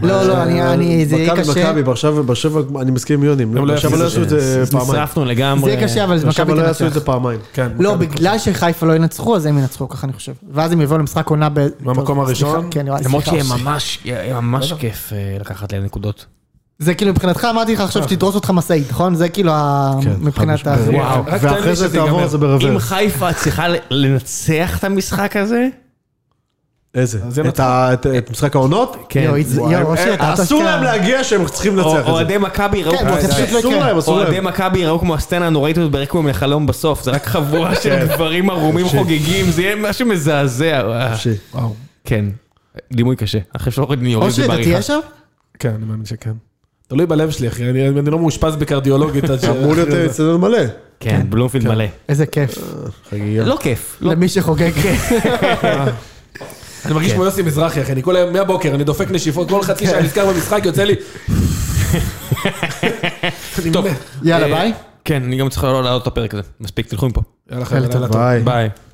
Speaker 4: לא, לא, אני, אני, זה יהיה
Speaker 5: אה. מכבי,
Speaker 4: קשה.
Speaker 5: מכבי, באר שבע, באר שבע, אני מסכים עם
Speaker 3: הם
Speaker 5: יונים.
Speaker 3: לא
Speaker 5: באר שבע לא
Speaker 3: יעשו
Speaker 5: יעשו
Speaker 3: את
Speaker 5: את זה פעמיים.
Speaker 1: נשרפנו
Speaker 4: זה
Speaker 1: לגמרי.
Speaker 4: יהיה קשה, אבל
Speaker 5: באר שבע
Speaker 4: מכבי
Speaker 5: לא יעשו את
Speaker 4: תנצח.
Speaker 5: זה פעמיים.
Speaker 3: כן,
Speaker 4: לא,
Speaker 3: מכבי.
Speaker 4: בגלל שחיפה לא ינצחו, אז הם ינצחו, ככה אני חושב. ואז הם יבואו למשחק עונה ב...
Speaker 3: במקום
Speaker 4: טוב,
Speaker 3: הראשון?
Speaker 4: סליחה, כן, וואי,
Speaker 1: למרות
Speaker 4: סליחה.
Speaker 1: שיהיה ממש, יהיה ממש כיף אה, לקחת להם נקודות.
Speaker 4: זה כאילו, מבחינתך אמרתי לך עכשיו שתדרוס אותך משאית, נכון? זה כאילו, ה-
Speaker 5: אה. כן,
Speaker 4: מבחינת
Speaker 5: חד
Speaker 4: ה...
Speaker 5: משמעית.
Speaker 1: וואו,
Speaker 3: רק תן לי
Speaker 5: ואחרי זה
Speaker 3: שזה
Speaker 5: תעבור
Speaker 3: ייגמר.
Speaker 5: את זה
Speaker 1: אם
Speaker 5: ברוורס.
Speaker 1: חיפה צריכה ל- לנצח את המשחק הזה,
Speaker 5: איזה? כן.
Speaker 3: אז זה
Speaker 5: את ה- את- את משחק העונות?
Speaker 4: כן.
Speaker 1: כן.
Speaker 4: יואו, איזה- יואו, אושי, אתה
Speaker 5: אה, אסור
Speaker 4: אתה-
Speaker 5: להם להגיע שהם צריכים
Speaker 1: או-
Speaker 5: לנצח את זה.
Speaker 1: אוהדי מכבי ראו
Speaker 4: כן,
Speaker 1: כמו...
Speaker 4: זה פשוט לא
Speaker 5: אסור
Speaker 4: יקרה.
Speaker 5: להם, אסור
Speaker 1: אוהדי
Speaker 5: להם.
Speaker 1: מכבי ראו כמו הסצנה הנוראית הזאת ברקוום לחלום בסוף, זה רק חבורה
Speaker 4: כן.
Speaker 1: של גברים ערומים חוגגים, זה יהיה משהו מזעזע. וואו.
Speaker 5: ש-
Speaker 3: וואו.
Speaker 1: כן, דימוי קשה. אחרי שאורד אני אוריד את
Speaker 4: אושרי,
Speaker 1: זה
Speaker 4: אתה
Speaker 1: בעריכה.
Speaker 4: תהיה שם?
Speaker 3: כן, אני מאמין שכן. תלוי בלב שלי אחי, אני אני לא מאושפז בקרדיולוגית. עד ש-
Speaker 5: אמור להיות אה,
Speaker 3: אחרי זה.
Speaker 5: אצטדיון מלא.
Speaker 1: כן, בלומפילד מלא.
Speaker 4: איזה כיף.
Speaker 5: חגיגה.
Speaker 1: לא כיף. לא-
Speaker 4: למי שחוגג.
Speaker 5: כן.
Speaker 3: אני מרגיש
Speaker 1: כן.
Speaker 3: כמו יוסי מזרחי אחי, אני כל היום מהבוקר, אני דופק נשיפות, כל חצי
Speaker 5: כן.
Speaker 3: שעה נזכר במשחק, יוצא לי... אני
Speaker 1: טוב.
Speaker 3: מת.
Speaker 4: יאללה,
Speaker 1: אה,
Speaker 4: ביי.
Speaker 1: כן, אני גם צריך לעלות את הפרק הזה. מספיק, תלכו מפה.
Speaker 3: יאללה חבר'ה,
Speaker 4: יאללה,
Speaker 3: לילה טוב.
Speaker 5: ביי.
Speaker 1: ביי.